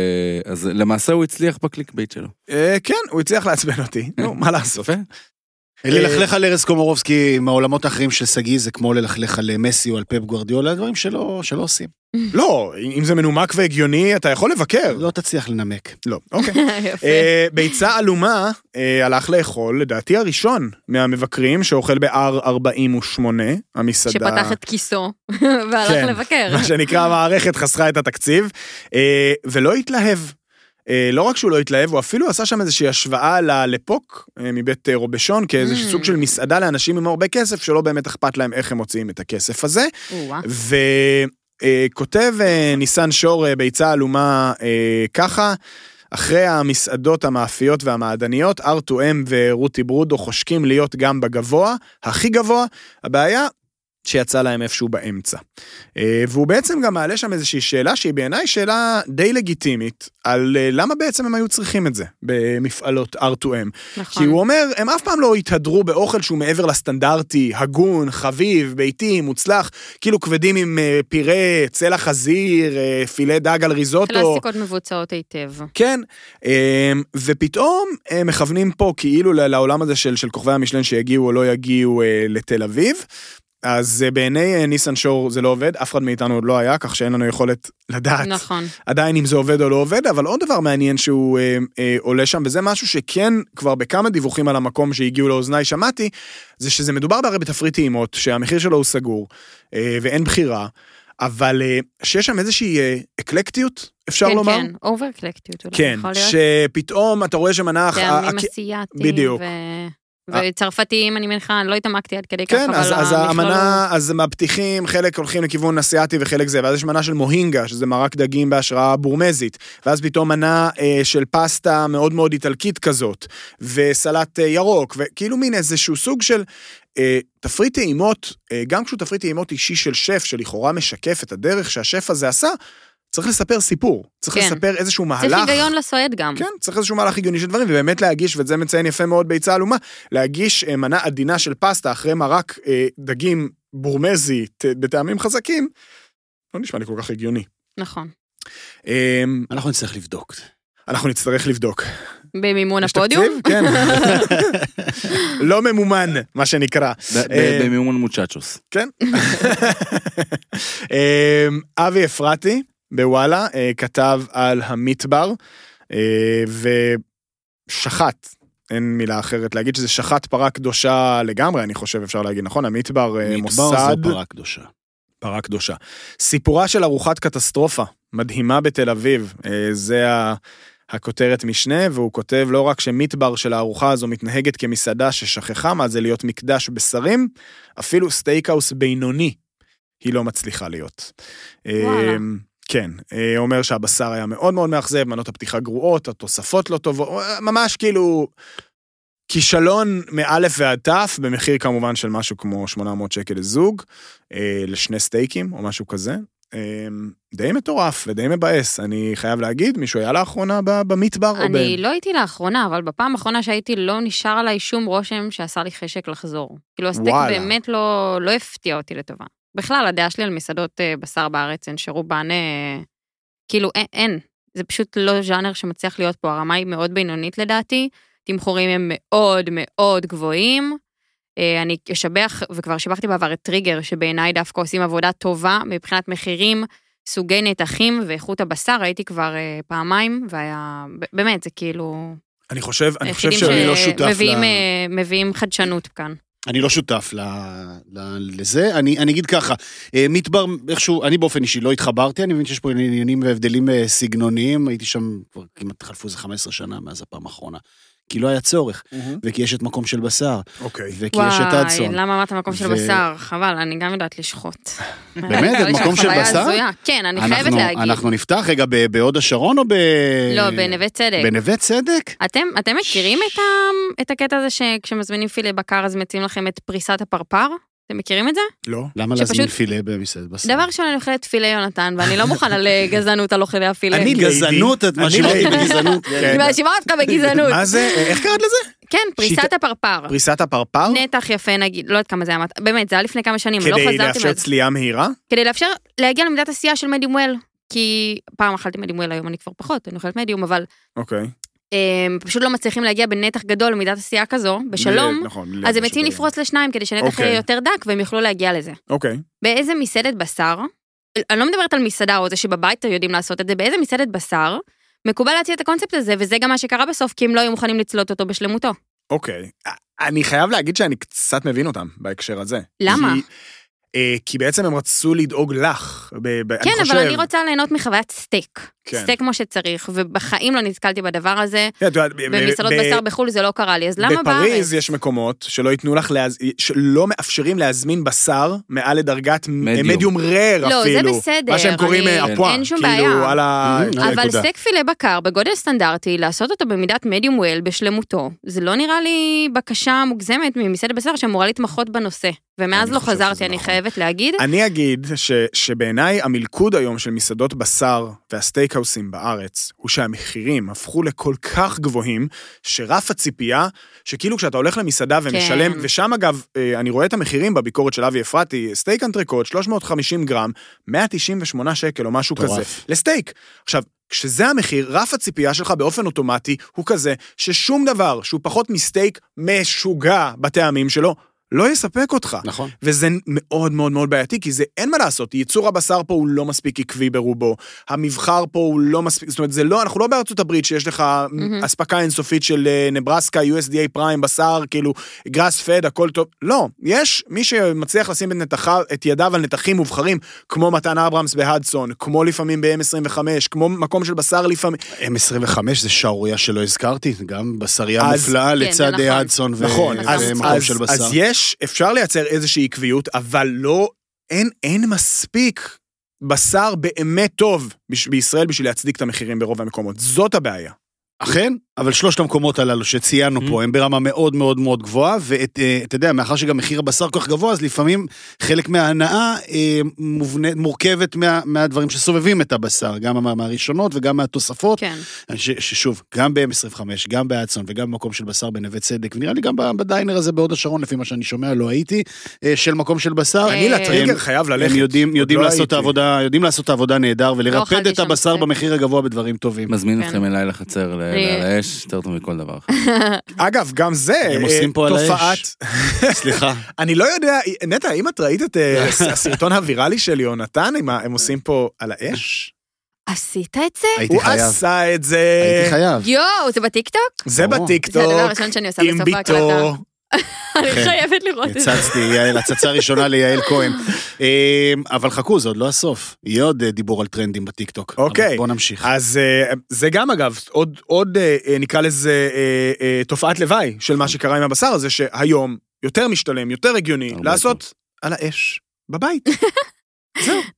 Speaker 5: אז למעשה הוא הצליח בקליק בייט שלו.
Speaker 2: אה, כן, הוא הצליח לעצבן אותי, נו, מה לעשות?
Speaker 5: אה, יפה.
Speaker 1: ללכלך על ארז קומורובסקי מהעולמות האחרים של שגיא זה כמו ללכלך על אה, מסי או על פפ גוורדיולה, דברים שלא שלא עושים.
Speaker 2: לא, אם זה מנומק והגיוני, אתה יכול לבקר.
Speaker 1: לא תצליח לנמק.
Speaker 2: לא, אוקיי.
Speaker 4: יפה.
Speaker 2: אה, ביצה עלומה אה, הלך לאכול, לדעתי הראשון מהמבקרים, שאוכל ב-R48, המסעדה.
Speaker 4: שפתח את כיסו והלך
Speaker 2: כן.
Speaker 4: לבקר.
Speaker 2: מה שנקרא, המערכת חסכה את התקציב, אה, ולא התלהב. אה, לא רק שהוא לא התלהב, הוא אפילו עשה שם איזושהי השוואה ללפוק אה, מבית אה, רובשון, כאיזה
Speaker 4: Mm.
Speaker 2: סוג של מסעדה לאנשים עם הרבה כסף, שלא באמת אכפת להם איך הם מוציאים את הכסף הזה.
Speaker 4: או-אה.
Speaker 2: וכותב ניסן שור אה, ביצה עלומה אה, ככה, אחרי המסעדות המאפיות והמעדניות, R2M ורותי ברודו חושקים להיות גם בגבוה, הכי גבוה, הבעיה שיצא להם איפשהו באמצע. אה, והוא בעצם גם מעלה שם איזושהי שאלה שהיא בעיניי שאלה די לגיטימית, על אה, למה בעצם הם היו צריכים את זה במפעלות R2M.
Speaker 4: נכון.
Speaker 2: כי הוא אומר, הם אף פעם לא התהדרו באוכל שהוא מעבר לסטנדרטי, הגון, חביב, ביתי, מוצלח, כאילו כבדים עם אה, פירה, צלע חזיר, אה, פילה דג על ריזוטו.
Speaker 4: קלאסיקות מבוצעות היטב.
Speaker 2: כן, אה, ופתאום אה, מכוונים פה כאילו ל- לעולם הזה של, של כוכבי המשלן שיגיעו או לא יגיעו אה, לתל אביב. אז אה, בעיני אה, ניסן שור זה לא עובד, אף אחד מאיתנו עוד לא היה, כך שאין לנו יכולת לדעת.
Speaker 4: נכון.
Speaker 2: עדיין אם זה עובד או לא עובד, אבל עוד דבר מעניין שהוא אה, אה, עולה שם, וזה משהו שכן כבר בכמה דיווחים על המקום שהגיעו לאוזניי שמעתי, זה שזה מדובר בהרי בתפריט טעימות, שהמחיר שלו הוא סגור, אה, ואין בחירה, אבל אה, שיש שם איזושהי אה, אקלקטיות, אפשר
Speaker 4: כן,
Speaker 2: לומר?
Speaker 4: כן, אובר אקלקטיות אולי,
Speaker 2: כן,
Speaker 4: יכול להיות. כן,
Speaker 2: שפתאום אתה רואה שמנה... אח- אה,
Speaker 4: טעמים
Speaker 2: הכ-
Speaker 4: אסיאתיים.
Speaker 2: בדיוק.
Speaker 4: ו-
Speaker 2: אה.
Speaker 4: וצרפתיים, אני מניחה, לא התעמקתי עד כדי כך,
Speaker 2: כן,
Speaker 4: אבל
Speaker 2: אז, אז
Speaker 4: המכלול
Speaker 2: האמנה, אז מהפתיחים, חלק הולכים לכיוון אסיאתי וחלק זה, ואז יש מנה של מוהינגה, שזה מרק דגים בהשראה בורמזית, ואז פתאום מנה אה, של פסטה מאוד מאוד איטלקית כזאת, וסלט אה, ירוק, וכאילו מין איזשהו סוג של אה, תפריט טעימות, אה, גם כשהוא תפריט טעימות אישי של שף, שלכאורה משקף את הדרך שהשף הזה עשה, צריך לספר סיפור, צריך
Speaker 4: כן.
Speaker 2: לספר איזשהו
Speaker 4: הוא-
Speaker 2: מהלך.
Speaker 4: צריך היגיון לסועד גם.
Speaker 2: כן, צריך איזשהו מהלך הגיוני של דברים, ובאמת להגיש, ואת זה מציין יפה מאוד ביצה עלומה, להגיש אה, מנה עדינה של פסטה אחרי מרק אה, דגים בורמזי ת- בטעמים חזקים, לא נשמע לי כל כך הגיוני.
Speaker 4: נכון.
Speaker 2: אה,
Speaker 1: אנחנו נצטרך לבדוק.
Speaker 2: אנחנו נצטרך לבדוק.
Speaker 4: במימון
Speaker 2: יש תקציב?
Speaker 4: הפודיום?
Speaker 2: כן. לא ממומן, מה שנקרא.
Speaker 5: ב-
Speaker 2: אה,
Speaker 5: ב- במימון מוצ'צ'וס.
Speaker 2: כן. אמ, אבי אפרתי בוואלה אה, כתב על המדבר אה, ושחט. אין מילה אחרת להגיד שזה שחט פרה קדושה לגמרי, אני חושב, אפשר להגיד, נכון? המדבר, אה,
Speaker 1: מדבר
Speaker 2: מוסד,
Speaker 1: זה פרה קדושה.
Speaker 2: פרה קדושה. סיפורה של ארוחת קטסטרופה, מדהימה בתל אביב. אה, זה ה... הכותרת משנה, והוא כותב לא רק שמדבר של הארוחה הזו מתנהגת כמסעדה ששכחה מה זה להיות מקדש בשרים, אפילו סטייקהאוס בינוני היא לא מצליחה להיות.
Speaker 4: וואלה.
Speaker 2: אמ, כן, אה, אומר שהבשר היה מאוד מאוד מאכזב, מנות הפתיחה גרועות, התוספות לא טובות, אה, ממש כאילו כישלון מאלף ועד תף, במחיר כמובן של משהו כמו 800 שקל לזוג, אה, לשני סטייקים או משהו כזה. אמ, די מטורף ודי מבאס, אני חייב להגיד, מישהו היה לאחרונה ב- במדבר? או ב-
Speaker 4: אני לא הייתי לאחרונה, אבל בפעם האחרונה שהייתי לא נשאר עליי שום רושם שעשה לי חשק לחזור. כאילו הסטייק
Speaker 2: וואלה.
Speaker 4: באמת לא, לא הפתיע אותי לטובה. בכלל, הדעה שלי על מסעדות אה, בשר בארץ הן שרובן, אה, כאילו אין, אין. זה פשוט לא ז'אנר שמצליח להיות פה, הרמה היא מאוד בינונית לדעתי, תמחורים הם מאוד מאוד גבוהים. אה, אני אשבח, וכבר שיבחתי בעבר את טריגר, שבעיניי דווקא עושים עבודה טובה מבחינת מחירים, סוגי נתחים ואיכות הבשר, הייתי כבר אה, פעמיים, והיה, ב- באמת, זה כאילו...
Speaker 2: אני חושב, אני חושב
Speaker 4: היחידים
Speaker 2: שאני לא שותף
Speaker 4: שמביאים,
Speaker 1: ל-
Speaker 4: אה, מביאים חדשנות כאן.
Speaker 1: אני לא שותף ל, ל, לזה, אני, אני אגיד ככה, אה, מדבר איכשהו, אני באופן אישי לא התחברתי, אני מבין שיש פה עניינים והבדלים אה, סגנוניים, הייתי שם כבר כמעט חלפו איזה 15 שנה מאז הפעם האחרונה, כי לא היה צורך, וכי יש את מקום של בשר,
Speaker 4: אה.
Speaker 2: אוקיי.
Speaker 1: וכי יש את
Speaker 4: וואי,
Speaker 1: אדסון.
Speaker 4: למה אמרת מקום של
Speaker 1: ו-
Speaker 4: בשר? חבל, אני גם יודעת לשחוט.
Speaker 1: באמת? את מקום של
Speaker 4: חוויה
Speaker 1: בשר?
Speaker 4: הזויה. כן, אני חייבת
Speaker 1: אנחנו-
Speaker 4: להגיד.
Speaker 1: אנחנו נפתח רגע ב- בהוד השרון או ב...
Speaker 4: לא, בנווה צדק.
Speaker 1: בנווה צדק?
Speaker 4: אתם, אתם מכירים את, ה, את הקטע הזה שכשמזמינים פילה בקר אז מציעים לכם את פריסת הפרפר? אתם מכירים את זה?
Speaker 2: לא.
Speaker 1: למה להזמין
Speaker 4: שפשוט-
Speaker 1: פילה במסעד בשר?
Speaker 4: דבר ראשון, אני אוכלת פילה יונתן, ואני לא מוכנה לגזענות על אוכלי הפילה.
Speaker 1: אני לא-
Speaker 2: ליידי.
Speaker 1: גזענות, את כן.
Speaker 2: אני כן.
Speaker 1: מאשימה אותי
Speaker 2: ליידי.
Speaker 1: בגזענות.
Speaker 4: אני מאשימה אותך בגזענות.
Speaker 2: מה זה? אה, איך קראת לזה?
Speaker 4: כן, פריסת
Speaker 2: שיטה-
Speaker 4: הפרפר.
Speaker 2: פריסת הפרפר?
Speaker 4: נתח יפה נגיד, לא יודעת כמה זה היה, מת- באמת, זה היה לפני כמה שנים, לא
Speaker 2: כדי
Speaker 4: חזרתי,
Speaker 2: לאפשר
Speaker 4: מאז.
Speaker 2: צליעה מהירה?
Speaker 4: כדי לאפשר להגיע למידת עשייה של מדיום וול, כי פעם אכלתי מדיום וול, היום אני כבר פחות, אני אוכלת מדיום, אבל
Speaker 2: אוקיי.
Speaker 4: הם פשוט לא מצליחים להגיע בנתח גדול למידת עשייה כזו, בשלום,
Speaker 2: ל- נכון,
Speaker 4: אז הם
Speaker 2: ל- בשלום.
Speaker 4: מציעים לפרוס לשניים כדי שנתח
Speaker 2: אוקיי.
Speaker 4: יהיה יותר דק והם יוכלו להגיע לזה.
Speaker 2: אוקיי.
Speaker 4: באיזה מסעדת בשר, אני לא מדברת על מסעדה או זה שבבית יודעים לעשות את זה, באיזה מסעדת בשר מקובל להציע את הקונספט הזה, וזה גם מה שקרה בסוף, כי הם לא היו מוכנים לצלות אותו בשלמותו.
Speaker 2: אוקיי. א- אני חייב להגיד שאני קצת מבין אותם בהקשר הזה.
Speaker 4: למה?
Speaker 2: כי- אה, כי בעצם הם רצו לדאוג לך. ב- ב- אני
Speaker 4: כן,
Speaker 2: חושב-
Speaker 4: אבל אני רוצה ליהנות מחוויית סטייק.
Speaker 2: כן.
Speaker 4: סטייק כמו שצריך, ובחיים לא נתקלתי בדבר הזה.
Speaker 2: כן, את יודעת, ב- ב-
Speaker 4: במסעדות
Speaker 2: ב-
Speaker 4: בשר בחו"ל זה לא קרה לי, אז למה בארץ?
Speaker 2: בפריז יש מקומות שלא ייתנו לך, להז- שלא מאפשרים להזמין בשר מעל לדרגת
Speaker 5: מדיום.
Speaker 2: מדיום רר
Speaker 4: לא, זה
Speaker 2: אפילו.
Speaker 4: בסדר,
Speaker 2: מה שהם קוראים
Speaker 4: אני-
Speaker 2: אה, אפואה.
Speaker 4: אין שום
Speaker 2: כאילו,
Speaker 4: בעיה.
Speaker 2: על ה... כן,
Speaker 4: אבל
Speaker 1: נקודה.
Speaker 4: סטייק פילה בקר בגודל סטנדרטי, לעשות אותו במידת מדיום וול בשלמותו, זה לא נראה לי בקשה מוגזמת ממסעדת בשר שאמורה להתמחות בנושא. ומאז
Speaker 2: אני
Speaker 4: לא
Speaker 2: חושב שזה
Speaker 4: חזרתי, אני
Speaker 2: נכון.
Speaker 4: חייבת להגיד.
Speaker 2: אני אגיד ש, שבעיניי המלכוד היום של מסעדות בשר והסטייקהאוסים בארץ, הוא שהמחירים הפכו לכל כך גבוהים, שרף הציפייה, שכאילו כשאתה הולך למסעדה ומשלם,
Speaker 4: כן.
Speaker 2: ושם אגב, אה, אני רואה את המחירים בביקורת של אבי אפרתי, סטייק אנטריקוט, 350 גרם, 198 שקל או משהו
Speaker 1: מטורף.
Speaker 2: כזה, לסטייק. עכשיו, כשזה המחיר, רף הציפייה שלך באופן אוטומטי הוא כזה ששום דבר שהוא פחות מסטייק משוגע בטעמים שלו, לא יספק אותך.
Speaker 1: נכון.
Speaker 2: וזה מאוד מאוד מאוד בעייתי, כי זה אין מה לעשות, ייצור הבשר פה הוא לא מספיק עקבי ברובו, המבחר פה הוא לא מספיק, זאת אומרת, זה לא, אנחנו לא בארצות הברית שיש לך
Speaker 4: מהמם.
Speaker 2: אספקה אינסופית של אה, נברסקה, USDA פריים, בשר, כאילו, גראס פד, הכל טוב, לא, יש מי שמצליח לשים את, נתחיו, את ידיו על נתחים מובחרים, כמו מתן אברהמס בהדסון, כמו לפעמים ב-M25, כמו מקום של בשר לפעמים,
Speaker 1: M25 זה שערורייה שלא הזכרתי, גם בשרייה
Speaker 2: אז-
Speaker 1: מופלאה
Speaker 4: זה
Speaker 1: לצד
Speaker 4: נכון.
Speaker 1: הדסון ו-
Speaker 2: נכון, אז,
Speaker 1: ומקום
Speaker 2: אז,
Speaker 1: של בשר.
Speaker 2: אז יש, אפשר לייצר איזושהי עקביות, אבל לא, אין, אין מספיק בשר באמת טוב בש, בישראל בשביל להצדיק את המחירים ברוב המקומות. זאת הבעיה.
Speaker 1: אכן, אבל שלושת המקומות הללו שציינו
Speaker 4: Mm-hmm.
Speaker 1: פה הם ברמה מאוד מאוד מאוד גבוהה, ואתה יודע, מאחר שגם מחיר הבשר כל כך גבוה, אז לפעמים חלק מההנאה אה, מובנה- מורכבת מה- מהדברים שסובבים את הבשר, גם מה- מהראשונות וגם מהתוספות.
Speaker 4: כן.
Speaker 1: ש- ששוב, גם ב-M25, גם באדסון וגם במקום של בשר בנווה צדק, ונראה לי גם ב- בדיינר הזה בהוד השרון, לפי מה שאני שומע, לא הייתי, אה, של מקום של בשר.
Speaker 4: אני
Speaker 2: הטריגר
Speaker 1: הם-
Speaker 2: חייב ללכת.
Speaker 1: הם יודעים,
Speaker 2: עוד
Speaker 1: יודעים,
Speaker 2: לא
Speaker 1: לעשות
Speaker 2: הייתי.
Speaker 1: את העבודה, יודעים לעשות את העבודה נהדר ולרפד
Speaker 4: לא אכלתי
Speaker 1: את
Speaker 4: שם כן.
Speaker 1: הבשר
Speaker 4: סטייק.
Speaker 1: במחיר הגבוה בדברים טובים.
Speaker 5: מזמין
Speaker 4: כן.
Speaker 5: אתכם אליי לחצר, ל-
Speaker 4: אני-
Speaker 5: האש יותר טוב מכל דבר. אחר.
Speaker 2: אגב, גם זה,
Speaker 1: הם
Speaker 2: אה,
Speaker 1: עושים פה על האש.
Speaker 2: תופעת...
Speaker 1: סליחה.
Speaker 2: אני לא יודע, נטע, האם את ראית את אה, הס- הסרטון הוויראלי של יונתן, עם ה- הם עושים פה על האש?
Speaker 4: עשית את זה?
Speaker 1: הייתי
Speaker 2: הוא אה,
Speaker 1: חייב.
Speaker 2: עשה את זה,
Speaker 1: הייתי חייב.
Speaker 4: יואו, זה בטיקטוק?
Speaker 2: זה
Speaker 1: ברור.
Speaker 4: זה הדבר
Speaker 2: בטיקטוק,
Speaker 4: הראשון שאני עושה
Speaker 2: עם
Speaker 4: בסוף ההקלטה.
Speaker 2: ביתו. כן.
Speaker 4: אני חייבת לראות את זה.
Speaker 1: הצצתי, יעל, הצצה ראשונה ליעל כהן. אמ, אבל חכו, זה עוד לא הסוף. יהיה עוד אה, דיבור על טרנדים בטיקטוק. אבל
Speaker 2: אוקיי.
Speaker 1: בואו נמשיך.
Speaker 2: אז אה, זה גם אגב, עוד, עוד אה, אה, נקרא לזה אה, אה, תופעת לוואי של מה שקרה עם הבשר הזה, שהיום יותר משתלם, יותר הגיוני,
Speaker 5: הרבה
Speaker 2: לעשות על האש בבית.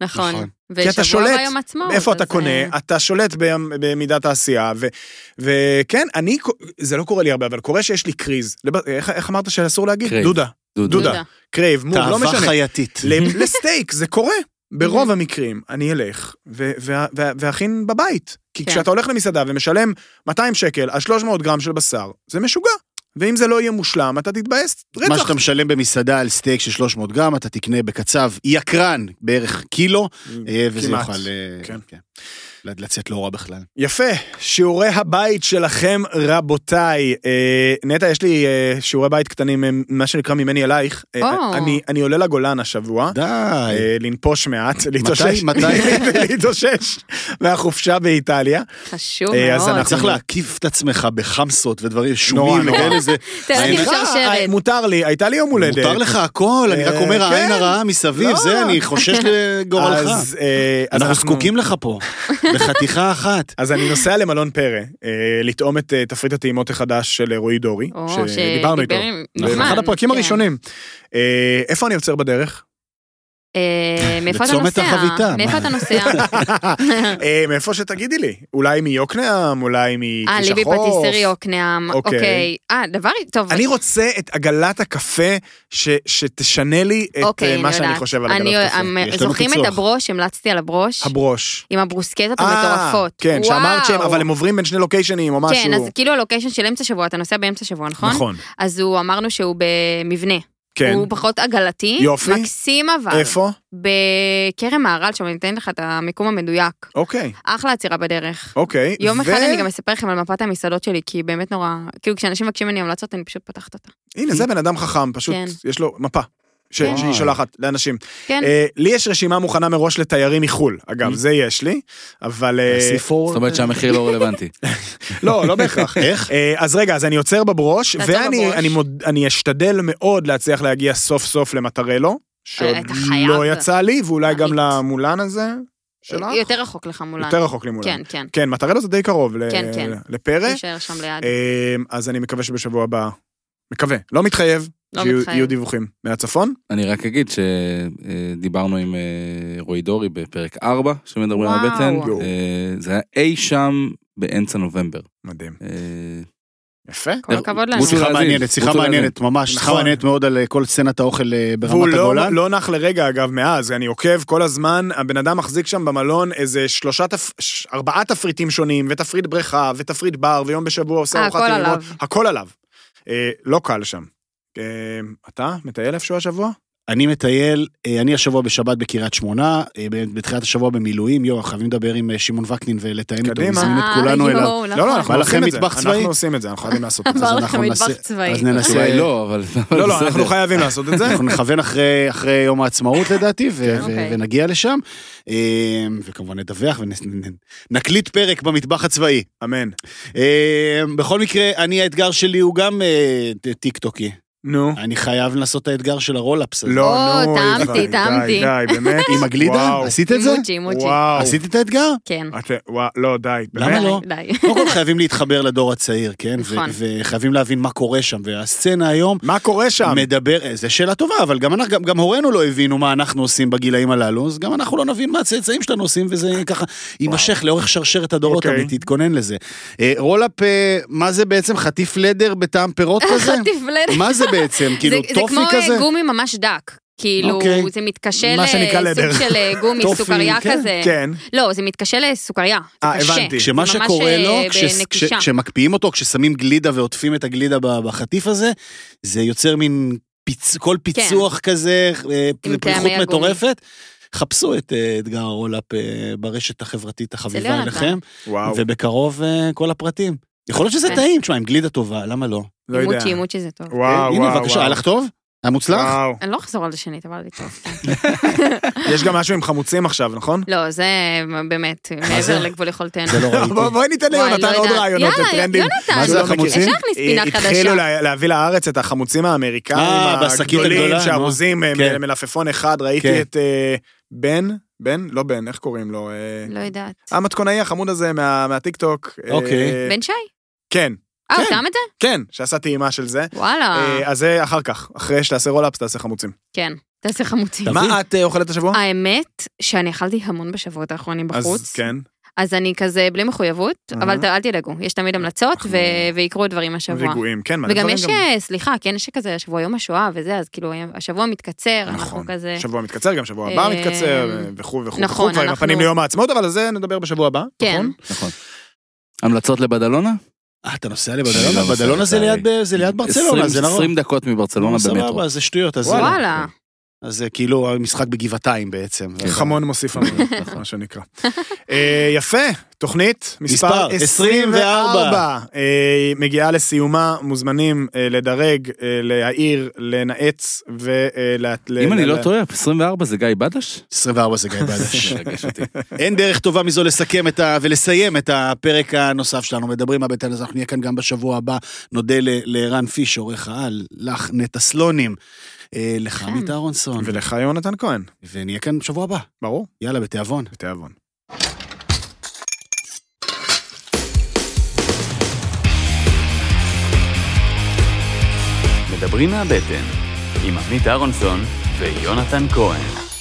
Speaker 4: נכון.
Speaker 1: נכון.
Speaker 2: כי אתה שולט.
Speaker 4: ביום עצמאות.
Speaker 2: איפה אתה
Speaker 4: אז, אה,
Speaker 2: קונה, אתה שולט במ- במידת העשייה, ו- וכן, אני, ק- זה לא קורה לי הרבה, אבל קורה שיש לי קריז. לב- איך- איך אמרת שאסור להגיד?
Speaker 5: קרייב.
Speaker 2: דודה,
Speaker 5: דודו.
Speaker 2: דודה. קרייב, מום, לא
Speaker 1: תאווה
Speaker 2: משנה.
Speaker 1: חייתית.
Speaker 2: ל- לסטייק, זה קורה. ברוב
Speaker 1: Mm-hmm.
Speaker 2: המקרים, אני אלך ו- ו- ו- ואכין בבית. כי
Speaker 4: כן.
Speaker 2: כשאתה הולך למסעדה ומשלם 200 שקל על 300 גרם של בשר, זה משוגע. ואם זה לא יהיה מושלם, אתה תתבאס
Speaker 1: מה
Speaker 2: רצח.
Speaker 1: שאתה משלם במסעדה על סטייק של 300 גרם, אתה תקנה בקצב יקרן בערך קילו, אה, וזה
Speaker 2: כמעט.
Speaker 1: יוכל אה,
Speaker 2: כן.
Speaker 1: כן, לצאת לא רע בכלל.
Speaker 2: יפה, שיעורי הבית שלכם, רבותיי. אה, נטע, יש לי אה, שיעורי בית קטנים, אה, מה שנקרא ממני אלייך. אה,
Speaker 4: או.
Speaker 2: אני- אני עולה לגולן השבוע.
Speaker 1: די.
Speaker 2: אה, לנפוש מעט, להתאושש,
Speaker 1: מתי?
Speaker 2: להתאושש מהחופשה באיטליה.
Speaker 4: חשוב
Speaker 2: אה, אז
Speaker 4: מאוד.
Speaker 2: אנחנו-
Speaker 1: צריך להקיף את עצמך בחמסות ודברים,
Speaker 2: נורא,
Speaker 1: שומים
Speaker 2: נורא.
Speaker 1: וכאלה, זה...
Speaker 4: תן לי
Speaker 2: אה,
Speaker 1: האמת-
Speaker 4: שרשרת.
Speaker 2: מותר לי, הייתה לי יום הולדת.
Speaker 1: מותר לך הכל, אני רק אומר
Speaker 2: אה,
Speaker 1: העין
Speaker 2: כן.
Speaker 1: הרעה מסביב,
Speaker 2: לא.
Speaker 1: זה, אני חושש לגורלך.
Speaker 2: אז, אה, אז
Speaker 1: אנחנו זקוקים לך פה, בחתיכה אחת.
Speaker 2: אז אני נוסע למלון פרא, אה, לטעום את אה, תפריט הטעימות החדש של אה, רועי דורי,
Speaker 4: או,
Speaker 2: שדיברנו איתו. נכון.
Speaker 4: שדיבר עם-
Speaker 2: זה
Speaker 4: מזמן,
Speaker 2: אחד הפרקים
Speaker 4: כן.
Speaker 2: הראשונים. אה, איפה אני עוצר בדרך?
Speaker 4: אה, מאיפה אתה
Speaker 1: בצומת
Speaker 4: נוסע?
Speaker 1: החביתה,
Speaker 4: מאיפה
Speaker 1: מה?
Speaker 4: אתה נוסע?
Speaker 2: אה, מאיפה שתגידי לי, אולי מיוקנעם, אולי
Speaker 4: אה,
Speaker 2: מכביש
Speaker 4: ליבי
Speaker 2: החוף.
Speaker 4: פטיסרי יוקנעם.
Speaker 2: אוקיי.
Speaker 4: אוקיי. אה, דבר טוב.
Speaker 2: אני רוצה את עגלת הקפה ש- שתשנה לי את
Speaker 4: אוקיי,
Speaker 2: אה,
Speaker 4: אני
Speaker 2: מה שאני
Speaker 4: יודעת.
Speaker 2: חושב על
Speaker 4: אני-
Speaker 2: עגלת קפה.
Speaker 4: אמ-
Speaker 1: יש לנו
Speaker 4: זוכרים
Speaker 1: פיצוח.
Speaker 4: את הברוש? המלצתי על הברוש.
Speaker 2: הברוש.
Speaker 4: עם הברוסקטות
Speaker 2: אה,
Speaker 4: המטורפות.
Speaker 2: כן, שאמרת שהם,
Speaker 4: וואו.
Speaker 2: אבל הם עוברים בין שני לוקיישנים או משהו.
Speaker 4: כן, אז כאילו הלוקיישן של אמצע שבוע, אתה נוסע באמצע שבוע, נכון?
Speaker 2: נכון.
Speaker 4: אז הוא אמרנו שהוא במבנה.
Speaker 2: כן.
Speaker 4: הוא פחות עגלתי.
Speaker 2: יופי.
Speaker 4: מקסים אבל.
Speaker 2: איפה?
Speaker 4: בכרם מהר"ל, שם אני אתן לך את המיקום המדויק.
Speaker 2: אוקיי,
Speaker 4: אחלה עצירה בדרך.
Speaker 2: אוקיי.
Speaker 4: יום
Speaker 2: ו-
Speaker 4: אחד אני גם אספר לכם על מפת המסעדות שלי, כי היא באמת נורא... כאילו, כשאנשים מבקשים ממני המלצות, אני פשוט פותחת אותה.
Speaker 2: הנה, זה בן אדם חכם, פשוט
Speaker 4: כן.
Speaker 2: יש לו מפה. ש-
Speaker 4: כן.
Speaker 2: שהיא שולחת לאנשים.
Speaker 4: כן.
Speaker 2: אה, לי יש רשימה מוכנה מראש לתיירים מחו"ל, אגב, זה יש לי, אבל... אה,
Speaker 5: זאת אומרת שהמחיר לא רלוונטי.
Speaker 2: לא, לא בהכרח.
Speaker 1: איך?
Speaker 2: אה, אז רגע, אז אני עוצר בברוש,
Speaker 4: תעצור
Speaker 2: ואני
Speaker 4: בברוש.
Speaker 2: אני מוד- אני אשתדל מאוד להצליח להגיע סוף סוף למטרלו, שעוד
Speaker 4: אה, אתה חייב.
Speaker 2: לא יצא לי, ואולי גם
Speaker 4: אמיץ.
Speaker 2: למולן הזה שלך.
Speaker 4: יותר רחוק לך מולן.
Speaker 2: יותר רחוק למולן.
Speaker 4: כן, כן.
Speaker 2: כן, מטרלו זה די קרוב ל-
Speaker 4: כן, כן.
Speaker 2: לפרא.
Speaker 4: תישאר שם ליד.
Speaker 2: אמ, אז אני מקווה שבשבוע הבא, מקווה, לא מתחייב,
Speaker 4: לא
Speaker 2: שיהיו
Speaker 4: מתחייב.
Speaker 2: יהיו דיווחים מהצפון.
Speaker 5: אני רק אגיד שדיברנו עם אה, רועי דורי בפרק 4, שמדברים על
Speaker 4: וואו.
Speaker 5: הבטן.
Speaker 2: יואו.
Speaker 5: אה, זה היה אי שם באמצע נובמבר.
Speaker 2: מדהים.
Speaker 5: אה,
Speaker 2: יפה.
Speaker 4: כל הכבוד לנו.
Speaker 5: רוצו
Speaker 1: אה, שיחה
Speaker 5: להאזין,
Speaker 1: מעניינת, שיחה
Speaker 5: רוצו
Speaker 1: מעניינת ממש, שיחה
Speaker 2: נכון.
Speaker 1: מעניינת מאוד על אה, כל סצנת האוכל אה,
Speaker 2: והוא
Speaker 1: ברמת
Speaker 2: לא,
Speaker 1: הגולן.
Speaker 2: לא נח לרגע, אגב, מאז, אני עוקב כל הזמן, הבן אדם מחזיק שם במלון איזה שלושה, תפ... ש- ארבעה תפריטים שונים, ותפריט בריכה, ותפריט בר, ויום בשבוע עושה
Speaker 4: אה,
Speaker 2: ארוחת
Speaker 4: הכל
Speaker 2: טעימות.
Speaker 4: עליו.
Speaker 2: הכל עליו. אה, לא קל שם. אה, אתה מטייל איפשהו השבוע?
Speaker 1: אני מטייל, אה, אני השבוע בשבת בקריית שמונה, אה, ב- בתחילת השבוע במילואים, יואו, חייבים לדבר עם אה, שמעון וקנין ולתאם איתו,
Speaker 2: קדימה.
Speaker 1: נזמין את
Speaker 4: אה,
Speaker 1: כולנו
Speaker 4: יואו,
Speaker 1: אליו.
Speaker 4: נכון.
Speaker 2: לא, לא, אנחנו
Speaker 1: בא
Speaker 2: עושים
Speaker 1: לכם
Speaker 2: את זה.
Speaker 1: מטבח צבאי?
Speaker 2: אנחנו עושים את זה, אנחנו חייבים לעשות את זה.
Speaker 4: בא
Speaker 1: אז
Speaker 4: לכם
Speaker 1: אנחנו
Speaker 4: מטבח
Speaker 1: נעשה-
Speaker 4: צבאי.
Speaker 1: אז
Speaker 5: התשובה
Speaker 1: ננסה,
Speaker 5: היא לא, אבל אבל
Speaker 2: לא, לא,
Speaker 5: בסדר.
Speaker 2: אנחנו חייבים לעשות את זה.
Speaker 1: אנחנו נכוון אחרי, אחרי יום העצמאות לדעתי,
Speaker 2: כן,
Speaker 1: ו- ו-
Speaker 4: אוקיי.
Speaker 1: ונגיע לשם, אה, וכמובן נדווח ונקליט פרק במטבח הצבאי.
Speaker 2: אמן.
Speaker 1: אה, בכל מקרה, אני, האתגר שלי הוא גם אה, ט- טיקטוקי.
Speaker 2: נו.
Speaker 1: אני חייב לעשות את האתגר של הרולאפס הזה.
Speaker 2: לא,
Speaker 4: או,
Speaker 2: נו,
Speaker 4: טעמתי,
Speaker 2: איבא, די,
Speaker 4: טעמתי.
Speaker 2: די, באמת.
Speaker 1: עם הגלידה?
Speaker 2: וואו,
Speaker 1: עשית את זה?
Speaker 4: אימוג'י, אימוג'י.
Speaker 2: וואו.
Speaker 1: עשית את האתגר?
Speaker 4: כן.
Speaker 2: את- וואו, לא, די,
Speaker 1: למה
Speaker 2: באמת.
Speaker 1: לא?
Speaker 4: די.
Speaker 2: אה,
Speaker 1: קודם כל חייבים להתחבר לדור הצעיר, כן? ו-
Speaker 4: נכון.
Speaker 1: וחייבים להבין מה קורה שם. והסצנה היום
Speaker 2: מה קורה שם?
Speaker 1: מדבר, אה, זו שאלה טובה, אבל גם אנחנו- גם- גם הורינו לא הבינו מה אנחנו עושים בגילאים הללו, אז גם אנחנו לא נבין מה הצאצאים שלנו עושים, וזה ככה יימשך לאורך שרשרת הדורות,
Speaker 2: אוקיי.
Speaker 1: אבל תתכונן לזה. אה, רולאפ, אה, מה זה בעצם? חטיף לדר בטעם פירות כזה?
Speaker 2: כן.
Speaker 4: תפלט.
Speaker 1: מה זה בעצם? כאילו
Speaker 4: לא זה-
Speaker 1: טופי
Speaker 4: זה
Speaker 1: כזה?
Speaker 4: כמו אה, גומי ממש דק. כאילו,
Speaker 1: אוקיי.
Speaker 4: זה מתקשה
Speaker 2: מה שנקרא לדר.
Speaker 4: לסוג של אה, גומי,
Speaker 1: טופי,
Speaker 4: סוכריה
Speaker 1: כן,
Speaker 4: כזה.
Speaker 2: כן.
Speaker 4: לא, זה מתקשה לסוכריה. זה
Speaker 2: אה,
Speaker 4: קשה.
Speaker 2: הבנתי.
Speaker 1: כשמה
Speaker 4: זה
Speaker 1: שקורה
Speaker 4: ממש,
Speaker 1: לו,
Speaker 4: אה,
Speaker 1: כש- כש-
Speaker 4: בנקישה.
Speaker 1: כשמקפיאים אותו, כששמים גלידה ועוטפים את הגלידה ב- בחטיף הזה, זה יוצר מין פיצ... כל פיצוח כזה, אה,
Speaker 4: כן. עם
Speaker 1: פריחות
Speaker 4: טעמי הגומי.
Speaker 1: מטורפת. חפשו את אה, אתגר הרולאפ אה, ברשת החברתית החביבה
Speaker 4: יונתן.
Speaker 1: אליכם,
Speaker 2: וואו.
Speaker 1: ובקרוב אה, כל הפרטים. יכול להיות שזה
Speaker 4: כן.
Speaker 1: טעים, תשמע, עם גלידה טובה, למה לא? אה,
Speaker 2: לא יודע.
Speaker 4: אימוצ'י, אימוצ'י זה טוב.
Speaker 2: וואו, אה, וואו,
Speaker 1: הנה, בבקשה,
Speaker 2: וואו. אה.
Speaker 1: היה לך טוב? היה מוצלח?
Speaker 2: וואו.
Speaker 4: אני לא אחזור על זה שנית, אבל זה טוב.
Speaker 2: יש גם משהו עם חמוצים עכשיו, נכון?
Speaker 4: לא, זה באמת, מעבר לגבול יכולתנו.
Speaker 1: אה,
Speaker 4: לא
Speaker 1: זה לא
Speaker 2: בוא-
Speaker 1: ראיתי.
Speaker 2: בואי ניתן ליונתן עוד רעיונות לטרנדים.
Speaker 4: יאללה, יונתן,
Speaker 1: מה זה
Speaker 2: שהוא לא
Speaker 1: החמוצים?
Speaker 4: אפשר להכניס פינה
Speaker 2: התחילו
Speaker 4: חדשה.
Speaker 2: לה- להביא לארץ את החמוצים האמריקאים
Speaker 1: אה, בשקית
Speaker 2: הגדולים,
Speaker 1: הגדולה,
Speaker 2: שארוזים אה,
Speaker 1: כן.
Speaker 2: מ- מלפפון אחד, ראיתי
Speaker 1: כן.
Speaker 2: את אה, בן, בן? לא בן, איך קוראים לו? אה,
Speaker 4: לא יודעת.
Speaker 2: המתכונאי החמוד הזה מה- מהטיקטוק. אה,
Speaker 1: אוקיי.
Speaker 4: בן שי?
Speaker 2: כן,
Speaker 4: אה, הוא
Speaker 2: כן.
Speaker 4: טעם את זה?
Speaker 2: כן, שעשה טעימה של זה.
Speaker 4: וואלה.
Speaker 2: אה, אז זה אחר כך, אחרי שתעשה רולאפס תעשה חמוצים.
Speaker 4: כן, תעשה חמוצים.
Speaker 1: טוב.
Speaker 2: מה את אה, אוכלת השבוע?
Speaker 4: האמת שאני אכלתי המון בשבועות האחרונים
Speaker 2: אז
Speaker 4: בחוץ,
Speaker 2: כן,
Speaker 4: אז אני כזה בלי מחויבות, אבל ת- אל תדאגו, יש תמיד המלצות ו- ויקרו דברים השבוע.
Speaker 2: ריגועים, כן, מלא
Speaker 4: וגם
Speaker 2: דברים
Speaker 4: יש, אה, סליחה, כן, יש כזה השבוע יום השואה וזה, אז כאילו היום- השבוע מתקצר, אנחנו
Speaker 2: נכון,
Speaker 4: כזה...
Speaker 2: שבוע מתקצר, גם שבוע הבא
Speaker 4: אה,
Speaker 2: מתקצר, אה, וכו' וכו'.
Speaker 4: נכון,
Speaker 2: וכו', כבר עם
Speaker 4: אנחנו-
Speaker 2: הפנים ליום העצמאות, אבל על זה נדבר בשבוע הבא,
Speaker 4: כן.
Speaker 2: נכון?
Speaker 5: נכון. המלצות לבדלונה?
Speaker 1: אה, אתה נוסע
Speaker 5: אני לא
Speaker 1: לבדלונה?
Speaker 5: נוסע,
Speaker 1: בדלונה זה
Speaker 5: לצערי.
Speaker 1: ליד ב- זה ליד ברצלונה,
Speaker 5: 20
Speaker 1: זה נכון. נראה.
Speaker 5: 20 דקות מברצלונה במטרו.
Speaker 1: סבבה, זה שטויות, אז זה-
Speaker 4: וואלה.
Speaker 1: אז זה כאילו המשחק בגבעתיים בעצם.
Speaker 2: חמון מוסיף המון, מה שנקרא. אה, יפה, תוכנית מספר
Speaker 1: מספר
Speaker 2: 24
Speaker 1: 24.
Speaker 2: אה, מגיעה לסיומה, מוזמנים אה, לדרג, אה, להעיר, לנאץ אה, ול...
Speaker 5: אם אני לא טועה, 24 זה גיא בדש?
Speaker 1: 24 זה גיא בדש.
Speaker 5: זה מרגש אותי.
Speaker 1: אין דרך טובה מזו לסכם את ה... ולסיים את הפרק הנוסף שלנו. מדברים מהבית אז אנחנו נהיה כאן גם בשבוע הבא. נודה ל- לערן פיש, עורך העל, לך, נטע סלונים, אה, לך,
Speaker 4: כן.
Speaker 1: עמית אהרונסון,
Speaker 2: ולך יונתן כהן,
Speaker 1: ונהיה כאן בשבוע הבא.
Speaker 2: ברור,
Speaker 1: יאללה, בתיאבון.
Speaker 2: בתיאבון.
Speaker 3: מדברים מהבטן, עם עמית אהרונסון ויונתן כהן.